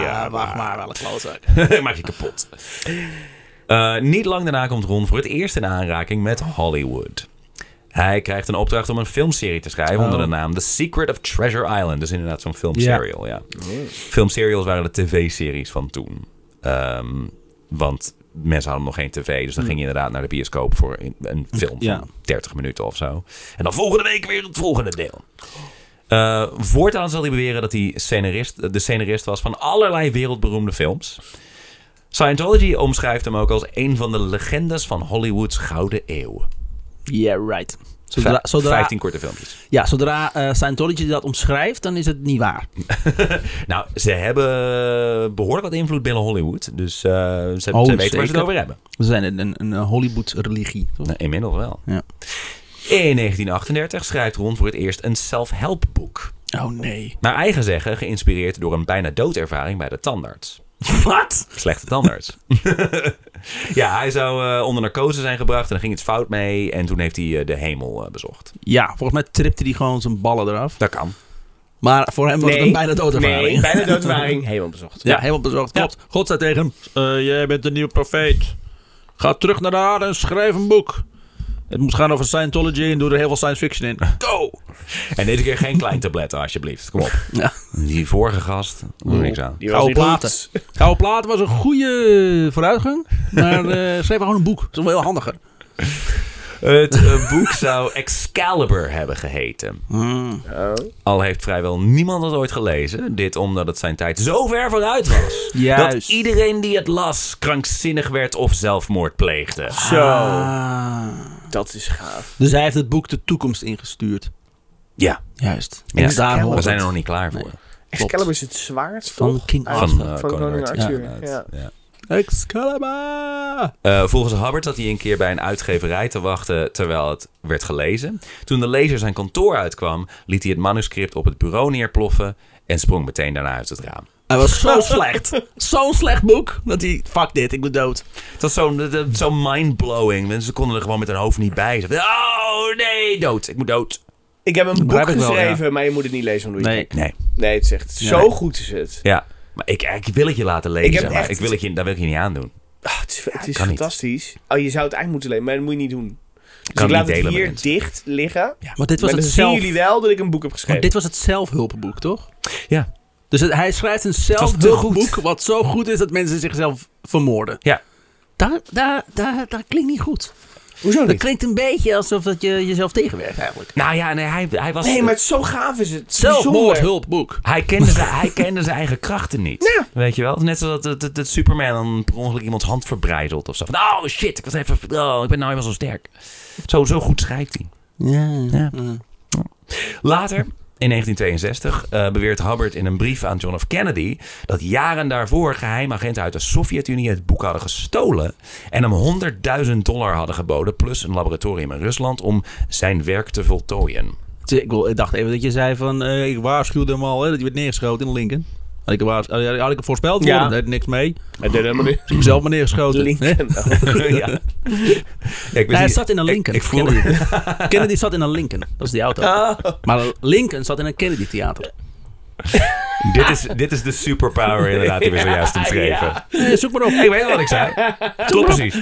[SPEAKER 4] ja,
[SPEAKER 3] wacht maar, wel een klootzak.
[SPEAKER 4] maak je kapot. Eh, niet lang daarna komt Ron voor het eerst in aanraking met Hollywood. Hij krijgt een opdracht om een filmserie te schrijven onder de naam The Secret of Treasure Island. Dus inderdaad zo'n filmserial, ja. Filmserials waren de tv-series van toen. Ehm, want mensen hadden nog geen tv, dus dan ging je inderdaad naar de bioscoop voor een- een film van
[SPEAKER 3] Hm. Ja.
[SPEAKER 4] 30 minuten of zo. En dan volgende week weer het volgende deel. Eh, voortaan zal hij beweren dat hij scenarist, eh, de scenarist was van allerlei wereldberoemde films. Scientology omschrijft hem ook als een van de legendes van Hollywood's gouden eeuw.
[SPEAKER 3] Yeah, right.
[SPEAKER 4] Vij-
[SPEAKER 3] Zodra, zodra,
[SPEAKER 4] 15 korte filmpjes.
[SPEAKER 3] ja, zodra eh, Scientology dat omschrijft, dan is het niet waar.
[SPEAKER 4] Nou, ze hebben behoorlijk wat invloed binnen Hollywood. Dus eh, ze,
[SPEAKER 3] Oh,
[SPEAKER 4] ze weten waar ze het
[SPEAKER 3] zeker.
[SPEAKER 4] over hebben.
[SPEAKER 3] We zijn een, een, een Hollywood-religie. toch?
[SPEAKER 4] Nou, inmiddels wel.
[SPEAKER 3] Ja.
[SPEAKER 4] In 1938 schrijft Ron voor het eerst een self-help boek.
[SPEAKER 3] Oh nee.
[SPEAKER 4] Naar eigen zeggen geïnspireerd door een bijna doodervaring bij de tandarts.
[SPEAKER 3] Wat?
[SPEAKER 4] Slecht het anders. ja, hij zou eh, onder narcose zijn gebracht en er ging iets fout mee. En toen heeft hij eh, de hemel eh, bezocht.
[SPEAKER 3] Ja, volgens mij tripte hij gewoon zijn ballen eraf.
[SPEAKER 4] Dat kan.
[SPEAKER 3] Maar voor hem was het een bijna
[SPEAKER 1] Nee,
[SPEAKER 3] doodervaring.
[SPEAKER 1] bijna doodervaring. Helemaal bezocht.
[SPEAKER 3] Ja, helemaal bezorgd. Klopt. God zei tegen hem: eh, Jij bent de nieuwe profeet. Ga terug naar de aarde en schrijf een boek. Het moet gaan over Scientology en doe er heel veel science fiction in. Go!
[SPEAKER 4] En deze keer geen klein tabletten, alsjeblieft. Kom op.
[SPEAKER 3] Ja.
[SPEAKER 4] Die vorige gast, doe niks aan.
[SPEAKER 1] Die
[SPEAKER 3] Gouden
[SPEAKER 1] niet
[SPEAKER 3] platen.
[SPEAKER 1] goed.
[SPEAKER 3] Gouden platen was een goede vooruitgang. Maar eh, schreef gewoon een boek. Dat is wel heel handiger.
[SPEAKER 4] Het eh, boek zou Excalibur hebben geheten. Hmm. Al heeft vrijwel niemand het ooit gelezen. Dit omdat het zijn tijd zo ver vooruit was.
[SPEAKER 3] Juist.
[SPEAKER 4] Dat iedereen die het las krankzinnig werd of zelfmoord pleegde.
[SPEAKER 1] Zo,
[SPEAKER 3] Ah.
[SPEAKER 1] dat is gaaf.
[SPEAKER 3] Dus hij heeft het boek De Toekomst ingestuurd.
[SPEAKER 4] Ja,
[SPEAKER 3] Juist.
[SPEAKER 4] Ja.
[SPEAKER 3] En daar hoort
[SPEAKER 4] we zijn er
[SPEAKER 3] het.
[SPEAKER 4] nog niet klaar voor.
[SPEAKER 1] Excalibur is het zwaard
[SPEAKER 3] Van
[SPEAKER 1] toch? Ah.
[SPEAKER 3] King
[SPEAKER 1] Uit-
[SPEAKER 4] Van,
[SPEAKER 3] Arthur.
[SPEAKER 4] eh,
[SPEAKER 1] van koning Arthur.
[SPEAKER 4] Ja,
[SPEAKER 1] Ja.
[SPEAKER 4] inderdaad. Ja.
[SPEAKER 3] Excalibur!
[SPEAKER 4] Eh, volgens Hubbard zat hij een keer bij een uitgeverij te wachten terwijl het werd gelezen. Toen de lezer zijn kantoor uitkwam, liet hij het manuscript op het bureau neerploffen en sprong meteen daarna uit het raam.
[SPEAKER 3] Hij was zo slecht. Zo'n slecht boek. Dat hij, fuck dit, ik ben dood.
[SPEAKER 4] Het was zo, dat- dat- zo mindblowing. Mensen konden er gewoon met hun hoofd niet bij. Ze dachten, oh nee, dood. Ik moet dood.
[SPEAKER 1] Ik heb een boek
[SPEAKER 3] begrijp ik wel,
[SPEAKER 1] geschreven, maar je moet het niet lezen omdat je
[SPEAKER 3] Nee.
[SPEAKER 1] het
[SPEAKER 4] Nee.
[SPEAKER 1] kijkt. Nee, het zegt zo goed is het.
[SPEAKER 4] Ja. Maar ik, ik wil het je laten lezen.
[SPEAKER 1] Ik
[SPEAKER 4] Ik
[SPEAKER 1] heb
[SPEAKER 4] maar
[SPEAKER 1] echt-
[SPEAKER 4] ik wil het je, dat wil ik je niet aandoen.
[SPEAKER 1] Ah, het is, het is
[SPEAKER 4] kan niet.
[SPEAKER 1] fantastisch. Oh, je zou het eind moeten lezen, maar dat moet je niet doen. Dus
[SPEAKER 4] Kan
[SPEAKER 1] ik
[SPEAKER 4] niet
[SPEAKER 1] laat het
[SPEAKER 4] delen met
[SPEAKER 1] hier
[SPEAKER 4] mensen.
[SPEAKER 1] dicht liggen. Ja.
[SPEAKER 3] Maar dit was,
[SPEAKER 1] Maar dan
[SPEAKER 3] het,
[SPEAKER 1] zien
[SPEAKER 3] zelf,
[SPEAKER 1] jullie wel dat ik een boek heb geschreven.
[SPEAKER 3] maar dit was het zelfhulpenboek, toch?
[SPEAKER 4] Ja.
[SPEAKER 3] Dus het- hij schrijft een zelfhulpboek wat zo goed is dat mensen zichzelf vermoorden.
[SPEAKER 4] Ja.
[SPEAKER 3] Daar, daar, daar, daar klinkt niet goed.
[SPEAKER 1] Hoezo
[SPEAKER 3] Dat klinkt een beetje alsof dat je jezelf tegenwerkt eigenlijk.
[SPEAKER 4] Nou ja, nee, hij, hij was...
[SPEAKER 1] Nee, maar het is zo gaaf is het. Bijzonder.
[SPEAKER 3] Zelfmoordhulpboek.
[SPEAKER 4] Hij kende, zijn, hij kende zijn eigen krachten niet.
[SPEAKER 1] Ja.
[SPEAKER 4] Weet je wel? Net zoals dat, dat, dat Superman dan per ongeluk iemands hand verbrijzelt of zo. Van, oh shit, ik was even. Oh, ik ben nou helemaal zo sterk. Zo, zo goed schrijft hij.
[SPEAKER 3] Ja.
[SPEAKER 4] Ja. Later. In 1962 eh, beweert Hubbard in een brief aan John F. Kennedy dat jaren daarvoor geheimagenten uit de Sovjet-Unie het boek hadden gestolen en hem 100.000 dollar hadden geboden plus een laboratorium in Rusland om zijn werk te voltooien.
[SPEAKER 3] Ik, wil, ik dacht even dat je zei van, eh, ik waarschuwde hem al hè, dat hij werd neergeschoten in Lincoln. Had ik, hem waars- had ik- had ik hem voorspeld
[SPEAKER 1] Ja.
[SPEAKER 3] worden, daar deed niks mee.
[SPEAKER 1] Hij deed helemaal niet.
[SPEAKER 3] Ik zelf maar neergeschoten. hè?
[SPEAKER 1] Lincoln.
[SPEAKER 4] ja. Ja, ik
[SPEAKER 3] Nee,
[SPEAKER 4] wist
[SPEAKER 3] Nou, hij
[SPEAKER 4] niet-
[SPEAKER 3] zat in een
[SPEAKER 4] ik-
[SPEAKER 3] Lincoln.
[SPEAKER 4] Ik, voelde
[SPEAKER 3] Kennedy. Kennedy zat in een Lincoln. Dat is die auto.
[SPEAKER 1] Ah.
[SPEAKER 3] Maar Lincoln zat in een Kennedy theater.
[SPEAKER 4] Dit is, dit is de superpower inderdaad die we zojuist omschreven.
[SPEAKER 3] Eh, zoek maar op.
[SPEAKER 4] Ik weet wat ik zei. Klopt precies.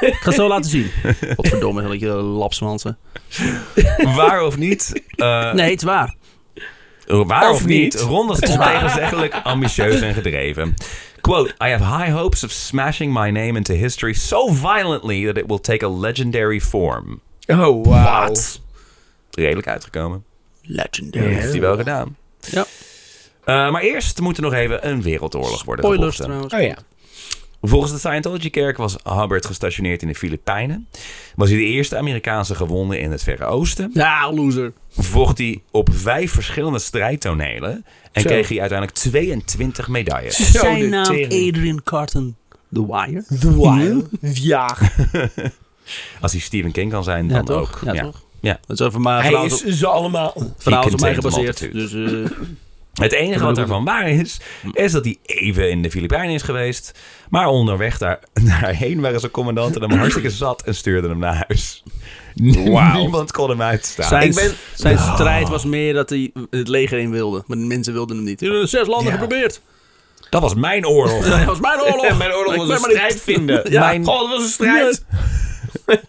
[SPEAKER 3] Ik ga het zo laten zien. Wat verdomme, dat je lapsmansen.
[SPEAKER 4] Waar of niet. eh,
[SPEAKER 3] Nee, het is waar.
[SPEAKER 4] Waar of,
[SPEAKER 1] Of
[SPEAKER 4] niet,
[SPEAKER 1] niet.
[SPEAKER 4] Ron was ontegenzeggelijk ambitieus en gedreven. Quote, I have high hopes of smashing my name into history so violently that it will take a legendary form.
[SPEAKER 1] Oh, wow.
[SPEAKER 4] Redelijk uitgekomen.
[SPEAKER 3] Legendary.
[SPEAKER 4] Dat heeft hij wel gedaan.
[SPEAKER 3] Ja.
[SPEAKER 4] Eh, maar eerst moet er nog even een wereldoorlog worden
[SPEAKER 3] Spoilers
[SPEAKER 4] gevochten.
[SPEAKER 3] trouwens.
[SPEAKER 1] Oh ja.
[SPEAKER 4] Volgens de Scientology-kerk was Hubbard gestationeerd in de Filipijnen. Was hij de eerste Amerikaanse gewonde in het Verre Oosten.
[SPEAKER 3] Ja, loser.
[SPEAKER 4] vocht hij op vijf verschillende strijdtonelen. En
[SPEAKER 1] Zo.
[SPEAKER 4] kreeg hij uiteindelijk 22 medailles.
[SPEAKER 1] Zo de
[SPEAKER 3] Zijn naam
[SPEAKER 1] tering.
[SPEAKER 3] Adrian Carton The Wire.
[SPEAKER 1] The Wire. Ja.
[SPEAKER 4] Als hij Stephen King kan zijn, dan
[SPEAKER 3] Ja, toch?
[SPEAKER 4] ook.
[SPEAKER 3] Ja, toch?
[SPEAKER 4] Ja.
[SPEAKER 3] Dat is even maar
[SPEAKER 1] Hij
[SPEAKER 3] verhaal
[SPEAKER 1] is
[SPEAKER 3] op,
[SPEAKER 1] ze allemaal.
[SPEAKER 3] verhaal is op mij
[SPEAKER 4] contains the
[SPEAKER 3] gebaseerd. Dus,
[SPEAKER 4] multitude.
[SPEAKER 3] eh,
[SPEAKER 4] Het enige wat daarvan waar is, is dat hij even in de Filipijnen is geweest. Maar onderweg daar, daarheen waren zijn commandanten hem hartstikke zat en stuurden hem naar huis. Niemand kon hem uitstaan.
[SPEAKER 3] zijn
[SPEAKER 1] Ik ben-
[SPEAKER 3] zijn strijd was meer dat hij het leger in wilde. Maar de mensen wilden hem niet. zes landen
[SPEAKER 1] Ja.
[SPEAKER 3] geprobeerd.
[SPEAKER 4] Dat was mijn oorlog.
[SPEAKER 3] Dat was mijn oorlog.
[SPEAKER 1] Mijn oorlog
[SPEAKER 3] Ik
[SPEAKER 1] was
[SPEAKER 3] ben
[SPEAKER 1] een
[SPEAKER 3] maar niet-
[SPEAKER 1] strijd vinden.
[SPEAKER 3] Ja.
[SPEAKER 1] Mijn... God, dat was een strijd.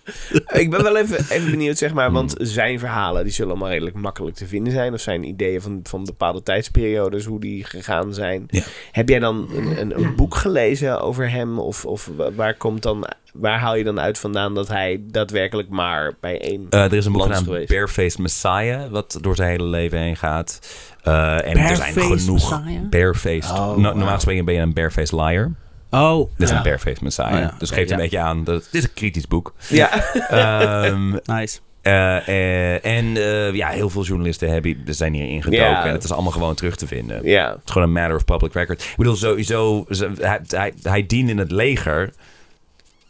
[SPEAKER 1] ik ben wel even, even benieuwd, zeg maar. Want zijn verhalen, die zullen allemaal redelijk makkelijk te vinden zijn. Of zijn ideeën van, van bepaalde tijdsperiodes, hoe die gegaan zijn.
[SPEAKER 4] Ja.
[SPEAKER 1] Heb jij dan een, een, een boek gelezen over hem? Of, of wa- waar, komt dan, waar haal je dan uit vandaan dat hij daadwerkelijk maar bij één...
[SPEAKER 4] Eh, er is een boek
[SPEAKER 1] Lans
[SPEAKER 4] genaamd
[SPEAKER 1] geweest.
[SPEAKER 4] Barefaced Messiah, wat door zijn hele leven heen gaat. Eh, en er zijn
[SPEAKER 3] Barefaced
[SPEAKER 4] genoeg
[SPEAKER 3] Messiah?
[SPEAKER 4] barefaced.
[SPEAKER 1] Oh,
[SPEAKER 4] no-
[SPEAKER 1] wauw.
[SPEAKER 4] Normaal gesproken ben je een barefaced liar.
[SPEAKER 3] Oh,
[SPEAKER 4] Dit is
[SPEAKER 1] Ja.
[SPEAKER 4] een barefaced Messiah.
[SPEAKER 3] Oh ja,
[SPEAKER 4] Dus
[SPEAKER 3] oké,
[SPEAKER 4] geeft een
[SPEAKER 3] ja.
[SPEAKER 4] beetje aan dat het dit is een kritisch boek.
[SPEAKER 1] ja.
[SPEAKER 4] Ehm,
[SPEAKER 3] nice.
[SPEAKER 4] eh, eh, en eh, ja, heel veel journalisten hebben, er zijn hier ingedoken.
[SPEAKER 1] Ja.
[SPEAKER 4] En het is allemaal gewoon terug te vinden. Het
[SPEAKER 1] ja.
[SPEAKER 4] is gewoon een matter of public record. Ik bedoel, sowieso, ze- hij, hij, hij diende in het leger.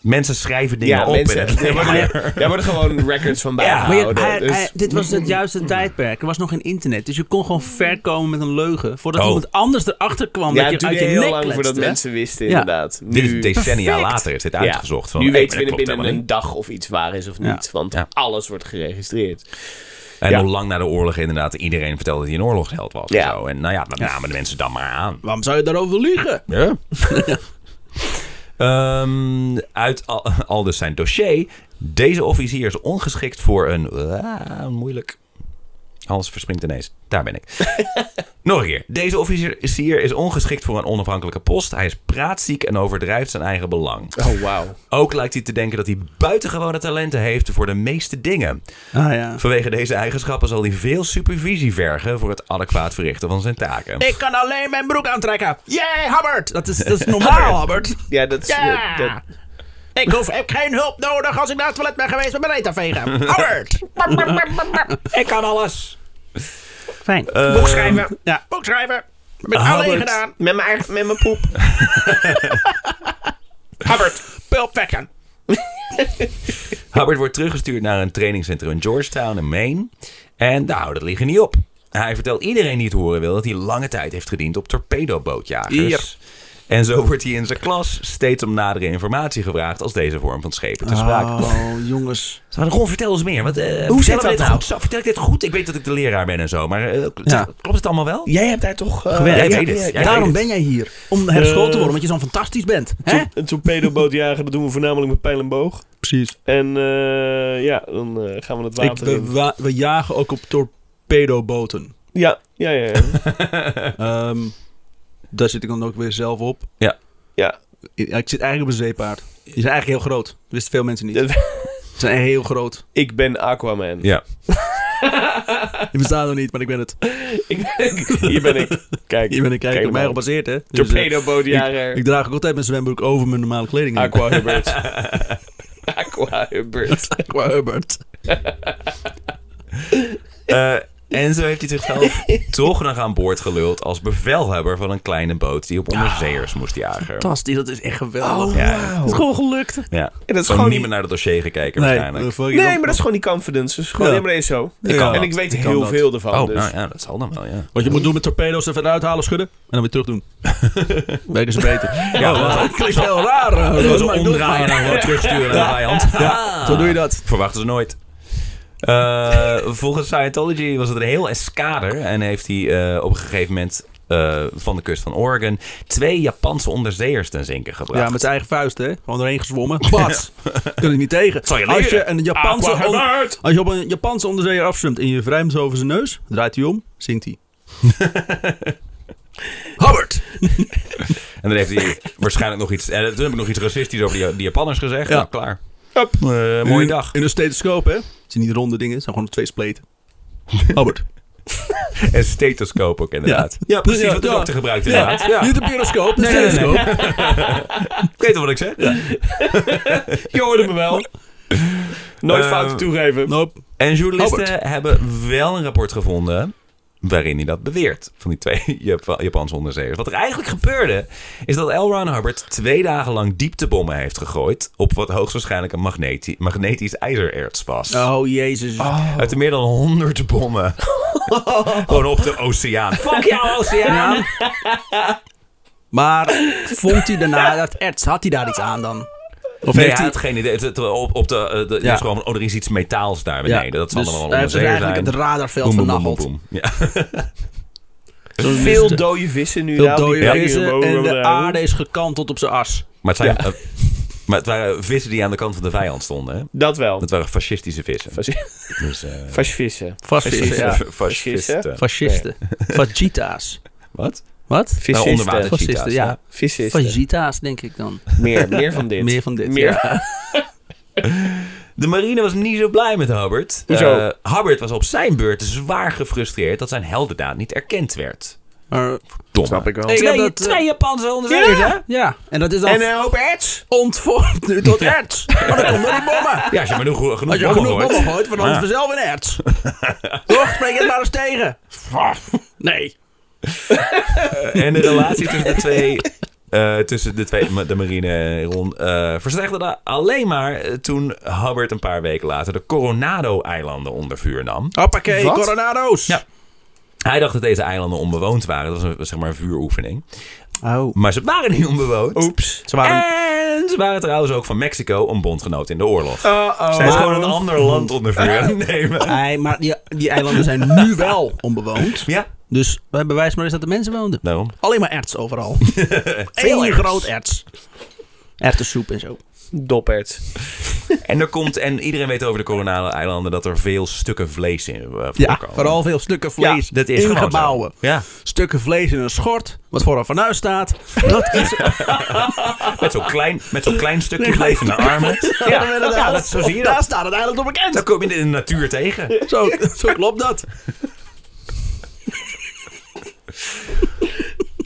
[SPEAKER 4] Mensen schrijven dingen
[SPEAKER 1] Ja,
[SPEAKER 4] op
[SPEAKER 1] mensen,
[SPEAKER 4] in het
[SPEAKER 1] daar, worden,
[SPEAKER 4] leger.
[SPEAKER 1] daar worden gewoon records van
[SPEAKER 3] Maar je-
[SPEAKER 1] bijgehouden.
[SPEAKER 3] hij-
[SPEAKER 1] dus- Mm.
[SPEAKER 3] hij- dit was het juiste tijdperk. Er was nog geen internet. Dus je kon gewoon ver komen met een leugen. Voordat
[SPEAKER 4] Oh.
[SPEAKER 3] iemand anders erachter kwam.
[SPEAKER 1] ja,
[SPEAKER 3] dat
[SPEAKER 1] het
[SPEAKER 3] je
[SPEAKER 1] duurde
[SPEAKER 3] uit je
[SPEAKER 1] heel
[SPEAKER 3] nek
[SPEAKER 1] lang voordat
[SPEAKER 3] kletste.
[SPEAKER 1] mensen wisten, inderdaad.
[SPEAKER 4] Dit is
[SPEAKER 1] Nu-
[SPEAKER 4] decennia
[SPEAKER 3] perfect.
[SPEAKER 4] later is dit
[SPEAKER 1] Ja.
[SPEAKER 4] uitgezocht. Van,
[SPEAKER 1] nu
[SPEAKER 4] hey,
[SPEAKER 1] weten we
[SPEAKER 4] dat
[SPEAKER 1] binnen
[SPEAKER 4] klopt helemaal
[SPEAKER 1] een
[SPEAKER 4] niet.
[SPEAKER 1] dag of iets waar is of
[SPEAKER 3] Ja.
[SPEAKER 1] niet. Want
[SPEAKER 4] Ja.
[SPEAKER 1] alles wordt geregistreerd.
[SPEAKER 4] En
[SPEAKER 1] Ja.
[SPEAKER 4] nog lang na de oorlog inderdaad. Iedereen vertelde dat hij een oorlogsheld was.
[SPEAKER 1] Ja.
[SPEAKER 4] En, zo. en nou ja, dat namen de mensen dan maar aan.
[SPEAKER 3] Waarom zou je daarover liegen?
[SPEAKER 4] Ja. Ehm, uit al, al dus zijn dossier. Deze officier is ongeschikt voor een... Ah, moeilijk. Hans verspringt ineens. Daar ben ik. Nog een keer. Deze officier is ongeschikt voor een onafhankelijke post. Hij is praatziek en overdrijft zijn eigen belang.
[SPEAKER 1] Oh, wauw.
[SPEAKER 4] Ook lijkt hij te denken dat hij buitengewone talenten heeft voor de meeste dingen.
[SPEAKER 3] Ah ja.
[SPEAKER 4] Vanwege deze eigenschappen zal hij veel supervisie vergen voor het adequaat verrichten van zijn taken.
[SPEAKER 3] Ik kan alleen mijn broek aantrekken. Jee, Hubbard! Dat is, dat is normaal, Hubbard.
[SPEAKER 1] Ja, dat is...
[SPEAKER 3] Ja!
[SPEAKER 1] dat- dat-
[SPEAKER 3] Ik hoef, heb geen hulp nodig als ik naar het toilet ben geweest met mijn reet te vegen. Hubbard! ik kan alles. Fijn.
[SPEAKER 1] boek schrijven.
[SPEAKER 3] ja. Boek schrijven. Heb ik alleen
[SPEAKER 4] Hubbard.
[SPEAKER 3] gedaan.
[SPEAKER 1] Met mijn eigen... Met mijn poep.
[SPEAKER 3] Hubbard. Pulp Fiction.
[SPEAKER 4] Hubbard wordt teruggestuurd naar een trainingscentrum in Georgetown in Maine. En daar houdt het liggen niet op. Hij vertelt iedereen die het horen wil dat hij lange tijd heeft gediend op torpedobootjagers. En zo wordt hij in zijn klas steeds om nadere informatie gevraagd als deze vorm van schepen te sprake komt.
[SPEAKER 3] Oh, jongens.
[SPEAKER 4] Ze hadden gewoon vertel eens meer. Want, eh,
[SPEAKER 1] zit
[SPEAKER 4] vertel ik
[SPEAKER 1] dat
[SPEAKER 4] dit
[SPEAKER 1] nou?
[SPEAKER 4] Goed, Zo, vertel ik dit goed? Ik weet dat ik de leraar ben en zo, maar eh,
[SPEAKER 3] Ja.
[SPEAKER 4] klopt het allemaal wel?
[SPEAKER 1] Jij hebt daar toch... eh,
[SPEAKER 4] Jij
[SPEAKER 1] ja,
[SPEAKER 4] weet het.
[SPEAKER 1] ja,
[SPEAKER 4] Jij
[SPEAKER 1] ja.
[SPEAKER 4] weet
[SPEAKER 3] Daarom
[SPEAKER 4] het. Eh,
[SPEAKER 3] ben jij hier. Om herschoten te worden, omdat je zo fantastisch bent. Hè?
[SPEAKER 2] Een torpedobootjager, dat doen we voornamelijk met pijl en boog.
[SPEAKER 3] Precies.
[SPEAKER 2] En eh, ja, dan eh, gaan we het water in.
[SPEAKER 3] we jagen ook op torpedoboten.
[SPEAKER 2] Ja, ja, ja. ja.
[SPEAKER 3] Ehm, daar zit ik dan ook weer zelf op.
[SPEAKER 4] Ja.
[SPEAKER 2] Ja.
[SPEAKER 3] Ik, ik zit eigenlijk op een zeepaard. Die zijn eigenlijk heel groot. Dat wisten veel mensen niet.
[SPEAKER 2] Dat-
[SPEAKER 3] Ze zijn heel groot.
[SPEAKER 2] ik ben Aquaman.
[SPEAKER 4] Ja.
[SPEAKER 3] Die bestaan nog niet, maar ik ben het.
[SPEAKER 2] Hier ben ik. Kijk,
[SPEAKER 3] Je bent een kijker op mij
[SPEAKER 2] nou.
[SPEAKER 3] gebaseerd, hè? Dus, eh,
[SPEAKER 1] Torpedobootjager.
[SPEAKER 3] ik draag ook altijd mijn zwembroek over mijn normale kleding. heen.
[SPEAKER 1] Aqua Hubbard. Aqua Hubbard.
[SPEAKER 3] Aqua Hubbard.
[SPEAKER 4] Eh, en zo heeft hij zichzelf toch nog aan boord geluld als bevelhebber van een kleine boot die op onderzeeërs moest jagen.
[SPEAKER 3] Fantastisch, dat is echt geweldig.
[SPEAKER 4] Ja,
[SPEAKER 3] Dat is gewoon gelukt.
[SPEAKER 4] ja.
[SPEAKER 1] En dat is
[SPEAKER 4] Gewoon
[SPEAKER 1] gewoon
[SPEAKER 4] niet
[SPEAKER 1] die-
[SPEAKER 4] meer naar het dossier gekeken
[SPEAKER 3] Nee,
[SPEAKER 4] waarschijnlijk.
[SPEAKER 3] eh, fuck it,
[SPEAKER 1] Nee,
[SPEAKER 3] dan-
[SPEAKER 1] maar dat is gewoon die confidence. Dus gewoon
[SPEAKER 3] Ja.
[SPEAKER 1] helemaal eens zo.
[SPEAKER 3] Ja.
[SPEAKER 4] kan
[SPEAKER 1] En
[SPEAKER 4] dat.
[SPEAKER 1] ik weet
[SPEAKER 3] Ik kan
[SPEAKER 1] heel
[SPEAKER 3] dat.
[SPEAKER 1] veel ervan.
[SPEAKER 4] Oh,
[SPEAKER 1] dus.
[SPEAKER 4] nou ja, dat zal dan wel, ja.
[SPEAKER 3] Wat je moet doen met torpedo's, even eruit halen, schudden. En dan weer terug doen. Werken ze beter. Ja, dat klinkt heel raar. eh,
[SPEAKER 4] Dat
[SPEAKER 3] maar doe het
[SPEAKER 4] omdraaien
[SPEAKER 3] maar.
[SPEAKER 4] en dan gewoon terugsturen naar de vijand.
[SPEAKER 3] Ja, zo doe je dat.
[SPEAKER 4] Verwachten ze nooit. Eh, volgens Scientology was het een heel eskader. En heeft hij eh, op een gegeven moment eh, van de kust van Oregon twee Japanse onderzeeërs ten zinken gebracht.
[SPEAKER 3] Ja, met zijn eigen vuist, hè? Gewoon erheen gezwommen. Pats! Kun je niet tegen.
[SPEAKER 4] Zal je
[SPEAKER 3] als, je
[SPEAKER 4] leren.
[SPEAKER 3] een Japanse
[SPEAKER 4] Aqua
[SPEAKER 3] on-
[SPEAKER 4] Hubbard.
[SPEAKER 3] als je op een Japanse onderzeeër afzwemt en je wrijft hem zo over zijn neus, draait hij om, zingt hij. Hubbard!
[SPEAKER 4] En dan heeft hij waarschijnlijk nog iets. En toen heb ik nog iets racistisch over die, die Japanners gezegd.
[SPEAKER 3] Ja.
[SPEAKER 4] Nou, klaar. Eh, mooie
[SPEAKER 3] In-
[SPEAKER 4] dag.
[SPEAKER 3] In een stethoscoop, hè? Het zijn niet ronde dingen, het zijn gewoon twee spleten. Hubbard.
[SPEAKER 4] En stethoscoop ook inderdaad. Ja, precies wat de
[SPEAKER 3] Ja.
[SPEAKER 4] dokter gebruikt inderdaad. Ja.
[SPEAKER 3] Niet een pyroscoop, een
[SPEAKER 4] Nee, nee, nee.
[SPEAKER 3] stethoscoop.
[SPEAKER 4] Ik weet al wat ik zeg.
[SPEAKER 2] Je hoorde me wel. Nooit
[SPEAKER 4] Eh,
[SPEAKER 2] fouten toegeven.
[SPEAKER 3] Nope.
[SPEAKER 4] En journalisten
[SPEAKER 3] Albert.
[SPEAKER 4] hebben wel een rapport gevonden waarin hij dat beweert. Van die twee Jap- Japanse onderzeeërs. Wat er eigenlijk gebeurde, is dat L. Ron Hubbard twee dagen lang dieptebommen heeft gegooid... op wat hoogstwaarschijnlijk een magneti- magnetisch ijzererts was.
[SPEAKER 3] Oh, jezus.
[SPEAKER 4] Uit meer dan honderd bommen. Gewoon op de oceaan. Fuck jou, oceaan!
[SPEAKER 3] Maar vond hij daarna dat erts? Had hij daar iets aan dan? Of
[SPEAKER 4] Nee,
[SPEAKER 3] heeft hij...
[SPEAKER 4] hij had geen idee. Het- het- op, op de, eh, de,
[SPEAKER 3] Ja.
[SPEAKER 4] dus gewoon, van, oh, er is iets metaals daar
[SPEAKER 3] Ja,
[SPEAKER 4] beneden. Dat zal
[SPEAKER 3] dus
[SPEAKER 4] dan wel
[SPEAKER 3] hij
[SPEAKER 4] een
[SPEAKER 3] heeft
[SPEAKER 4] onderzeeër
[SPEAKER 3] eigenlijk
[SPEAKER 4] zijn.
[SPEAKER 3] het radarveld
[SPEAKER 4] Boem, boem, boem,
[SPEAKER 3] vernacheld.
[SPEAKER 4] boem. Ja.
[SPEAKER 1] Veel dode vissen nu.
[SPEAKER 3] Veel
[SPEAKER 1] daar op die
[SPEAKER 3] dode
[SPEAKER 1] plek.
[SPEAKER 3] vissen
[SPEAKER 2] boven
[SPEAKER 3] en de
[SPEAKER 2] daar.
[SPEAKER 3] aarde is gekanteld op zijn as.
[SPEAKER 4] Maar het, zijn, eh, maar het waren vissen die aan de kant van de vijand stonden. Hè?
[SPEAKER 1] Dat wel.
[SPEAKER 4] Dat waren fascistische vissen.
[SPEAKER 1] Fas-
[SPEAKER 4] dus, eh,
[SPEAKER 1] Fasvissen.
[SPEAKER 3] Fascisten.
[SPEAKER 1] ja.
[SPEAKER 4] Fascisten.
[SPEAKER 3] Fascisten. Fajita's.
[SPEAKER 4] Wat?
[SPEAKER 3] Wat?
[SPEAKER 4] Nou, onderwater
[SPEAKER 1] Visisten.
[SPEAKER 4] cheetahs,
[SPEAKER 3] Fascisten, ja.
[SPEAKER 1] Visisten.
[SPEAKER 3] Fajita's, denk ik dan.
[SPEAKER 1] Meer, meer van dit.
[SPEAKER 3] Meer van dit.
[SPEAKER 1] Meer.
[SPEAKER 3] ja.
[SPEAKER 4] De marine was niet zo blij met Hubbard.
[SPEAKER 1] Hoezo?
[SPEAKER 4] Eh, Hubbard was op zijn beurt zwaar gefrustreerd dat zijn heldendaad niet erkend werd.
[SPEAKER 3] Maar-
[SPEAKER 4] Domme.
[SPEAKER 1] Snap ik wel.
[SPEAKER 3] Ik heb
[SPEAKER 4] Twee,
[SPEAKER 3] dat, eh,
[SPEAKER 4] twee Japanse onderzeeërs, hè?
[SPEAKER 3] Ja, en dat is dan
[SPEAKER 1] En een hoop erts.
[SPEAKER 3] ontvormd nu tot erts. Maar dan komt door die bommen.
[SPEAKER 4] Ja, als je maar genoeg, genoeg
[SPEAKER 3] Als je
[SPEAKER 4] bommen
[SPEAKER 3] genoeg
[SPEAKER 4] gooit.
[SPEAKER 3] bommen gooit, want anders
[SPEAKER 4] Ja.
[SPEAKER 3] vanzelf een erts. Toch? Spreek het maar eens tegen. Nee.
[SPEAKER 4] En de relatie tussen de twee eh, tussen de twee, ma- de marine en Ron, eh, verslechterde alleen maar eh, toen Hubbard een paar weken later de Coronado-eilanden onder vuur nam.
[SPEAKER 3] Hoppakee,
[SPEAKER 1] Wat?
[SPEAKER 3] coronado's.
[SPEAKER 4] Ja. Hij dacht dat deze eilanden onbewoond waren. Dat was een, zeg maar een vuuroefening.
[SPEAKER 3] Oh.
[SPEAKER 4] Maar ze waren niet onbewoond.
[SPEAKER 1] Oeps.
[SPEAKER 3] Ze
[SPEAKER 4] Eh.
[SPEAKER 3] waren...
[SPEAKER 4] En ze waren trouwens ook van Mexico een bondgenoot in de oorlog.
[SPEAKER 1] Uh-oh.
[SPEAKER 3] Oh.
[SPEAKER 4] Zij is gewoon een ander land onder vuur aan het nemen.
[SPEAKER 3] Nee, maar die, die eilanden zijn nu wel onbewoond.
[SPEAKER 4] Ja,
[SPEAKER 3] Dus wij bewijzen maar eens dat de mensen woonden.
[SPEAKER 4] daarom.
[SPEAKER 3] Alleen maar erts overal. Veel
[SPEAKER 4] erts.
[SPEAKER 3] groot erts. Erwtensoep en zo.
[SPEAKER 1] Doppert.
[SPEAKER 4] En er komt, en iedereen weet over de Coronado-eilanden dat er veel stukken vlees in eh, voorkomen.
[SPEAKER 3] Ja, vooral veel stukken vlees
[SPEAKER 4] Dat is
[SPEAKER 3] in
[SPEAKER 4] gewoon zo.
[SPEAKER 3] gebouwen.
[SPEAKER 4] Ja,
[SPEAKER 3] Stukken vlees in een schort, wat voor een fornuis staat. Dat is
[SPEAKER 4] met zo'n klein, met zo'n klein stukje vlees in de armen. Ja, ja dat, zo zie je
[SPEAKER 3] Daar
[SPEAKER 4] dat.
[SPEAKER 3] staat het eigenlijk op bekend.
[SPEAKER 4] Dan kom je in de natuur tegen.
[SPEAKER 3] Zo, zo klopt dat.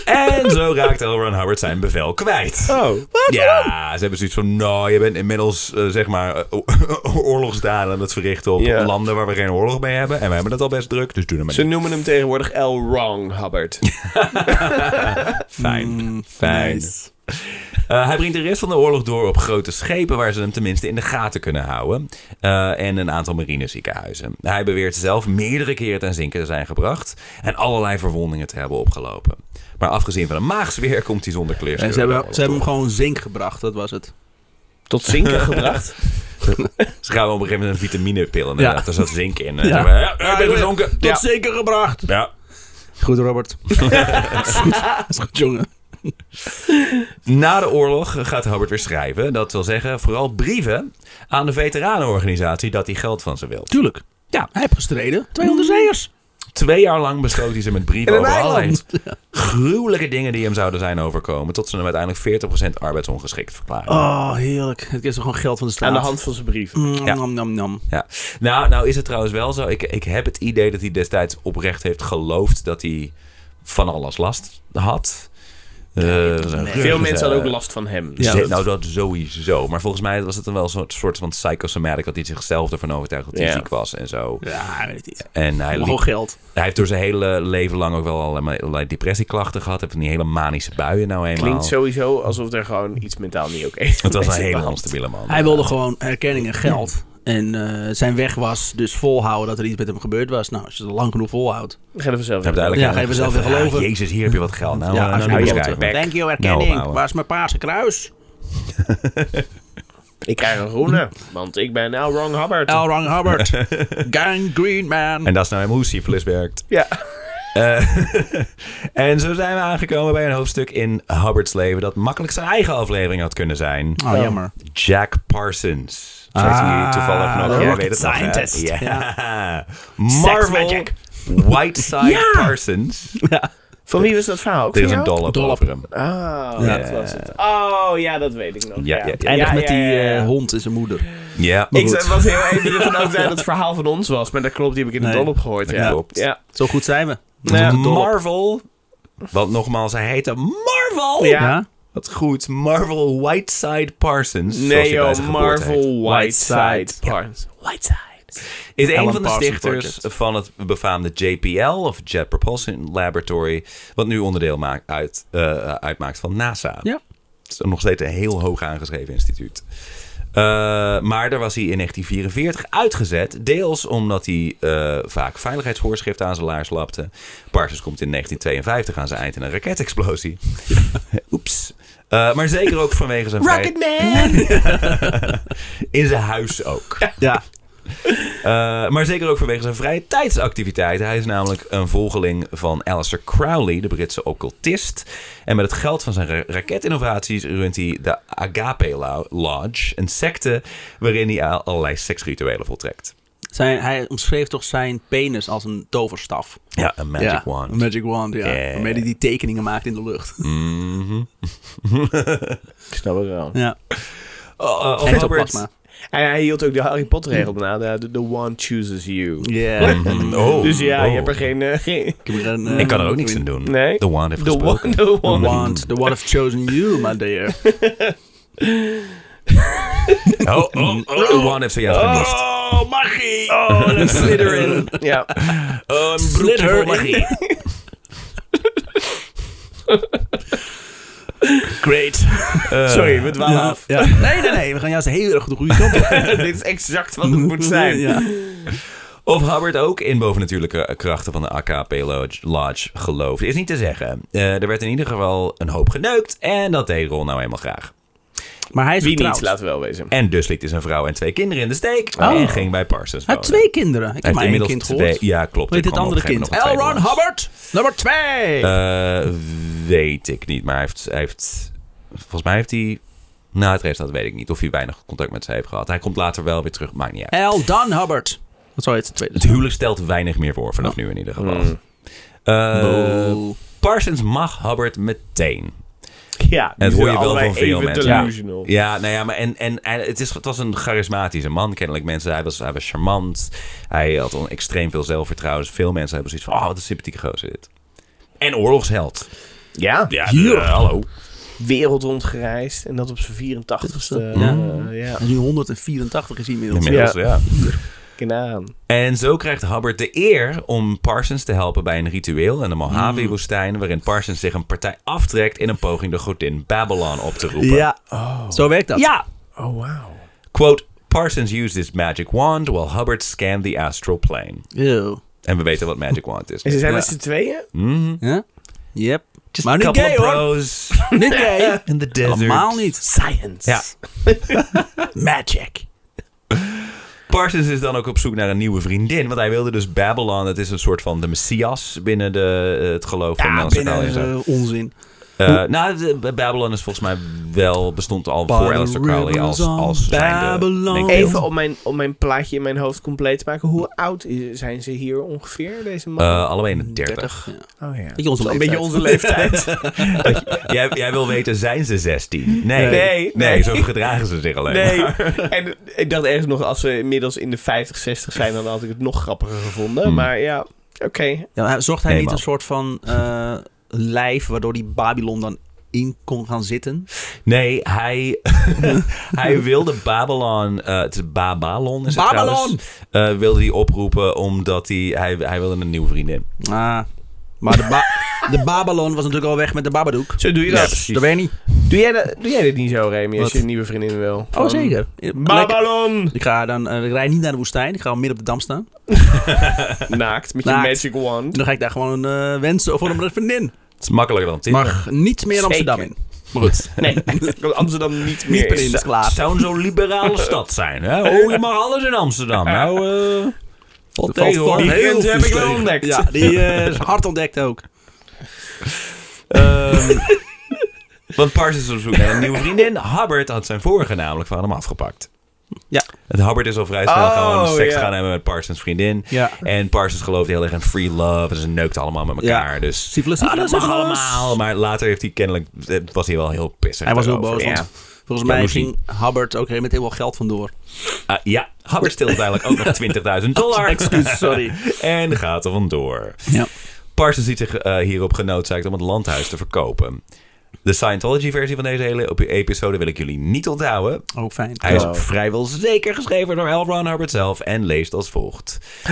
[SPEAKER 4] En zo raakt L. Ron Howard zijn bevel kwijt.
[SPEAKER 1] Oh.
[SPEAKER 4] Ja, ze hebben zoiets van, nou, je bent inmiddels, eh, zeg maar, eh, o- oorlogsdaden aan het verrichten op
[SPEAKER 1] Ja.
[SPEAKER 4] landen waar we geen oorlog mee hebben. En we hebben het al best druk, dus doe er maar
[SPEAKER 1] Ze
[SPEAKER 4] niet.
[SPEAKER 1] noemen hem tegenwoordig L. Wrong Hubbard.
[SPEAKER 4] Fijn,
[SPEAKER 3] Mm.
[SPEAKER 4] fijn. Eh, hij brengt de rest van de oorlog door op grote schepen waar ze hem tenminste in de gaten kunnen houden. Eh, en een aantal marineziekenhuizen. Hij beweert zelf meerdere keren ten zinken te zijn gebracht en allerlei verwondingen te hebben opgelopen. Maar afgezien van een maagsfeer komt hij zonder
[SPEAKER 3] En ze
[SPEAKER 4] kleerscheuren. de
[SPEAKER 3] hebben,
[SPEAKER 4] oorlog
[SPEAKER 3] ze hebben hem
[SPEAKER 4] door.
[SPEAKER 3] gewoon zink gebracht, dat was het.
[SPEAKER 1] Tot zinken gebracht.
[SPEAKER 4] Ze gaan wel op een gegeven moment een vitaminepil inderdaad.
[SPEAKER 3] Ja.
[SPEAKER 4] Daar zat zink in. eh,
[SPEAKER 3] Ja.
[SPEAKER 4] En ze hebben, Ja, ja, ik ben gezonken.
[SPEAKER 3] Tot
[SPEAKER 4] Ja.
[SPEAKER 3] zeker gebracht.
[SPEAKER 4] Ja.
[SPEAKER 3] Goed, Robert. is goed. is goed, jongen.
[SPEAKER 4] Na de oorlog gaat Hubbard weer schrijven. Dat wil zeggen, vooral brieven aan de veteranenorganisatie dat hij geld van ze wil.
[SPEAKER 3] Tuurlijk. Mm. Ja, hij heeft gestreden. Twee onderzeeërs.
[SPEAKER 4] Twee jaar lang besloot hij ze met brieven
[SPEAKER 1] In een
[SPEAKER 4] over allerlei
[SPEAKER 1] eiland.
[SPEAKER 4] gruwelijke dingen die hem zouden zijn overkomen. Tot ze hem uiteindelijk 40% arbeidsongeschikt verklaren.
[SPEAKER 3] Oh, heerlijk. Het is toch gewoon geld van de straat.
[SPEAKER 1] Aan de hand van zijn brieven.
[SPEAKER 3] Mm,
[SPEAKER 4] Ja.
[SPEAKER 3] Nam, nam, nam.
[SPEAKER 4] Ja. Nou, nou is het trouwens wel zo. Ik, ik heb het idee dat hij destijds oprecht heeft geloofd dat hij van alles last had. Eh, was een
[SPEAKER 1] Veel mensen hadden ook
[SPEAKER 4] eh,
[SPEAKER 1] last van hem.
[SPEAKER 4] Ja,
[SPEAKER 3] Ja,
[SPEAKER 4] nou, dat sowieso. Maar volgens mij was het dan wel een soort, soort van psychosomatic... dat hij zichzelf ervan overtuigd dat hij
[SPEAKER 1] Ja.
[SPEAKER 4] ziek was en zo.
[SPEAKER 3] Ja, weet ik niet.
[SPEAKER 4] En hij,
[SPEAKER 3] Gewoon
[SPEAKER 4] liep-
[SPEAKER 3] geld.
[SPEAKER 4] hij heeft door zijn hele leven lang ook wel allerlei, allerlei depressieklachten gehad. Heeft van die hele manische buien nou eenmaal.
[SPEAKER 1] Klinkt sowieso alsof er gewoon iets mentaal niet oké is.
[SPEAKER 4] Het was een
[SPEAKER 1] Mensen
[SPEAKER 4] hele
[SPEAKER 1] behandeld.
[SPEAKER 4] onstabiele man.
[SPEAKER 3] Hij wilde gewoon erkenning en geld. En eh, zijn weg was dus volhouden dat er iets met hem gebeurd was. Nou, als je het lang genoeg volhoudt.
[SPEAKER 1] We gaan er vanzelf
[SPEAKER 4] Hij heeft
[SPEAKER 1] in.
[SPEAKER 3] Ja,
[SPEAKER 4] eigenlijk helemaal
[SPEAKER 3] ga je mezelf
[SPEAKER 4] gezegd
[SPEAKER 3] weer
[SPEAKER 4] van,
[SPEAKER 3] geloven.
[SPEAKER 4] "Ah, Jezus, hier heb je wat geld. Nou,
[SPEAKER 3] ja,
[SPEAKER 4] eh,
[SPEAKER 3] als
[SPEAKER 4] nou,
[SPEAKER 3] je
[SPEAKER 4] doe
[SPEAKER 1] je
[SPEAKER 4] eens
[SPEAKER 1] hand
[SPEAKER 4] kijken.
[SPEAKER 1] erbij.
[SPEAKER 3] Thank you,
[SPEAKER 4] Nou,
[SPEAKER 3] erkenning.
[SPEAKER 4] ouwe.
[SPEAKER 3] Waar is mijn paarse kruis?
[SPEAKER 1] Ik krijg een groene, want ik ben L. Wrong Hubbard.
[SPEAKER 3] L. Ron Hubbard. Gang Green Man.
[SPEAKER 4] En dat is nou helemaal hoe syphilis werkt.
[SPEAKER 1] Ja.
[SPEAKER 4] Eh, en zo zijn we aangekomen bij een hoofdstuk in Hubbard's leven... dat makkelijk zijn eigen aflevering had kunnen zijn.
[SPEAKER 3] Oh, jammer.
[SPEAKER 4] Jack Parsons. Zoals hij nu toevallig nog.
[SPEAKER 3] de
[SPEAKER 4] Jij
[SPEAKER 3] rocket
[SPEAKER 4] weet het nog, hè?
[SPEAKER 3] scientist.
[SPEAKER 4] Ja.
[SPEAKER 1] Sex
[SPEAKER 4] Marvel
[SPEAKER 1] magic.
[SPEAKER 4] Whiteside Parsons.
[SPEAKER 1] Van wie was dat verhaal? Ook
[SPEAKER 4] Er is
[SPEAKER 1] van
[SPEAKER 4] een
[SPEAKER 1] jou?
[SPEAKER 4] dollop,
[SPEAKER 3] Dollop.
[SPEAKER 4] over hem.
[SPEAKER 1] Oh,
[SPEAKER 3] Ja.
[SPEAKER 1] dat was het. Oh, ja, dat weet ik nog.
[SPEAKER 4] Ja,
[SPEAKER 1] Ja,
[SPEAKER 4] ja, ja.
[SPEAKER 3] Eindig
[SPEAKER 1] Ja,
[SPEAKER 3] met
[SPEAKER 1] ja,
[SPEAKER 3] die
[SPEAKER 1] ja, ja.
[SPEAKER 3] eh, hond en zijn moeder.
[SPEAKER 4] Ja.
[SPEAKER 1] Ik
[SPEAKER 3] goed.
[SPEAKER 1] zei- was heel even ervan overtuigd dat het verhaal van ons was. Maar dat klopt, die heb ik in de
[SPEAKER 3] Nee,
[SPEAKER 1] dollop gehoord.
[SPEAKER 4] dat
[SPEAKER 1] ja.
[SPEAKER 4] klopt.
[SPEAKER 1] Ja.
[SPEAKER 3] Zo goed zijn we.
[SPEAKER 1] Nou ja,
[SPEAKER 4] Marvel. Want nogmaals, hij heette Marvel.
[SPEAKER 1] Ja.
[SPEAKER 3] Ja?
[SPEAKER 4] Wat goed. Marvel Whiteside Parsons. zoals
[SPEAKER 1] Nee
[SPEAKER 4] hij bij
[SPEAKER 1] joh,
[SPEAKER 4] zijn geboorte heet.
[SPEAKER 1] Marvel Whiteside.
[SPEAKER 3] Whiteside.
[SPEAKER 1] Parsons. Whiteside.
[SPEAKER 4] Is een
[SPEAKER 3] Alan
[SPEAKER 4] van de
[SPEAKER 3] Parsons
[SPEAKER 4] stichters
[SPEAKER 3] Project.
[SPEAKER 4] van het befaamde JPL, of Jet Propulsion Laboratory, wat nu onderdeel maakt uit, eh, uitmaakt van NASA.
[SPEAKER 3] Ja.
[SPEAKER 4] Het is nog steeds een heel hoog aangeschreven instituut. Eh, maar daar was hij in 1944 uitgezet. Deels omdat hij eh, vaak veiligheidsvoorschriften aan zijn laars lapte. Parsons komt in 1952 aan zijn eind in een raketexplosie. Oeps. Eh, maar zeker ook vanwege zijn vrij-
[SPEAKER 1] Rocketman!
[SPEAKER 4] In zijn huis ook.
[SPEAKER 3] Ja.
[SPEAKER 4] Eh, maar zeker ook vanwege zijn vrije tijdsactiviteiten. Hij is namelijk een volgeling van Alistair Crowley, de Britse occultist. En met het geld van zijn ra- raketinnovaties runt hij de Agape Lo- Lodge, een secte waarin hij al- allerlei seksrituelen voltrekt.
[SPEAKER 3] Zijn, hij omschreef toch zijn penis als een toverstaf.
[SPEAKER 4] Ja, een magic
[SPEAKER 3] ja.
[SPEAKER 4] wand.
[SPEAKER 3] Een Magic wand, ja.
[SPEAKER 4] Ja.
[SPEAKER 3] Waarmee hij die tekeningen maakt in de lucht.
[SPEAKER 4] Mhm.
[SPEAKER 1] Ik snap het wel.
[SPEAKER 3] Ja.
[SPEAKER 4] Oh, eh, of
[SPEAKER 3] En
[SPEAKER 4] Hubbard-
[SPEAKER 3] topasma.
[SPEAKER 1] En hij hield ook de Harry Potter regel na. de- de- The one chooses you.
[SPEAKER 3] Yeah.
[SPEAKER 4] Mhm. Oh,
[SPEAKER 1] Dus ja, je
[SPEAKER 4] oh.
[SPEAKER 1] hebt er geen... eh, geen-
[SPEAKER 3] Ik, heb er een, eh,
[SPEAKER 4] Ik kan er ook niks aan doen.
[SPEAKER 1] Nee.
[SPEAKER 4] The wand heeft
[SPEAKER 1] The
[SPEAKER 4] gesproken.
[SPEAKER 1] one, the
[SPEAKER 3] The
[SPEAKER 1] one.
[SPEAKER 3] wand. The one have chosen you, my dear.
[SPEAKER 4] Oh, oh, oh. The wand heeft zojuist gemist.
[SPEAKER 1] Oh, magie! Oh, dat Slytherin. Ja.
[SPEAKER 4] Oh, Een
[SPEAKER 3] Slitter
[SPEAKER 4] broekje vol
[SPEAKER 3] in.
[SPEAKER 4] magie.
[SPEAKER 1] Great. Sorry, we dwalen
[SPEAKER 3] Ja,
[SPEAKER 1] af.
[SPEAKER 3] ja. Nee, nee, nee. We gaan juist heel erg de goede kant op.
[SPEAKER 1] Dit is exact wat het moet zijn.
[SPEAKER 3] Ja.
[SPEAKER 4] Of Hubbard ook in bovennatuurlijke eh, krachten van de AKP Lodge, Lodge gelooft. Is niet te zeggen. Eh, er werd in ieder geval een hoop geneukt. En dat deed Ron nou eenmaal graag.
[SPEAKER 3] Maar hij is
[SPEAKER 1] Wie
[SPEAKER 3] getrouwd.
[SPEAKER 1] niet, laten we wel wezen.
[SPEAKER 4] En dus liet hij zijn vrouw en twee kinderen in de steek.
[SPEAKER 3] Oh.
[SPEAKER 4] En ging bij Parsons
[SPEAKER 3] Hij
[SPEAKER 4] wonen.
[SPEAKER 3] heeft twee kinderen. Ik
[SPEAKER 4] Hij
[SPEAKER 3] heb
[SPEAKER 4] heeft
[SPEAKER 3] maar één
[SPEAKER 4] inmiddels
[SPEAKER 3] kind
[SPEAKER 4] twee.
[SPEAKER 3] gehoord.
[SPEAKER 4] Ja, klopt.
[SPEAKER 3] Hoe heet dit
[SPEAKER 4] Er kwam
[SPEAKER 3] andere
[SPEAKER 4] op een
[SPEAKER 3] kind?
[SPEAKER 4] gegeven
[SPEAKER 3] L.
[SPEAKER 4] moment nog
[SPEAKER 3] Ron
[SPEAKER 4] een tweede
[SPEAKER 3] Hubbard, nummer twee.
[SPEAKER 4] langs. Eh, weet ik niet. Maar hij heeft, hij heeft... Volgens mij heeft hij... Na het resultaat weet ik niet of hij weinig contact met ze heeft gehad. Hij komt later wel weer terug. Maakt niet uit.
[SPEAKER 3] L. Don Hubbard. Dat zou het tweede
[SPEAKER 4] Het huwelijk stelt weinig meer voor vanaf nu in ieder geval.
[SPEAKER 1] Mm.
[SPEAKER 4] Eh,
[SPEAKER 3] Boe.
[SPEAKER 4] Parsons mag Hubbard meteen.
[SPEAKER 1] Ja,
[SPEAKER 4] En dat
[SPEAKER 1] die
[SPEAKER 4] hoor je
[SPEAKER 1] zijn
[SPEAKER 4] wel
[SPEAKER 1] allebei
[SPEAKER 4] van veel
[SPEAKER 1] even
[SPEAKER 4] mensen.
[SPEAKER 1] delusional.
[SPEAKER 4] Ja, nou ja, maar en, en, en het, is, het was een charismatische man, kennelijk. Mensen, hij was, hij was charmant. Hij had een extreem veel zelfvertrouwen. Dus veel mensen hebben zoiets van, oh, wat een sympathieke gozer dit. En oorlogsheld.
[SPEAKER 1] Ja,
[SPEAKER 4] Ja,
[SPEAKER 3] Hier.
[SPEAKER 4] eh, hallo.
[SPEAKER 1] wereld rondgereisd. En dat op zijn 84ste.
[SPEAKER 3] Ja.
[SPEAKER 1] eh, ja,
[SPEAKER 3] En nu 184 is hij inmiddels.
[SPEAKER 4] Inmiddels,
[SPEAKER 1] Ja.
[SPEAKER 4] ja.
[SPEAKER 1] Kanaan.
[SPEAKER 4] En zo krijgt Hubbard de eer om Parsons te helpen bij een ritueel in de Mojave-woestijn...
[SPEAKER 3] Hmm.
[SPEAKER 4] waarin Parsons zich een partij aftrekt in een poging de godin Babylon op te roepen.
[SPEAKER 3] Ja, zo werkt dat. Ja.
[SPEAKER 1] Oh, wauw.
[SPEAKER 4] Quote, Parsons used his magic wand while Hubbard scanned the astral plane.
[SPEAKER 3] Ew.
[SPEAKER 4] En we weten wat magic wand is.
[SPEAKER 1] En ze zijn
[SPEAKER 3] Ja.
[SPEAKER 1] met z'n tweeën?
[SPEAKER 3] Ja? Yep.
[SPEAKER 4] Just
[SPEAKER 3] maar
[SPEAKER 4] a
[SPEAKER 3] niet
[SPEAKER 4] couple
[SPEAKER 3] gay
[SPEAKER 4] of
[SPEAKER 3] hoor.
[SPEAKER 4] bros
[SPEAKER 3] Niet gay.
[SPEAKER 4] in the desert.
[SPEAKER 3] Helemaal niet.
[SPEAKER 1] Science.
[SPEAKER 4] Ja.
[SPEAKER 3] Magic.
[SPEAKER 4] Parsons is dan ook op zoek naar een nieuwe vriendin. Want hij wilde dus Babylon. Het is een soort van de messias binnen de, eh, het geloof van
[SPEAKER 3] Ja,
[SPEAKER 4] Alistair Crowley
[SPEAKER 3] binnen
[SPEAKER 4] en zo.
[SPEAKER 3] eh, onzin.
[SPEAKER 4] Eh, nou, de- de Babylon is volgens mij wel... bestond al voor Alistair Crowley als, als zijnde...
[SPEAKER 3] Babylon.
[SPEAKER 4] denk ik.
[SPEAKER 1] Even om mijn, om mijn plaatje in mijn hoofd compleet te maken. Hoe oud i- zijn ze hier ongeveer, deze man?
[SPEAKER 4] Eh, allebei in de 30.
[SPEAKER 3] Ja.
[SPEAKER 1] oh ja.
[SPEAKER 3] Beetje onze
[SPEAKER 1] Een
[SPEAKER 3] leeftijd.
[SPEAKER 1] beetje onze leeftijd.
[SPEAKER 4] jij, jij wil weten, zijn ze 16? Nee,
[SPEAKER 1] Nee.
[SPEAKER 4] nee, zo gedragen ze zich alleen.
[SPEAKER 1] nee. En ik dacht ergens nog, als ze inmiddels in de 50, 60 zijn, dan had ik het nog grappiger
[SPEAKER 4] Hmm.
[SPEAKER 1] gevonden. Maar ja, oké.
[SPEAKER 3] Ja, maar zocht hij
[SPEAKER 4] Nee,
[SPEAKER 3] niet
[SPEAKER 4] man.
[SPEAKER 3] een soort van eh, lijf waardoor die Babylon dan in kon gaan zitten?
[SPEAKER 4] Nee, hij, hij wilde Babylon, eh, het is Babylon is het
[SPEAKER 3] Babylon!
[SPEAKER 4] trouwens, eh, wilde hij oproepen omdat hij, hij, hij wilde een nieuwe vriendin.
[SPEAKER 3] Ah, maar de, ba- de Babylon was natuurlijk al weg met de Babadook.
[SPEAKER 1] Zo doe je
[SPEAKER 4] Ja,
[SPEAKER 1] dat.
[SPEAKER 4] precies.
[SPEAKER 3] Dat weet je niet.
[SPEAKER 1] Doe jij, dat, doe jij dit niet zo, Remy, als
[SPEAKER 3] Wat?
[SPEAKER 1] je een nieuwe vriendin wil?
[SPEAKER 3] Oh,
[SPEAKER 1] Gewoon-
[SPEAKER 3] zeker. Lekker.
[SPEAKER 1] Babylon!
[SPEAKER 3] Ik ga dan, eh, ik rijd niet naar de woestijn. Ik ga midden op de dam staan.
[SPEAKER 1] Naakt, met je
[SPEAKER 3] Naakt.
[SPEAKER 1] magic wand.
[SPEAKER 3] En dan ga ik daar gewoon eh, wensen voor een vriendin.
[SPEAKER 4] Het is makkelijker dan Tinder.
[SPEAKER 3] Mag niet meer Amsterdam in. Maar goed.
[SPEAKER 1] Nee, Amsterdam niet
[SPEAKER 3] Niet
[SPEAKER 1] meer.
[SPEAKER 3] per in
[SPEAKER 1] is.
[SPEAKER 3] is klaar.
[SPEAKER 4] Het zou zo'n liberale stad zijn. Hè? Oh, je mag alles in Amsterdam. Nou, eh valt
[SPEAKER 3] Er valt
[SPEAKER 4] tegen, hoor.
[SPEAKER 3] heel
[SPEAKER 1] grens heb
[SPEAKER 3] veel
[SPEAKER 1] ik wel
[SPEAKER 3] tegen.
[SPEAKER 1] ontdekt.
[SPEAKER 3] Ja, die eh, is hard ontdekt ook.
[SPEAKER 4] Ehm, want Parsons is op zoek naar een nieuwe vriendin. Hubbard had zijn vorige namelijk van hem afgepakt.
[SPEAKER 3] Ja.
[SPEAKER 4] Het Hubbard is al vrij snel
[SPEAKER 1] Oh,
[SPEAKER 4] gewoon seks
[SPEAKER 1] ja.
[SPEAKER 4] gaan hebben met Parsons vriendin.
[SPEAKER 3] Ja.
[SPEAKER 4] En Parsons gelooft heel erg in free love. En ze neukt allemaal met elkaar.
[SPEAKER 3] Ja.
[SPEAKER 4] Dus
[SPEAKER 3] Syphilis,
[SPEAKER 4] ah, dat
[SPEAKER 3] syphilis,
[SPEAKER 4] mag
[SPEAKER 3] syphilis.
[SPEAKER 4] allemaal. Maar later heeft hij kennelijk, eh, was hij wel heel pissig.
[SPEAKER 3] Hij was heel
[SPEAKER 4] daarover.
[SPEAKER 3] boos. want
[SPEAKER 4] Ja,
[SPEAKER 3] Volgens
[SPEAKER 4] Ja,
[SPEAKER 3] mij
[SPEAKER 4] moest
[SPEAKER 3] ging Hubbard ook met heel veel geld vandoor.
[SPEAKER 4] Ah, ja. Hubbard steelt uiteindelijk ook nog 20.000 dollar.
[SPEAKER 3] Excuus, sorry.
[SPEAKER 4] En gaat er vandoor.
[SPEAKER 3] Ja.
[SPEAKER 4] Parsons ziet zich eh, hierop genoodzaakt om het landhuis te verkopen. De Scientology-versie van deze hele op- episode wil ik jullie niet onthouden.
[SPEAKER 3] Ook fijn.
[SPEAKER 4] Hij is
[SPEAKER 1] Oh.
[SPEAKER 4] vrijwel zeker geschreven door L. Ron Hubbard zelf en leest als volgt.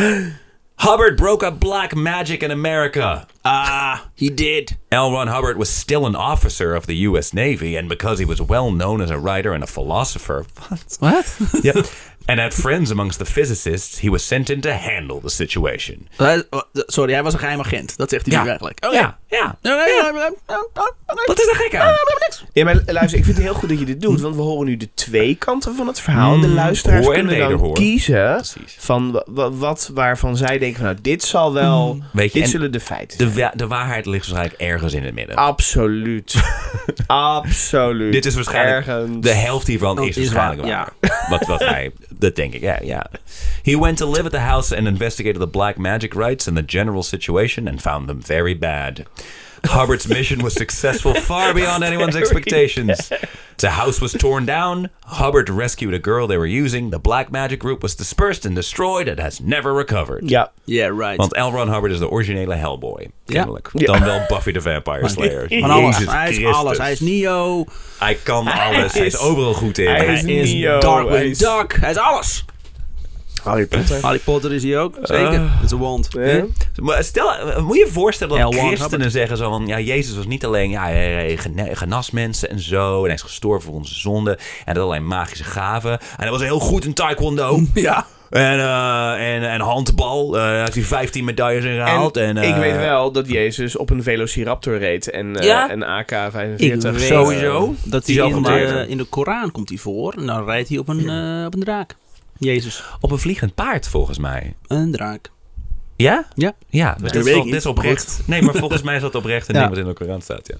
[SPEAKER 4] Hubbard broke up black magic in America.
[SPEAKER 3] Ah, he did.
[SPEAKER 4] L. Ron Hubbard was still an officer of the U.S. Navy, and because he was well known as a writer and a philosopher,
[SPEAKER 3] What?
[SPEAKER 4] yep, and had friends amongst the physicists, he was sent in to handle the situation.
[SPEAKER 3] Hij- oh, d- Sorry, hij was een geheim agent. Dat zegt hij
[SPEAKER 4] Ja.
[SPEAKER 3] nu eigenlijk. Oh
[SPEAKER 4] Ja, ja. Nou,
[SPEAKER 3] Nee, nee, nee, nee,
[SPEAKER 1] oh,
[SPEAKER 3] nee, nee, nee.
[SPEAKER 4] Wat is er gek aan?
[SPEAKER 1] Ja, maar luister, ik vind het heel goed dat je dit doet, want we horen nu de twee kanten van het verhaal. En de luisteraars
[SPEAKER 4] Hmm, hoor en
[SPEAKER 1] kunnen dan
[SPEAKER 4] wederhoor.
[SPEAKER 1] kiezen
[SPEAKER 4] Precies.
[SPEAKER 1] van wa- wa- wat waarvan zij denken van, nou, dit zal wel,
[SPEAKER 4] Hmm. Weet je,
[SPEAKER 1] dit
[SPEAKER 4] en
[SPEAKER 1] zullen de feiten zijn.
[SPEAKER 4] De, wa- de waarheid ligt waarschijnlijk ergens in het midden.
[SPEAKER 1] Absoluut. Absoluut.
[SPEAKER 4] Dit is waarschijnlijk
[SPEAKER 1] Ergens.
[SPEAKER 4] de helft hiervan
[SPEAKER 3] Oh,
[SPEAKER 4] is
[SPEAKER 3] is
[SPEAKER 4] waarschijnlijk waar.
[SPEAKER 3] waar,
[SPEAKER 4] Wat, wat hij, dat denk ik, ja, ja. He went to live at the house and investigated the black magic rites and the general situation and found them very bad. Hubbard's mission was successful far beyond anyone's expectations. The house was torn down. Hubbard rescued a girl they were using. The black magic group was dispersed and destroyed and has never recovered.
[SPEAKER 1] Ja.
[SPEAKER 3] Yeah, right.
[SPEAKER 4] Want L. Ron Hubbard is de originele Hellboy. Kennelijk. Dan wel Buffy the Vampire Slayer.
[SPEAKER 3] Van alles.
[SPEAKER 4] Jezus
[SPEAKER 3] Hij is
[SPEAKER 4] Christus.
[SPEAKER 3] alles. Hij is Neo.
[SPEAKER 4] Hij kan alles. Hij is
[SPEAKER 1] is-
[SPEAKER 4] overal goed in.
[SPEAKER 1] hij
[SPEAKER 3] Hij is
[SPEAKER 1] Neo, hij
[SPEAKER 3] Darkwing
[SPEAKER 1] is-
[SPEAKER 3] Duck. Hij is alles.
[SPEAKER 1] Harry Potter.
[SPEAKER 3] Harry Potter is hier ook. Zeker. Dat is een wand.
[SPEAKER 1] Ah. Ja.
[SPEAKER 4] Maar stel, eh, moet je je voorstellen dat
[SPEAKER 3] L. Ron
[SPEAKER 4] christenen
[SPEAKER 3] Hubbard.
[SPEAKER 4] zeggen zo van... Ja, Jezus was niet alleen... Ja, hij hij gene- genas mensen en zo. En hij is gestorven voor onze zonden. En dat alleen magische gaven. En hij was heel goed in taekwondo.
[SPEAKER 3] Ja.
[SPEAKER 4] En, eh, en, en handbal. eh, Hij heeft hier 15 medailles in gehaald. En,
[SPEAKER 1] ik
[SPEAKER 4] eh,
[SPEAKER 1] weet wel dat Jezus op een Velociraptor reed en eh,
[SPEAKER 3] Ja?
[SPEAKER 1] een AK-45. Eh,
[SPEAKER 4] Sowieso.
[SPEAKER 3] Dat
[SPEAKER 4] Die
[SPEAKER 3] hij
[SPEAKER 4] zal
[SPEAKER 3] in
[SPEAKER 4] gemaakt
[SPEAKER 3] de,
[SPEAKER 4] zijn.
[SPEAKER 3] in de Koran komt hij voor. En dan rijdt hij op een, eh, op een draak. Jezus.
[SPEAKER 4] Op een vliegend paard, volgens mij.
[SPEAKER 3] Een draak.
[SPEAKER 4] Ja?
[SPEAKER 3] Ja.
[SPEAKER 4] Ja, dus
[SPEAKER 3] weet
[SPEAKER 4] dit is,
[SPEAKER 3] ik
[SPEAKER 4] wel-
[SPEAKER 3] niet.
[SPEAKER 4] dit is oprecht. Nee, maar volgens mij is dat oprecht en
[SPEAKER 3] Ja.
[SPEAKER 4] ding wat in de Koran staat, ja.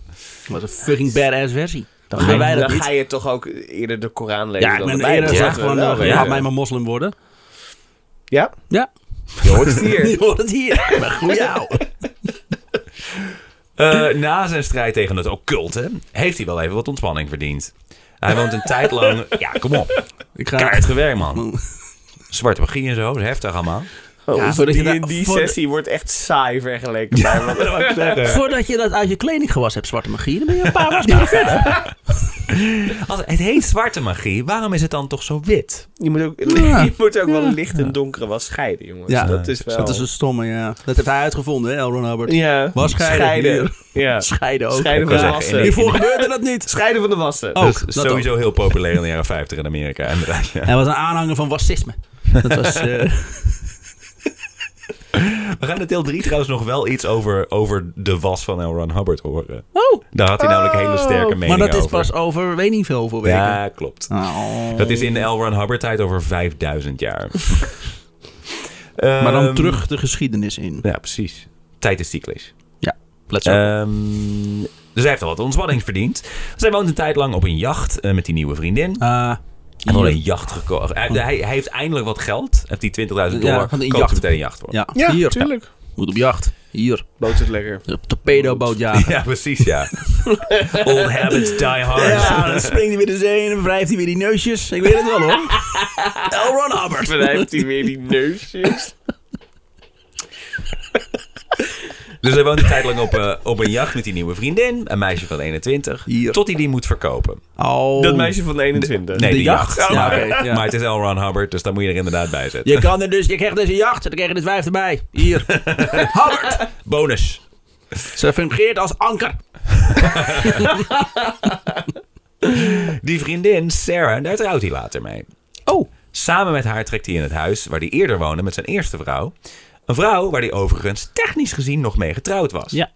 [SPEAKER 3] Dat is een fucking badass versie. Dan
[SPEAKER 1] Dan,
[SPEAKER 3] gaan wij dat
[SPEAKER 1] dan
[SPEAKER 3] niet.
[SPEAKER 1] ga je toch ook eerder de Koran lezen
[SPEAKER 3] Ja, ik
[SPEAKER 1] dan
[SPEAKER 3] ben
[SPEAKER 1] de Bijbel.
[SPEAKER 3] eerder
[SPEAKER 1] Dat
[SPEAKER 3] ja,
[SPEAKER 1] we
[SPEAKER 3] gewoon,
[SPEAKER 1] wel
[SPEAKER 3] eh,
[SPEAKER 1] weten.
[SPEAKER 3] laat mij maar moslim worden.
[SPEAKER 1] Ja?
[SPEAKER 3] Ja.
[SPEAKER 1] Je hoort het hier.
[SPEAKER 3] Je hoort het hier. Maar goed jou.
[SPEAKER 4] Eh, na zijn strijd tegen het occulte heeft hij wel even wat ontspanning verdiend. Hij woont een tijd lang... Ja, kom op.
[SPEAKER 3] Ik ga...
[SPEAKER 4] Kaart gewerkt, man. Zwarte magie en zo, dat is heftig allemaal.
[SPEAKER 1] Oh,
[SPEAKER 3] Ja,
[SPEAKER 1] voor
[SPEAKER 3] voordat je
[SPEAKER 1] die,
[SPEAKER 3] daar-
[SPEAKER 1] die
[SPEAKER 3] voor-
[SPEAKER 1] sessie wordt echt saai vergeleken. bij wat ik zeggen.
[SPEAKER 3] Voordat je dat uit je kleding gewas hebt, zwarte magie, dan ben je een paar was meer verder.
[SPEAKER 4] Als het heet zwarte magie, waarom is het dan toch zo wit?
[SPEAKER 1] Je moet ook,
[SPEAKER 3] Ja.
[SPEAKER 1] je moet ook wel licht en donkere was scheiden, jongens.
[SPEAKER 3] Ja.
[SPEAKER 1] Dus dat is wel...
[SPEAKER 3] Dat is een stomme, ja. Dat heeft hij uitgevonden, hè, L. Ron Hubbard.
[SPEAKER 1] ja.
[SPEAKER 3] Was scheiden.
[SPEAKER 1] Ja.
[SPEAKER 3] Scheiden ook.
[SPEAKER 1] Scheiden van
[SPEAKER 4] Ik kan
[SPEAKER 1] de
[SPEAKER 4] zeggen, in
[SPEAKER 1] wassen.
[SPEAKER 4] de-
[SPEAKER 3] Hiervoor gebeurde dat niet.
[SPEAKER 1] Scheiden van de wassen.
[SPEAKER 3] Ook,
[SPEAKER 4] dat is
[SPEAKER 3] dat nou
[SPEAKER 4] sowieso heel populair in de jaren 50 in Amerika, inderdaad. Ja.
[SPEAKER 3] Hij was een aanhanger van fascisme. Dat was... eh,
[SPEAKER 4] We gaan in deel 3 trouwens nog wel iets over, over de was van L. Ron Hubbard horen.
[SPEAKER 3] oh,
[SPEAKER 4] Daar had hij namelijk hele sterke mening
[SPEAKER 3] maar
[SPEAKER 4] over.
[SPEAKER 3] dat is pas over, weet niet veel, hoeveel weken.
[SPEAKER 4] Ja, klopt.
[SPEAKER 3] Oh.
[SPEAKER 4] Dat is in de L. Ron Hubbard tijd over 5000 jaar.
[SPEAKER 3] Maar dan
[SPEAKER 4] Ehm,
[SPEAKER 3] terug de geschiedenis in.
[SPEAKER 4] Ja, Eh, precies. Tijd is cyclisch.
[SPEAKER 3] Let's go.
[SPEAKER 4] Ehm, dus hij heeft al wat ontspanning verdiend. Zij woont een tijd lang op een jacht eh, met die nieuwe vriendin.
[SPEAKER 3] Ah,
[SPEAKER 4] En al
[SPEAKER 3] hier.
[SPEAKER 4] een jacht gekocht. Hij, hij, hij heeft eindelijk wat geld. Heeft die 20.000 dollar.
[SPEAKER 3] Ja,
[SPEAKER 4] Ja,
[SPEAKER 3] van een
[SPEAKER 4] koopt
[SPEAKER 3] jacht.
[SPEAKER 4] er meteen een jacht voor.
[SPEAKER 3] ja,
[SPEAKER 1] Ja,
[SPEAKER 3] hier.
[SPEAKER 1] tuurlijk.
[SPEAKER 3] Ja, Moet op jacht. Hier.
[SPEAKER 1] Boot het lekker.
[SPEAKER 3] De torpedoboot jagen.
[SPEAKER 4] Ja, precies, ja. Old habits die hard.
[SPEAKER 3] Ja, Ah, dan springt hij weer de zee en dan wrijft hij weer die neusjes. Ik weet het wel hoor. L. Ron Hubbard.
[SPEAKER 1] Maar hij heeft hij weer die
[SPEAKER 3] Oh.
[SPEAKER 1] neusjes.
[SPEAKER 4] Dus hij woont een tijd lang op, eh, op een jacht met die nieuwe vriendin. Een meisje van 21.
[SPEAKER 3] Hier.
[SPEAKER 4] Tot hij die moet verkopen.
[SPEAKER 3] Oh.
[SPEAKER 1] Dat meisje van 21.
[SPEAKER 4] Nee,
[SPEAKER 3] De
[SPEAKER 4] de jacht.
[SPEAKER 3] jacht. Ja,
[SPEAKER 4] maar,
[SPEAKER 3] oké, ja.
[SPEAKER 4] maar het is L. Ron Hubbard, dus daar moet je er inderdaad bij zetten.
[SPEAKER 3] Je, kan er dus, je krijgt dus een jacht en dan krijg je het wijf erbij. Hier. Hubbard.
[SPEAKER 4] Bonus.
[SPEAKER 3] Ze fungeert als anker.
[SPEAKER 4] Die vriendin, Sarah, daar trouwt hij later mee.
[SPEAKER 3] Oh.
[SPEAKER 4] Samen met haar trekt hij in het huis waar hij eerder woonde met zijn eerste vrouw. Een vrouw waar hij overigens technisch gezien nog mee getrouwd was.
[SPEAKER 3] Ja.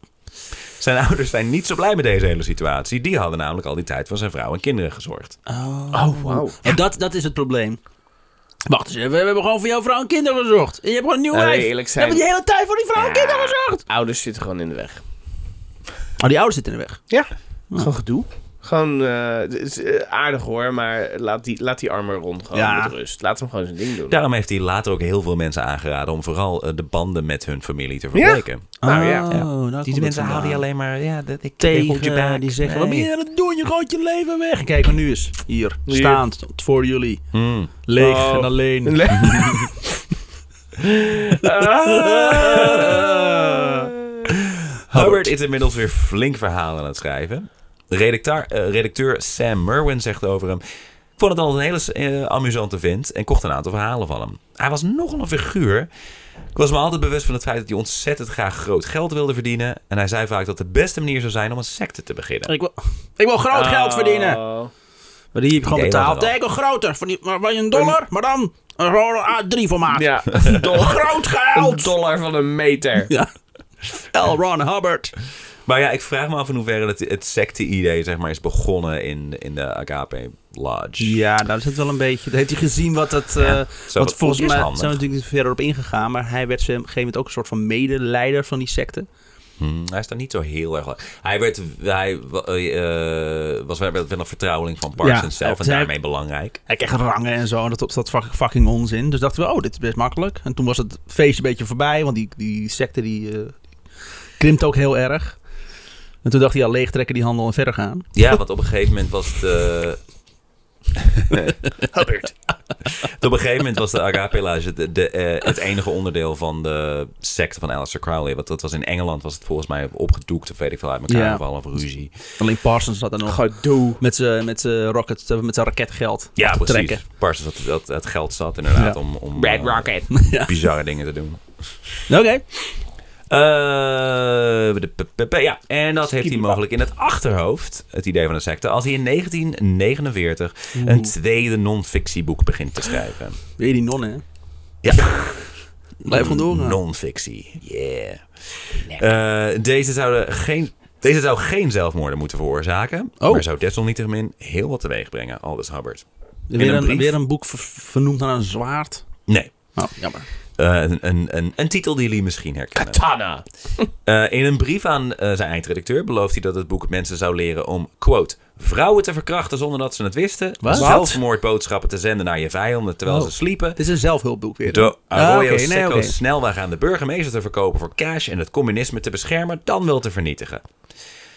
[SPEAKER 4] Zijn ouders zijn niet zo blij met deze hele situatie. Die hadden namelijk al die tijd van zijn vrouw en kinderen gezorgd.
[SPEAKER 3] Ah.
[SPEAKER 1] Oh, wauw.
[SPEAKER 3] En dat, dat is het probleem. Wacht eens even, we hebben gewoon voor jouw vrouw en kinderen gezocht. En je hebt gewoon een nieuw
[SPEAKER 1] Laten we
[SPEAKER 3] wijf.
[SPEAKER 1] eerlijk
[SPEAKER 3] We hebben
[SPEAKER 1] zijn.
[SPEAKER 3] die hele tijd voor die vrouw en kinderen gezocht.
[SPEAKER 1] Ouders zitten gewoon in de weg.
[SPEAKER 3] Oh, die ouders zitten in de weg.
[SPEAKER 1] Ja. Gewoon gedoe. Gewoon eh, het is, eh, aardig hoor, maar laat die, laat die armen rond gewoon
[SPEAKER 3] Ja.
[SPEAKER 1] met rust. Laat hem gewoon zijn ding doen.
[SPEAKER 4] Daarom heeft hij later ook heel veel mensen aangeraden om vooral eh, de banden met hun familie te verbreken.
[SPEAKER 1] Nou ja.
[SPEAKER 3] Oh,
[SPEAKER 4] Ja.
[SPEAKER 3] daar komt
[SPEAKER 4] Die
[SPEAKER 3] het
[SPEAKER 4] mensen
[SPEAKER 3] vandaan.
[SPEAKER 4] houden die alleen maar... Ja, dat, ik, ik hold je
[SPEAKER 3] tegen
[SPEAKER 4] back.
[SPEAKER 3] die zeggen,
[SPEAKER 4] Nee.
[SPEAKER 3] wat ben je aan het doen? Je gooit je leven weg. En Kijk maar nu eens. Hier,
[SPEAKER 1] Hier.
[SPEAKER 3] staand, voor jullie.
[SPEAKER 4] Hmm.
[SPEAKER 3] Leeg
[SPEAKER 1] Oh.
[SPEAKER 3] en alleen.
[SPEAKER 1] Le- Ah.
[SPEAKER 4] Hubbard is inmiddels weer flink verhaal aan het schrijven. Redacteur, eh, redacteur Sam Merwin zegt over hem... Ik vond het altijd een hele eh, amusante vent en kocht een aantal verhalen van hem. Hij was nogal een figuur. Ik was me altijd bewust van het feit dat hij ontzettend graag groot geld wilde verdienen. En hij zei vaak dat de beste manier zou zijn om een secte te beginnen.
[SPEAKER 3] Ik wil, ik wil groot geld verdienen.
[SPEAKER 1] Oh.
[SPEAKER 3] Maar die heb ik gewoon
[SPEAKER 4] idee
[SPEAKER 3] betaald.
[SPEAKER 4] was er al.
[SPEAKER 3] Nee, ik wil groter. Van die, maar, maar een dollar, maar dan een rode A3 formaat.
[SPEAKER 1] Ja, een dollar,
[SPEAKER 3] Groot
[SPEAKER 1] een
[SPEAKER 3] geld.
[SPEAKER 1] dollar van een meter.
[SPEAKER 3] Ja. L. Ron Hubbard.
[SPEAKER 4] Maar ja, ik vraag me af in hoeverre het, het secte-idee zeg maar, is begonnen in, in de Agape Lodge.
[SPEAKER 3] Ja, daar zit wel een beetje. Dat heeft hij gezien wat dat. eh
[SPEAKER 4] zo,
[SPEAKER 3] want volgens
[SPEAKER 4] is
[SPEAKER 3] mij zijn
[SPEAKER 4] handig.
[SPEAKER 3] we natuurlijk niet verder op ingegaan. Maar hij werd op een gegeven moment ook een soort van medeleider van die secte.
[SPEAKER 4] Hmm, hij is daar niet zo heel erg... lang- Hij, werd, hij wa- eh, was wel wel een vertrouweling van Parsons
[SPEAKER 3] Ja,
[SPEAKER 4] zelf en
[SPEAKER 3] zij-
[SPEAKER 4] daarmee belangrijk.
[SPEAKER 3] Hij kreeg rangen en zo. En dat dat was fucking onzin. Dus dachten we, oh, dit is best makkelijk. En toen was het feestje een beetje voorbij. Want die, die secte die, eh, krimpt ook heel erg. En toen dacht hij, ja, leegtrekken die handel en verder gaan.
[SPEAKER 4] Ja, want op een gegeven moment was het... eh,
[SPEAKER 1] Hubbard.
[SPEAKER 4] Op op een gegeven moment was de agapelage de, de, eh, het enige onderdeel van de secte van Aleister Crowley. Want dat was in Engeland, was het volgens mij opgedoekt of weet ik veel uit elkaar.
[SPEAKER 3] Ja.
[SPEAKER 4] Of al of ruzie.
[SPEAKER 3] Alleen Parsons zat er nog.
[SPEAKER 1] Gedoe.
[SPEAKER 3] Met zijn met z'n rocket, met zijn raketgeld.
[SPEAKER 4] Ja,
[SPEAKER 3] af te
[SPEAKER 4] precies.
[SPEAKER 3] trekken.
[SPEAKER 4] Parsons had dat, het geld zat inderdaad
[SPEAKER 3] Ja.
[SPEAKER 4] om, om
[SPEAKER 1] Red
[SPEAKER 4] eh,
[SPEAKER 1] Rocket.
[SPEAKER 4] bizarre dingen te doen.
[SPEAKER 3] Oké.
[SPEAKER 4] Eh, de p- p- p- Eh, ja, en dat heeft hij mogelijk in het achterhoofd, het idee van de secte, als hij in 1949 een tweede non-fictieboek begint te schrijven.
[SPEAKER 3] Weer die nonnen, hè?
[SPEAKER 4] Ja.
[SPEAKER 3] Blijf gewoon eh. doorgaan.
[SPEAKER 4] Non-fictie. Yeah. Eh, deze, zouden geen, deze zou geen zelfmoorden moeten veroorzaken.
[SPEAKER 3] Oh.
[SPEAKER 4] Maar zou desalniettemin heel wat teweeg brengen. Aldus Hubbard.
[SPEAKER 3] Weer
[SPEAKER 4] een
[SPEAKER 3] een,
[SPEAKER 4] brief.
[SPEAKER 3] weer een boek ver- vernoemd naar een zwaard.
[SPEAKER 4] Nee.
[SPEAKER 3] Oh, jammer.
[SPEAKER 4] Eh, een, een, een, een titel die jullie misschien herkennen.
[SPEAKER 1] Katana.
[SPEAKER 4] Eh, in een brief aan eh, zijn eindredacteur belooft hij dat het boek mensen zou leren om, quote, vrouwen te verkrachten zonder dat ze het wisten.
[SPEAKER 3] Wat?
[SPEAKER 4] Zelfmoordboodschappen te zenden naar je vijanden terwijl
[SPEAKER 3] Oh.
[SPEAKER 4] ze sliepen.
[SPEAKER 3] Het is een zelfhulpboek weer.
[SPEAKER 4] De
[SPEAKER 3] Ah,
[SPEAKER 4] Arroyo
[SPEAKER 3] oké, nee,
[SPEAKER 4] Seco's
[SPEAKER 3] oké.
[SPEAKER 4] snelweg aan de burgemeester te verkopen voor cash en het communisme te beschermen, dan wel te vernietigen.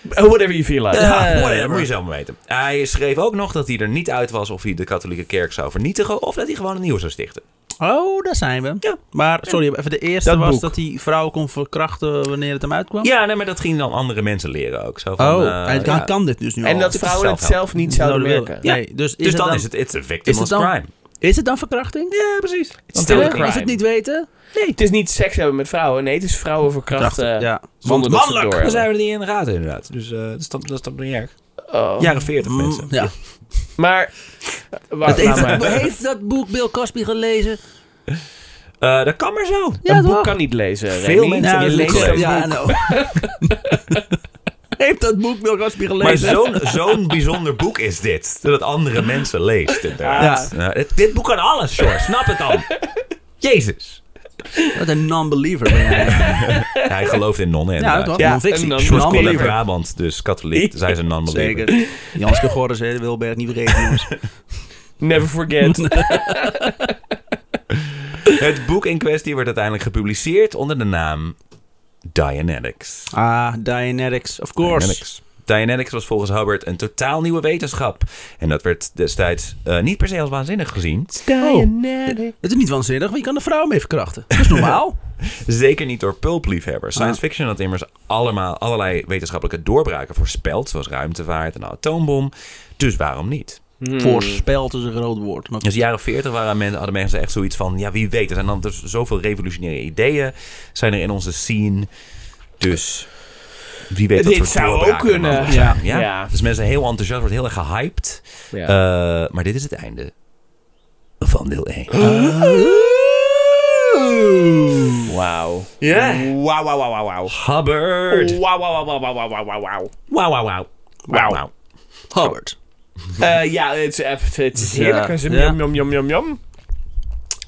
[SPEAKER 1] Whatever you feel like.
[SPEAKER 3] Eh.
[SPEAKER 4] Ja, whatever. moet je zelf maar weten. Hij schreef ook nog dat hij er niet uit was of hij de katholieke kerk zou vernietigen of dat hij gewoon een nieuwe zou stichten.
[SPEAKER 3] Oh, daar zijn we.
[SPEAKER 4] Ja.
[SPEAKER 3] Maar sorry, even de eerste
[SPEAKER 1] Dat
[SPEAKER 3] was
[SPEAKER 1] boek.
[SPEAKER 3] dat die vrouw kon verkrachten wanneer het hem uitkwam.
[SPEAKER 4] Ja, nee, maar dat ging dan andere mensen leren ook. Zo van,
[SPEAKER 3] Oh,
[SPEAKER 4] eh,
[SPEAKER 3] hij kan,
[SPEAKER 4] ja.
[SPEAKER 3] kan dit dus nu
[SPEAKER 1] En
[SPEAKER 3] al.
[SPEAKER 1] dat
[SPEAKER 4] is
[SPEAKER 1] vrouwen het
[SPEAKER 4] zelfhelp.
[SPEAKER 1] zelf niet zouden merken.
[SPEAKER 3] Ja. Nee, dus is
[SPEAKER 4] Dus
[SPEAKER 3] het
[SPEAKER 4] dan,
[SPEAKER 3] dan,
[SPEAKER 4] is het it's a victimless
[SPEAKER 3] dan-
[SPEAKER 4] crime.
[SPEAKER 3] is het dan verkrachting?
[SPEAKER 4] Ja, precies.
[SPEAKER 1] It's still a
[SPEAKER 3] Hè?
[SPEAKER 1] crime.
[SPEAKER 3] Is het niet weten?
[SPEAKER 1] Nee, het is niet seks hebben met vrouwen. Nee, het is vrouwen verkrachten.
[SPEAKER 3] ja.
[SPEAKER 1] Zonder dat ze het door
[SPEAKER 4] Dan
[SPEAKER 1] hebben.
[SPEAKER 4] zijn we er niet in de gaten inderdaad. Dus eh, dat is dan- dat is dan niet erg.
[SPEAKER 1] Oh.
[SPEAKER 4] Jaren 40
[SPEAKER 3] Mm,
[SPEAKER 4] mensen.
[SPEAKER 3] ja.
[SPEAKER 1] Maar. Wacht,
[SPEAKER 3] Heeft,
[SPEAKER 1] laat maar.
[SPEAKER 3] heeft dat boek Bill Cosby gelezen?
[SPEAKER 4] Eh, dat kan maar zo.
[SPEAKER 3] Ja,
[SPEAKER 1] een boek
[SPEAKER 3] toch?
[SPEAKER 1] kan niet lezen.
[SPEAKER 4] Veel
[SPEAKER 1] Remy. je
[SPEAKER 4] mensen hebben
[SPEAKER 1] leest
[SPEAKER 4] het
[SPEAKER 1] een
[SPEAKER 4] gelezen.
[SPEAKER 1] boek.
[SPEAKER 3] Ja, nou. heeft dat boek Bill Cosby
[SPEAKER 4] Maar
[SPEAKER 3] gelezen?
[SPEAKER 4] zo'n zo'n bijzonder boek is dit. Dat het andere mensen leest inderdaad. Nou, dit, dit boek kan alles, George. Snap het dan. Jezus.
[SPEAKER 3] Wat een non-believer ben jij.
[SPEAKER 4] Hij gelooft in nonnen
[SPEAKER 3] Ja,
[SPEAKER 4] inderdaad.
[SPEAKER 3] toch?
[SPEAKER 1] Ja,
[SPEAKER 3] Non-fictie.
[SPEAKER 1] een non-
[SPEAKER 4] George komt uit
[SPEAKER 1] Non-believer.
[SPEAKER 4] Brabant, dus katholiek. Zij is een non-believer.
[SPEAKER 3] Zeker. Jans Gregorus, hè, Wilbert, niet vergeten, jongens.
[SPEAKER 1] Never forget.
[SPEAKER 4] Het boek in kwestie wordt uiteindelijk gepubliceerd onder de naam Dianetics.
[SPEAKER 3] Ah, Dianetics, of course.
[SPEAKER 4] Dianetics. Dianetics was volgens Hubbard een totaal nieuwe wetenschap. En dat werd destijds eh, niet per se als waanzinnig gezien.
[SPEAKER 1] Dianetic.
[SPEAKER 3] Oh, Het is niet waanzinnig, want je kan een vrouw mee verkrachten. Dat is normaal.
[SPEAKER 4] Zeker niet door pulpliefhebbers.
[SPEAKER 1] Ah.
[SPEAKER 4] Science fiction had immers allemaal allerlei wetenschappelijke doorbraken voorspeld, zoals ruimtevaart en de atoombom. Dus waarom niet?
[SPEAKER 1] Hmm.
[SPEAKER 3] Voorspeld is een groot woord. Maar
[SPEAKER 4] Dus de jaren 40 waren men, hadden mensen echt zoiets van: ja, wie weet, er zijn dan dus zoveel revolutionaire ideeën zijn er in onze scene. Dus wie weet wat
[SPEAKER 1] Dit
[SPEAKER 4] voor
[SPEAKER 1] zou ook
[SPEAKER 4] doorbraken er
[SPEAKER 1] kunnen.
[SPEAKER 4] mogelijk zijn.
[SPEAKER 1] Ja.
[SPEAKER 4] Ja.
[SPEAKER 1] Ja.
[SPEAKER 4] Dus mensen heel enthousiast, wordt heel erg gehyped.
[SPEAKER 1] Ja.
[SPEAKER 4] Eh, maar dit is het einde van deel 1.
[SPEAKER 1] Wauw.
[SPEAKER 4] Ja.
[SPEAKER 1] Wauw, wauw, wauw, wauw, wauw.
[SPEAKER 4] Hubbard.
[SPEAKER 1] Wauw, wauw, wauw, wauw, wauw, wauw, wauw, Oh. wauw.
[SPEAKER 4] Wauw, wauw, wauw. Wauw, wauw.
[SPEAKER 3] Hubbard.
[SPEAKER 1] Eh, Ja, het is echt- het is heerlijk. Het is
[SPEAKER 3] Ja.
[SPEAKER 1] Jam, jam, jam, jam, jam.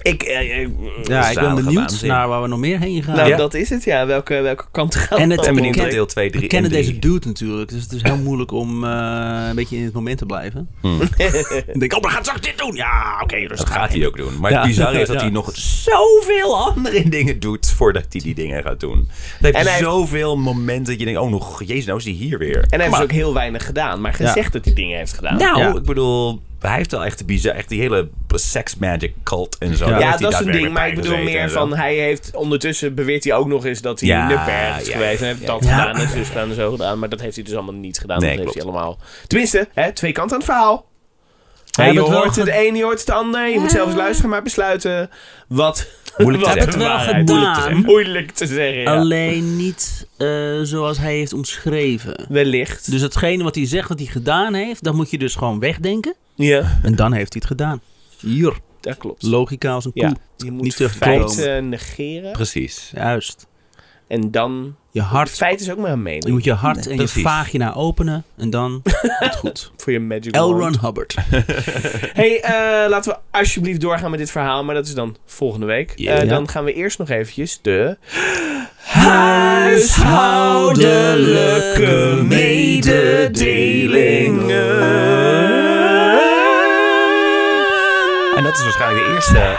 [SPEAKER 1] Ik, eh, eh,
[SPEAKER 3] Ja, ik ben
[SPEAKER 4] Zalige
[SPEAKER 3] benieuwd
[SPEAKER 4] waanzin.
[SPEAKER 3] naar waar we nog meer heen gaan.
[SPEAKER 1] nou,
[SPEAKER 4] Ja.
[SPEAKER 1] dat is het, ja. Welke, welke kant gaat
[SPEAKER 3] En het-
[SPEAKER 4] Ik ben benieuwd
[SPEAKER 3] Oké.
[SPEAKER 4] naar deel 2, 3
[SPEAKER 3] We kennen deze dude natuurlijk, dus het is heel moeilijk om eh, een beetje in het moment te blijven. Ik denk, oh, maar gaat straks dit doen? Ja, oké,
[SPEAKER 4] Dat
[SPEAKER 3] rustig aan.
[SPEAKER 4] gaat hij ook doen. Maar
[SPEAKER 3] Ja.
[SPEAKER 4] het bizarre is dat
[SPEAKER 3] Ja.
[SPEAKER 4] hij nog zoveel andere dingen doet voordat hij die dingen gaat doen. Het
[SPEAKER 1] En
[SPEAKER 4] heeft
[SPEAKER 1] hij-
[SPEAKER 4] zoveel momenten dat je denkt, oh nog, jezus, nou is hij hier weer.
[SPEAKER 1] En hij heeft
[SPEAKER 4] Maar-
[SPEAKER 1] dus ook heel weinig gedaan, maar gezegd dat hij dingen heeft gedaan.
[SPEAKER 4] Nou,
[SPEAKER 3] Ja.
[SPEAKER 4] ik bedoel, hij heeft wel echt, de bizar, echt die hele sex magic cult en zo.
[SPEAKER 3] Ja,
[SPEAKER 4] daar
[SPEAKER 1] ja,
[SPEAKER 4] heeft hij
[SPEAKER 1] dat is een ding,
[SPEAKER 4] daadwerkelijk
[SPEAKER 1] maar ik
[SPEAKER 4] bij
[SPEAKER 1] bedoel
[SPEAKER 4] gezeten
[SPEAKER 1] meer
[SPEAKER 4] en zo.
[SPEAKER 1] van hij heeft ondertussen beweert hij ook nog eens dat hij
[SPEAKER 4] Ja,
[SPEAKER 1] in de berg is
[SPEAKER 4] ja,
[SPEAKER 1] geweest en
[SPEAKER 4] ja,
[SPEAKER 1] heeft
[SPEAKER 4] ja,
[SPEAKER 1] dat
[SPEAKER 4] ja.
[SPEAKER 1] gedaan en zus gedaan en zo gedaan, maar dat heeft hij dus allemaal niet gedaan.
[SPEAKER 4] Nee,
[SPEAKER 1] dat heeft hij
[SPEAKER 4] klopt.
[SPEAKER 1] allemaal. Tenminste, hè, twee kanten aan het verhaal.
[SPEAKER 3] Hij
[SPEAKER 1] Hè, je
[SPEAKER 3] heeft het wel Ah.
[SPEAKER 1] hoort het
[SPEAKER 3] ge-
[SPEAKER 1] een, je hoort het ander. Je moet zelf eens luisteren, maar besluiten wat.
[SPEAKER 4] Moeilijk te
[SPEAKER 1] wat
[SPEAKER 4] zeggen.
[SPEAKER 1] de
[SPEAKER 3] Hij heeft het
[SPEAKER 1] waarheid
[SPEAKER 3] wel
[SPEAKER 1] is. Moeilijk te
[SPEAKER 3] gedaan.
[SPEAKER 1] zeggen. Moeilijk te zeggen. ja.
[SPEAKER 3] Alleen niet eh, zoals hij heeft omschreven.
[SPEAKER 1] Wellicht.
[SPEAKER 3] Dus hetgene wat hij zegt dat hij gedaan heeft, dat moet je dus gewoon wegdenken.
[SPEAKER 1] Ja,
[SPEAKER 3] En dan heeft hij het gedaan. Hier,
[SPEAKER 1] dat klopt.
[SPEAKER 3] logica als een koe.
[SPEAKER 1] Ja, je moet
[SPEAKER 3] Niet terug te
[SPEAKER 1] feiten negeren
[SPEAKER 4] Precies.
[SPEAKER 3] Juist.
[SPEAKER 1] en dan.
[SPEAKER 3] Je hart,
[SPEAKER 1] Feit is ook maar een
[SPEAKER 3] je
[SPEAKER 1] mening
[SPEAKER 3] moet je hart en
[SPEAKER 4] precies.
[SPEAKER 3] je vagina openen en dan het goed.
[SPEAKER 1] voor je magic
[SPEAKER 3] L.
[SPEAKER 1] wand.
[SPEAKER 3] Ron Hubbard.
[SPEAKER 1] Hey, eh, laten we alsjeblieft doorgaan met dit verhaal, maar dat is dan volgende week.
[SPEAKER 3] Ja.
[SPEAKER 1] Eh, dan gaan we eerst nog eventjes de...
[SPEAKER 3] Huishoudelijke
[SPEAKER 4] En dat is waarschijnlijk de eerste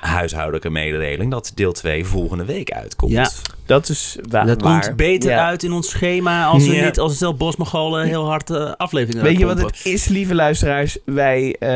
[SPEAKER 4] huishoudelijke mededeling dat deel 2 volgende week uitkomt.
[SPEAKER 3] Ja.
[SPEAKER 1] Dat is wa- waar.
[SPEAKER 3] dat komt beter
[SPEAKER 1] Ja.
[SPEAKER 3] uit in ons schema als we
[SPEAKER 1] Ja.
[SPEAKER 3] niet als een stel Bosmogolen heel hard eh, afleveringen
[SPEAKER 1] Weet je
[SPEAKER 3] uitpompen.
[SPEAKER 1] wat het is, lieve luisteraars? Wij. eh,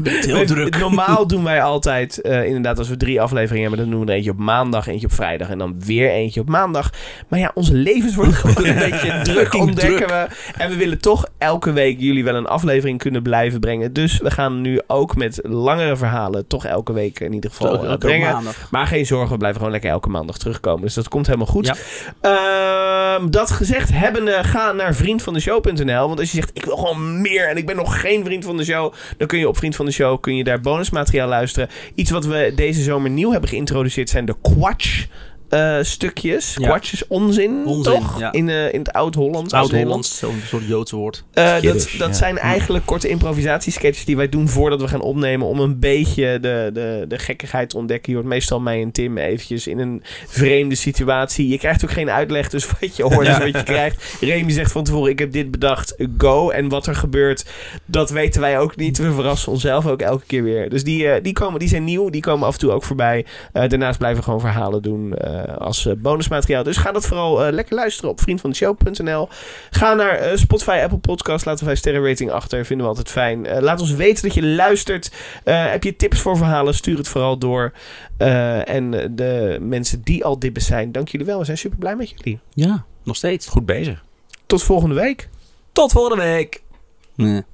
[SPEAKER 1] wij- Normaal doen wij altijd, eh, inderdaad, als we drie afleveringen hebben, dan doen we er eentje op maandag, eentje op vrijdag en dan weer eentje op maandag. Maar ja, onze levens worden gewoon een beetje druk,
[SPEAKER 3] Fucking
[SPEAKER 1] ontdekken
[SPEAKER 3] druk.
[SPEAKER 1] we. En we willen toch elke week jullie wel een aflevering kunnen blijven brengen. Dus we gaan nu ook met langere verhalen toch elke week in ieder geval eh,
[SPEAKER 3] Elke
[SPEAKER 1] brengen.
[SPEAKER 3] maandag.
[SPEAKER 1] Maar geen zorgen, we blijven gewoon lekker elke maandag terugkomen. Dus dat komt helemaal goed.
[SPEAKER 3] Ja.
[SPEAKER 1] Ehm, dat gezegd hebbende, ga naar vriendvandeshow.nl. Want als je zegt, ik wil gewoon meer en ik ben nog geen vriend van de show... dan kun je op Vriend van de Show kun je daar bonusmateriaal luisteren. Iets wat we deze zomer nieuw hebben geïntroduceerd zijn de quatsch. eh, stukjes.
[SPEAKER 3] Ja.
[SPEAKER 1] Quatsch is onzin,
[SPEAKER 3] Onzin,
[SPEAKER 1] toch?
[SPEAKER 3] ja.
[SPEAKER 1] In, eh, in het Oud-Hollands. Oud-Nederlands.
[SPEAKER 3] Oud-Hollands, zo'n soort Joodse woord.
[SPEAKER 1] Eh, dat
[SPEAKER 4] Kiddish,
[SPEAKER 1] dat
[SPEAKER 4] ja.
[SPEAKER 1] zijn eigenlijk korte improvisatiesketches die wij doen voordat we gaan opnemen. Om een beetje de, de, de gekkigheid te ontdekken. Je hoort meestal mij en Tim eventjes in een vreemde situatie. Je krijgt ook geen uitleg, dus wat je hoort is wat je krijgt. Remy zegt van tevoren, ik heb dit bedacht, go. En wat er gebeurt, dat weten wij ook niet. We verrassen onszelf ook elke keer weer. Dus die, eh, die, komen, die zijn nieuw, die komen af en toe ook voorbij. Eh, daarnaast blijven we gewoon verhalen doen eh, als eh, bonusmateriaal. Dus ga dat vooral eh, lekker luisteren op vriendvandeshow.nl. Ga naar eh, Spotify, Apple Podcast. Laat een 5 sterren rating achter. Vinden we altijd fijn. Eh, laat ons weten dat je luistert. Eh, heb je tips voor verhalen? Stuur het vooral door. Eh, en eh, de mensen die al dibben zijn, dank jullie wel. We zijn super blij met jullie.
[SPEAKER 3] Ja, nog steeds.
[SPEAKER 4] Goed bezig.
[SPEAKER 1] Tot volgende week.
[SPEAKER 4] Tot volgende week.
[SPEAKER 3] Nee.